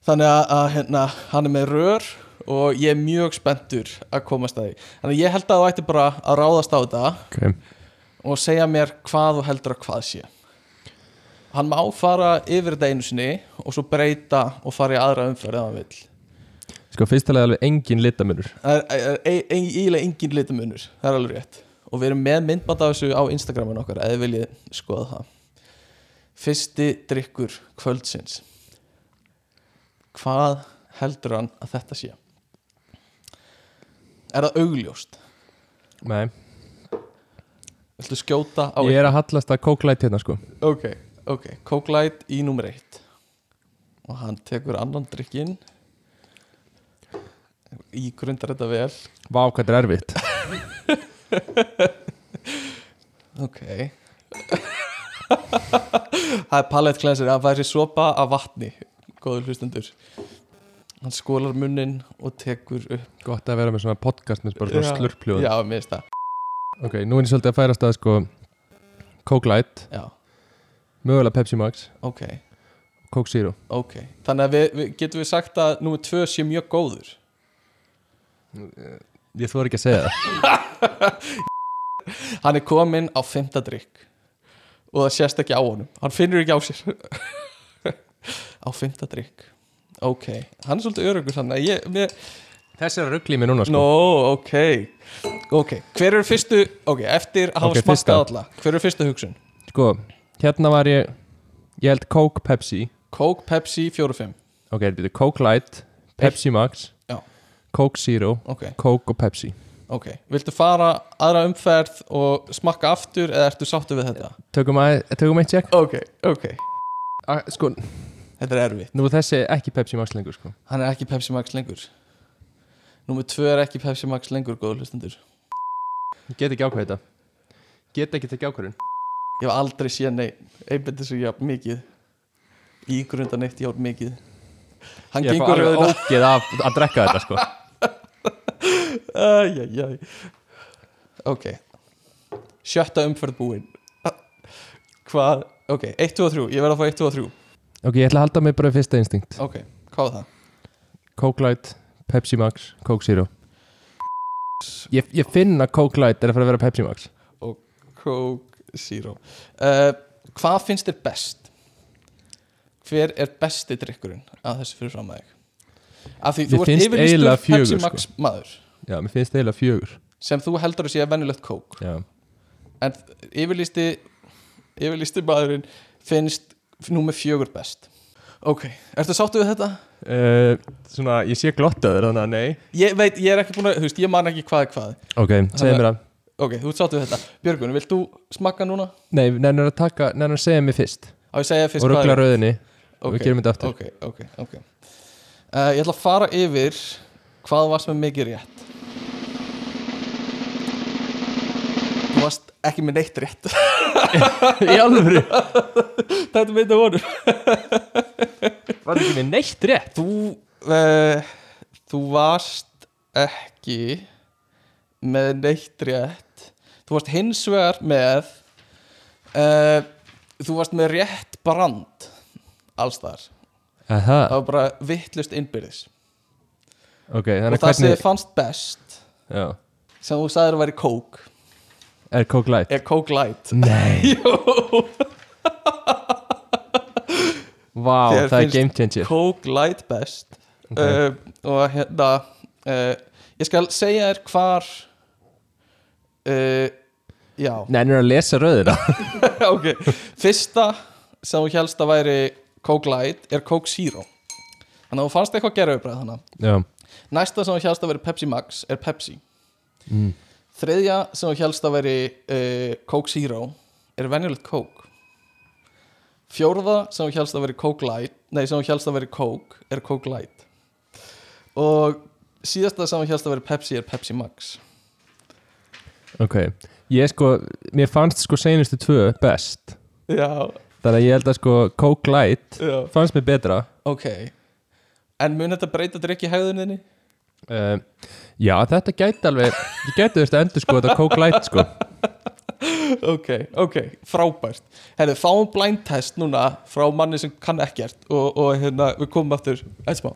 [SPEAKER 2] þannig að, að hérna, hann er með rör og ég er mjög spenntur að komast að því þannig að ég held að þú ætti bara að ráðast á þetta
[SPEAKER 1] okay.
[SPEAKER 2] og segja mér hvað þú heldur að hvað sé hann má fara yfir þetta einu sinni og svo breyta og fara í aðra umferð ef hann vill
[SPEAKER 1] Sko fyrst að lega alveg engin litamunur
[SPEAKER 2] það er- er er- ein- eiginlega engin litamunur það er alveg rétt og við erum með myndband af þessu á Instagramin okkar eða viljið skoða það fyrsti drikkur kvöldsins hvað heldur hann að þetta sé er það augljóst
[SPEAKER 1] Nei,
[SPEAKER 2] viltu skjóta á
[SPEAKER 1] ég er að hallast að kóklæti hérna sko
[SPEAKER 2] Ok, ok, Coke Light í nummer eitt og hann tekur annan drikkin ígrundar þetta vel
[SPEAKER 1] Vá, hvað þetta er erfitt
[SPEAKER 2] ok það er palette cleanser hann fær sér sopa af vatni góður hlustendur hann skólar munnin og tekur upp
[SPEAKER 1] Gott að vera með svona podcast með bara svona
[SPEAKER 2] Já.
[SPEAKER 1] slurpljóð
[SPEAKER 2] já, mér finnst það
[SPEAKER 1] Ok, nú er ég svolítið að færast að sko Kóklæt,
[SPEAKER 2] já,
[SPEAKER 1] mögulega Pepsi Max
[SPEAKER 2] ok,
[SPEAKER 1] Coke Zero
[SPEAKER 2] ok þannig að við, við getum við sagt að nummer tvö sé mjög góður
[SPEAKER 1] Ég þóra ekki að segja það
[SPEAKER 2] hann er kominn á fymta drikk og það sést ekki á honum hann finnur ekki á sér á fymta drikk ok, hann er svolítið örugur þannig að ég, mér,
[SPEAKER 1] Þessi er að ruggla í mér núna sko
[SPEAKER 2] no, ok ok, hver eru fyrstu ok, eftir að hafa
[SPEAKER 1] Ok,
[SPEAKER 2] okay, smakkað
[SPEAKER 1] fyrsta.
[SPEAKER 2] alla hver eru fyrstu hugsun?
[SPEAKER 1] Sko, hérna var ég Ég held Coke Pepsi
[SPEAKER 2] Coke, Pepsi, 4-5
[SPEAKER 1] Ok, þetta er Coke Light, Pepsi Max
[SPEAKER 2] Já.
[SPEAKER 1] Coke Zero,
[SPEAKER 2] ok,
[SPEAKER 1] Coke og Pepsi
[SPEAKER 2] ok, viltu fara aðra umferð og smakka aftur eða ertu sáttu við þetta?
[SPEAKER 1] Tökum, að, tökum eitt check
[SPEAKER 2] ok, ok,
[SPEAKER 1] ah, Sko,
[SPEAKER 2] þetta er erfitt
[SPEAKER 1] nú er þessi ekki Pepsi Max lengur sko
[SPEAKER 2] hann er ekki Pepsi Max lengur Númer 2 er ekki Pepsi Max lengur, góður hlustendur
[SPEAKER 1] Ég get ekki ákveð þetta Get ekki tekið ákveðin
[SPEAKER 2] Ég hef aldrei séð neinn einbindi sem ég haf mikið ígrunda neitt ég haf mikið Hann
[SPEAKER 1] Ég fá
[SPEAKER 2] gengur
[SPEAKER 1] alveg
[SPEAKER 2] rauðina
[SPEAKER 1] ógeð af að drekka þetta sko
[SPEAKER 2] Æjæjæj Ok Sjötta umferð búin
[SPEAKER 1] Ah.
[SPEAKER 2] Hvað? Ok, 1, 2 og 3 Ég verð að fá 1, 2 og 3
[SPEAKER 1] Ok, ég ætla að halda mig bara við fyrsta instinkt
[SPEAKER 2] Ok, hvað var það?
[SPEAKER 1] Coke Light, Pepsi Max, Coke Zero Ég, ég finn að Coke Light er að fara að vera Pepsi Max
[SPEAKER 2] Coke Zero uh, Hvað finnst þér best? Hver er besti drikkurinn að þessu fyrir fram að þig? Af því
[SPEAKER 1] Mér
[SPEAKER 2] þú ert
[SPEAKER 1] finnst eiginlega
[SPEAKER 2] yfirlýstur
[SPEAKER 1] fjögur,
[SPEAKER 2] Pepsi
[SPEAKER 1] sko.
[SPEAKER 2] Max maður
[SPEAKER 1] Já, mér finnst það eiginlega fjögur
[SPEAKER 2] sem þú heldur að sé venjulegt kók
[SPEAKER 1] Já,
[SPEAKER 2] en yfirlýsti yfirlýsti maðurinn finnst númer fjögur best ok, ertu sáttu við þetta?
[SPEAKER 1] uh, Svona, ég sé glottaður þannig að nei
[SPEAKER 2] ég veit, ég er ekki búin að, þú veist, ég man ekki hvað er hvað
[SPEAKER 1] Ok, segðu mér að
[SPEAKER 2] ok, þú ert sáttu við þetta, Björgun, vilt þú smakka núna?
[SPEAKER 1] Nei, nennir að taka, nennir að segja mér fyrst
[SPEAKER 2] á ég segja fyrst
[SPEAKER 1] Og ruggla
[SPEAKER 2] er-
[SPEAKER 1] rauðinni og
[SPEAKER 2] ok,
[SPEAKER 1] við gerum þetta aftur
[SPEAKER 2] ok, ok, ok uh, ég ætla að fara yfir hvað varst með mikið rétt þú varst ekki með neitt rétt
[SPEAKER 1] Í alvöru,
[SPEAKER 2] þetta er meita vonum
[SPEAKER 1] var ekki mér neitt rétt
[SPEAKER 2] Þú uh, Þú varst ekki með neitt rétt Þú varst hins vegar með uh, Þú varst með rétt brand alls þar
[SPEAKER 1] Aha,
[SPEAKER 2] Það var bara vittlust innbyrðis
[SPEAKER 1] ok, þannig
[SPEAKER 2] Og
[SPEAKER 1] að
[SPEAKER 2] það sem þið
[SPEAKER 1] hvernig
[SPEAKER 2] fannst best
[SPEAKER 1] Já,
[SPEAKER 2] sem þú sagðir að væri Coke
[SPEAKER 1] er Coke Light
[SPEAKER 2] er Coke Light
[SPEAKER 1] Nei
[SPEAKER 2] Jú,
[SPEAKER 1] Vá, það
[SPEAKER 2] Þér
[SPEAKER 1] er
[SPEAKER 2] finnst
[SPEAKER 1] game changer
[SPEAKER 2] Coke Light best
[SPEAKER 1] Ok.
[SPEAKER 2] okay. og hérna uh, ég skal segja þér hvar uh, já
[SPEAKER 1] Nennir að lesa rauðina
[SPEAKER 2] ok, fyrsta sem þú helst að væri Coke Light er Coke Zero þannig að þú fannst eitthvað gerðubræð þannig
[SPEAKER 1] Já,
[SPEAKER 2] næsta sem þú helst að væri Pepsi Max er Pepsi
[SPEAKER 1] Mm.
[SPEAKER 2] þriðja sem þú helst að væri uh, Coke Zero er venjulegt Coke fjórða sem þú helst að væri Coke Light nei, sem þú helst að væri Coke er Coke Light og síðasta sem þú helst að væri Pepsi er Pepsi Max
[SPEAKER 1] ok Ég sko, mér fannst sko seinustu tvö best
[SPEAKER 2] Já,
[SPEAKER 1] Þannig að ég held að sko Coke Light
[SPEAKER 2] já,
[SPEAKER 1] fannst mér betra
[SPEAKER 2] ok En mun þetta breyta drikki hægðunni?
[SPEAKER 1] uh, Já, þetta gæti alveg Ég gæti þurft að endur sko þetta Coke Light sko
[SPEAKER 2] Ok, ok, frábært Herðu, fáum blind test núna frá manni sem kann ekkert og, og hérna, við komum aftur eitt smá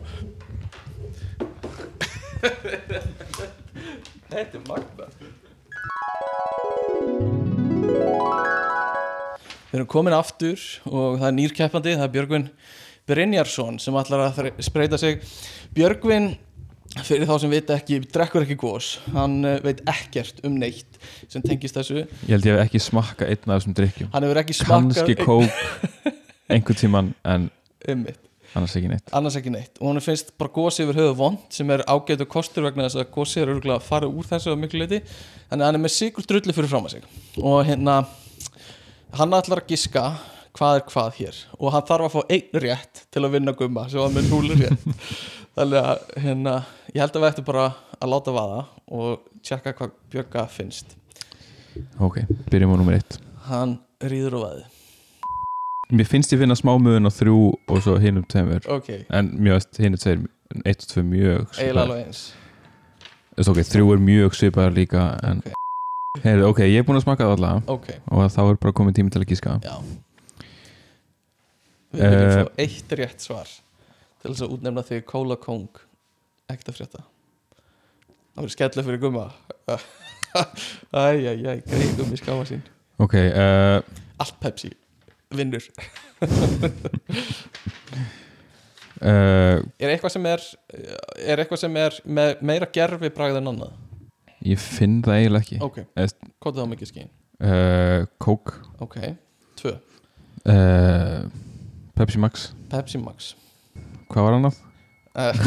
[SPEAKER 2] Þetta er magna Við erum komin aftur og það er nýrkeppandi, það er Björgvin Brynjarsson sem ætlar að þre- spreita sig Björgvin, fyrir þá sem veit ekki, drekkur ekki gós hann eh, veit ekkert um neitt sem tengist þessu
[SPEAKER 3] Ég held ég hef ekki smakka einn af þessum drikkjum
[SPEAKER 2] hann hefur ekki smakkað
[SPEAKER 3] Kanski kók einhvern tíman en
[SPEAKER 2] einmitt,
[SPEAKER 3] annars ekki neitt
[SPEAKER 2] annars ekki neitt og hann finnst bara gósi yfir höfu vond sem er ágætu kostur vegna þess að gósi er örgulega að fara úr þessu á miklu leiti þannig að hann er með sigur drullu fyrir fram að sig og hérna hann ætlar að giska hvað er hvað hér og hann þarf að fá einn rétt til að vinna gumma sem var með núl rétt þannig að hérna ég held að við ættum bara að láta vaða og tjekka hvað Björga finnst
[SPEAKER 3] Ok, byrjum á nummer eitt
[SPEAKER 2] hann rýður á vaði
[SPEAKER 3] Mér finnst ég finna smá mögun á þrjú og svo hinum tveimur
[SPEAKER 2] ok,
[SPEAKER 3] En mér veist hinum tveir, eitt og tvö mjög
[SPEAKER 2] eiginlega
[SPEAKER 3] svipaðir.
[SPEAKER 2] alveg eins
[SPEAKER 3] Þú veist, Ok, þrjú er mjög svipaðar líka en
[SPEAKER 2] Ok.
[SPEAKER 3] Heyrðu, ok, ég er búin að smakka það alla
[SPEAKER 2] ok,
[SPEAKER 3] og þá er bara komið tími til að gíska
[SPEAKER 2] Já Við viljum
[SPEAKER 3] Eh,
[SPEAKER 2] uh, fá eitt rétt svar til þess að útnefna þig Kóla Kong ekkert að frétta Það verður skella fyrir gumma Æj, æj, æj, greið gummi skáma sín
[SPEAKER 3] Ok, uh,
[SPEAKER 2] Allt Pepsi, vinnur
[SPEAKER 3] uh,
[SPEAKER 2] Er eitthvað sem er, er, eitthvað sem er með, meira gerfi bragð en annað?
[SPEAKER 3] ég finn það eiginlega ekki
[SPEAKER 2] Ok,
[SPEAKER 3] Est-
[SPEAKER 2] hvað það á mikið skín?
[SPEAKER 3] uh, Kók
[SPEAKER 2] Ok, tvö,
[SPEAKER 3] uh, Pepsi Max
[SPEAKER 2] Pepsi Max
[SPEAKER 3] Hvað var annað?
[SPEAKER 2] Eh,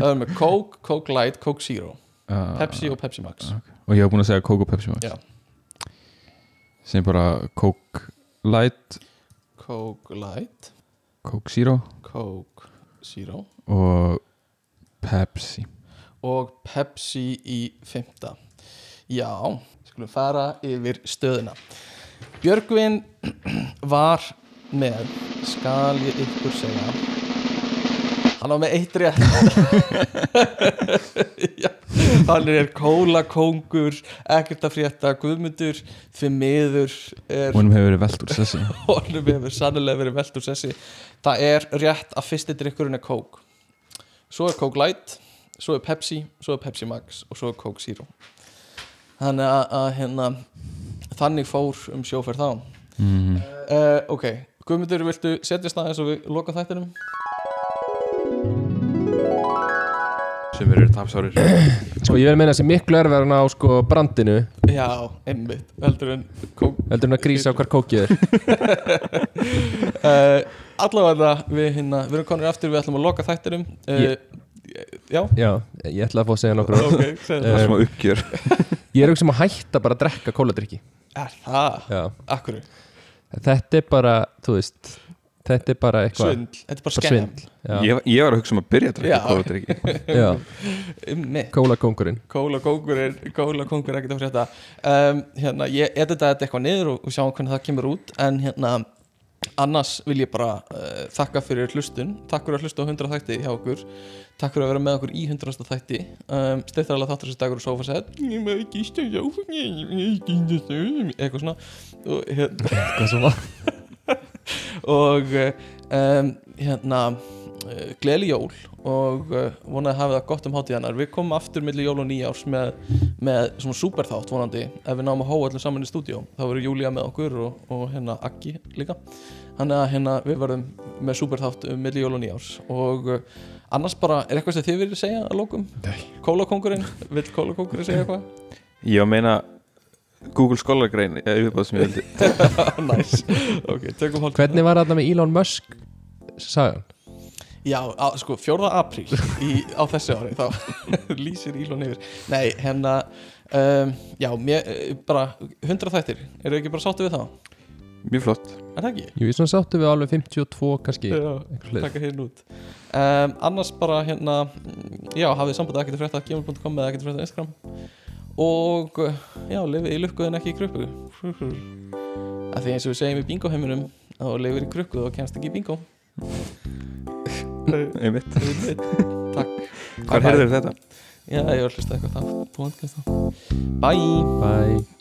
[SPEAKER 2] Það er með Coke, Coke Light, Coke Zero
[SPEAKER 3] Uh,
[SPEAKER 2] Pepsi og Pepsi Max
[SPEAKER 3] og ég var búin að segja Coke og Pepsi Max
[SPEAKER 2] Já.
[SPEAKER 3] sem er bara Coke Light
[SPEAKER 2] Coke Light,
[SPEAKER 3] Coke Zero
[SPEAKER 2] Coke Zero
[SPEAKER 3] og Pepsi
[SPEAKER 2] og Pepsi í fymta. Já, skulum fara yfir stöðuna. Björgvin var með, skal ég ykkur segja, hann var með eitt rétt. Já, hann er kólakóngur, ekkert að frétta guðmundur, fimm miður er
[SPEAKER 3] og hennum hefur verið velt úr sessi
[SPEAKER 2] honum hefur sannilega verið velt úr sessi það er rétt að fyrsti drikkurinn er Coke svo er Coke Light svo er Pepsi, svo er Pepsi Max og svo er Coke Zero þannig að, að hérna þannig fór um sjóferð þá
[SPEAKER 3] mm.
[SPEAKER 2] uh, ok, Guðmundur, viltu setjast aðeins og við loka þættinum?
[SPEAKER 3] sem eru tapsárir
[SPEAKER 1] Sko ég vil meina þessi miklu erfæra hann á sko brandinu
[SPEAKER 2] Já, einmitt, heldur en Coke
[SPEAKER 1] heldur hann að grísa á hvar kókið er
[SPEAKER 2] uh, allavega við hérna, við erum konur aftur, við ætlum að loka þættinum uh, já,
[SPEAKER 1] Já, ég ætla að fá að segja nokkur orð.
[SPEAKER 2] ok, segðu það
[SPEAKER 1] Eh,
[SPEAKER 3] sem að uppgjör
[SPEAKER 1] Ég er auðvitað sem að hætta bara að drekka kóladrykki
[SPEAKER 2] er það,
[SPEAKER 1] Já,
[SPEAKER 2] akkur
[SPEAKER 1] þetta er bara, þú veist Þetta er bara eitthvað
[SPEAKER 2] svindl, þetta er bara
[SPEAKER 1] Bara
[SPEAKER 2] skemm
[SPEAKER 1] svindl. Já,
[SPEAKER 3] ég, ég var að hugsa um að byrja að
[SPEAKER 2] Já.
[SPEAKER 3] drekka kóla drikki
[SPEAKER 1] já,
[SPEAKER 2] Einmitt.
[SPEAKER 1] kólakóngurinn
[SPEAKER 2] Kóla kókur er, kóla kókur er ekkert að frétta um, hérna, ég edita þetta eitthvað niður og, og sjáum hvernig það kemur út en hérna, annars vil ég bara uh, þakka fyrir hlustun, takk fyrir að hlusta á 100 þætti hjá okkur, takk fyrir að vera með okkur í 100 þætti, um, steyttar alveg þáttur sem dagur og sofa sett ég maður ekki stöðja eitthvað svona og, hérna,
[SPEAKER 1] Hvað sem var
[SPEAKER 2] og um, hérna uh, gleyli jól og uh, vonaði að hafa það gott um hátíðanar við komum aftur millir jól og nýjárs með, með svona superþátt vonandi ef við náum að hóa allir saman í stúdíó þá verður Júlía með okkur og, og hérna Aggi líka þannig að hérna við verðum með superþátt um millir jól og nýjárs og uh, annars bara er eitthvað sem þið viljið segja að lókum?
[SPEAKER 3] Nei.
[SPEAKER 2] Kólakongurinn, vill kólakongurinn segja eitthvað?
[SPEAKER 3] ég var að meina Google Scholar grein eða uppáð sem ég vildi
[SPEAKER 2] Næs, ok, tökum hálf
[SPEAKER 1] Hvernig var þetta með Elon Musk sagan?
[SPEAKER 2] Já, á, sko, 4. apríl í, á þessu ári þá lýsir Ílon yfir Nei, hérna um, Já, mér, eh, bara 100 þættir Eru ekki bara sáttu við þá?
[SPEAKER 3] mjög flott
[SPEAKER 2] Er það ekki?
[SPEAKER 1] Jú, ég svona sáttu við alveg 52 kannski
[SPEAKER 2] Já,
[SPEAKER 1] eitthvað leið.
[SPEAKER 2] taka hérna út um, Annars bara hérna mm, Já, hafið sambandið ekkert frétta gmail.com eða ekkert frétta Instagram og eh, já, lifið í lukku en ekki í krukku af því eins og við segjum í bingo heiminum þá lifir í krukku og kemst ekki í bingo Eh,
[SPEAKER 3] einmitt
[SPEAKER 2] Takk
[SPEAKER 3] Hvað heyrður þetta?
[SPEAKER 2] Já, ég var að hlusta á eitthvað þá Bye
[SPEAKER 1] Bye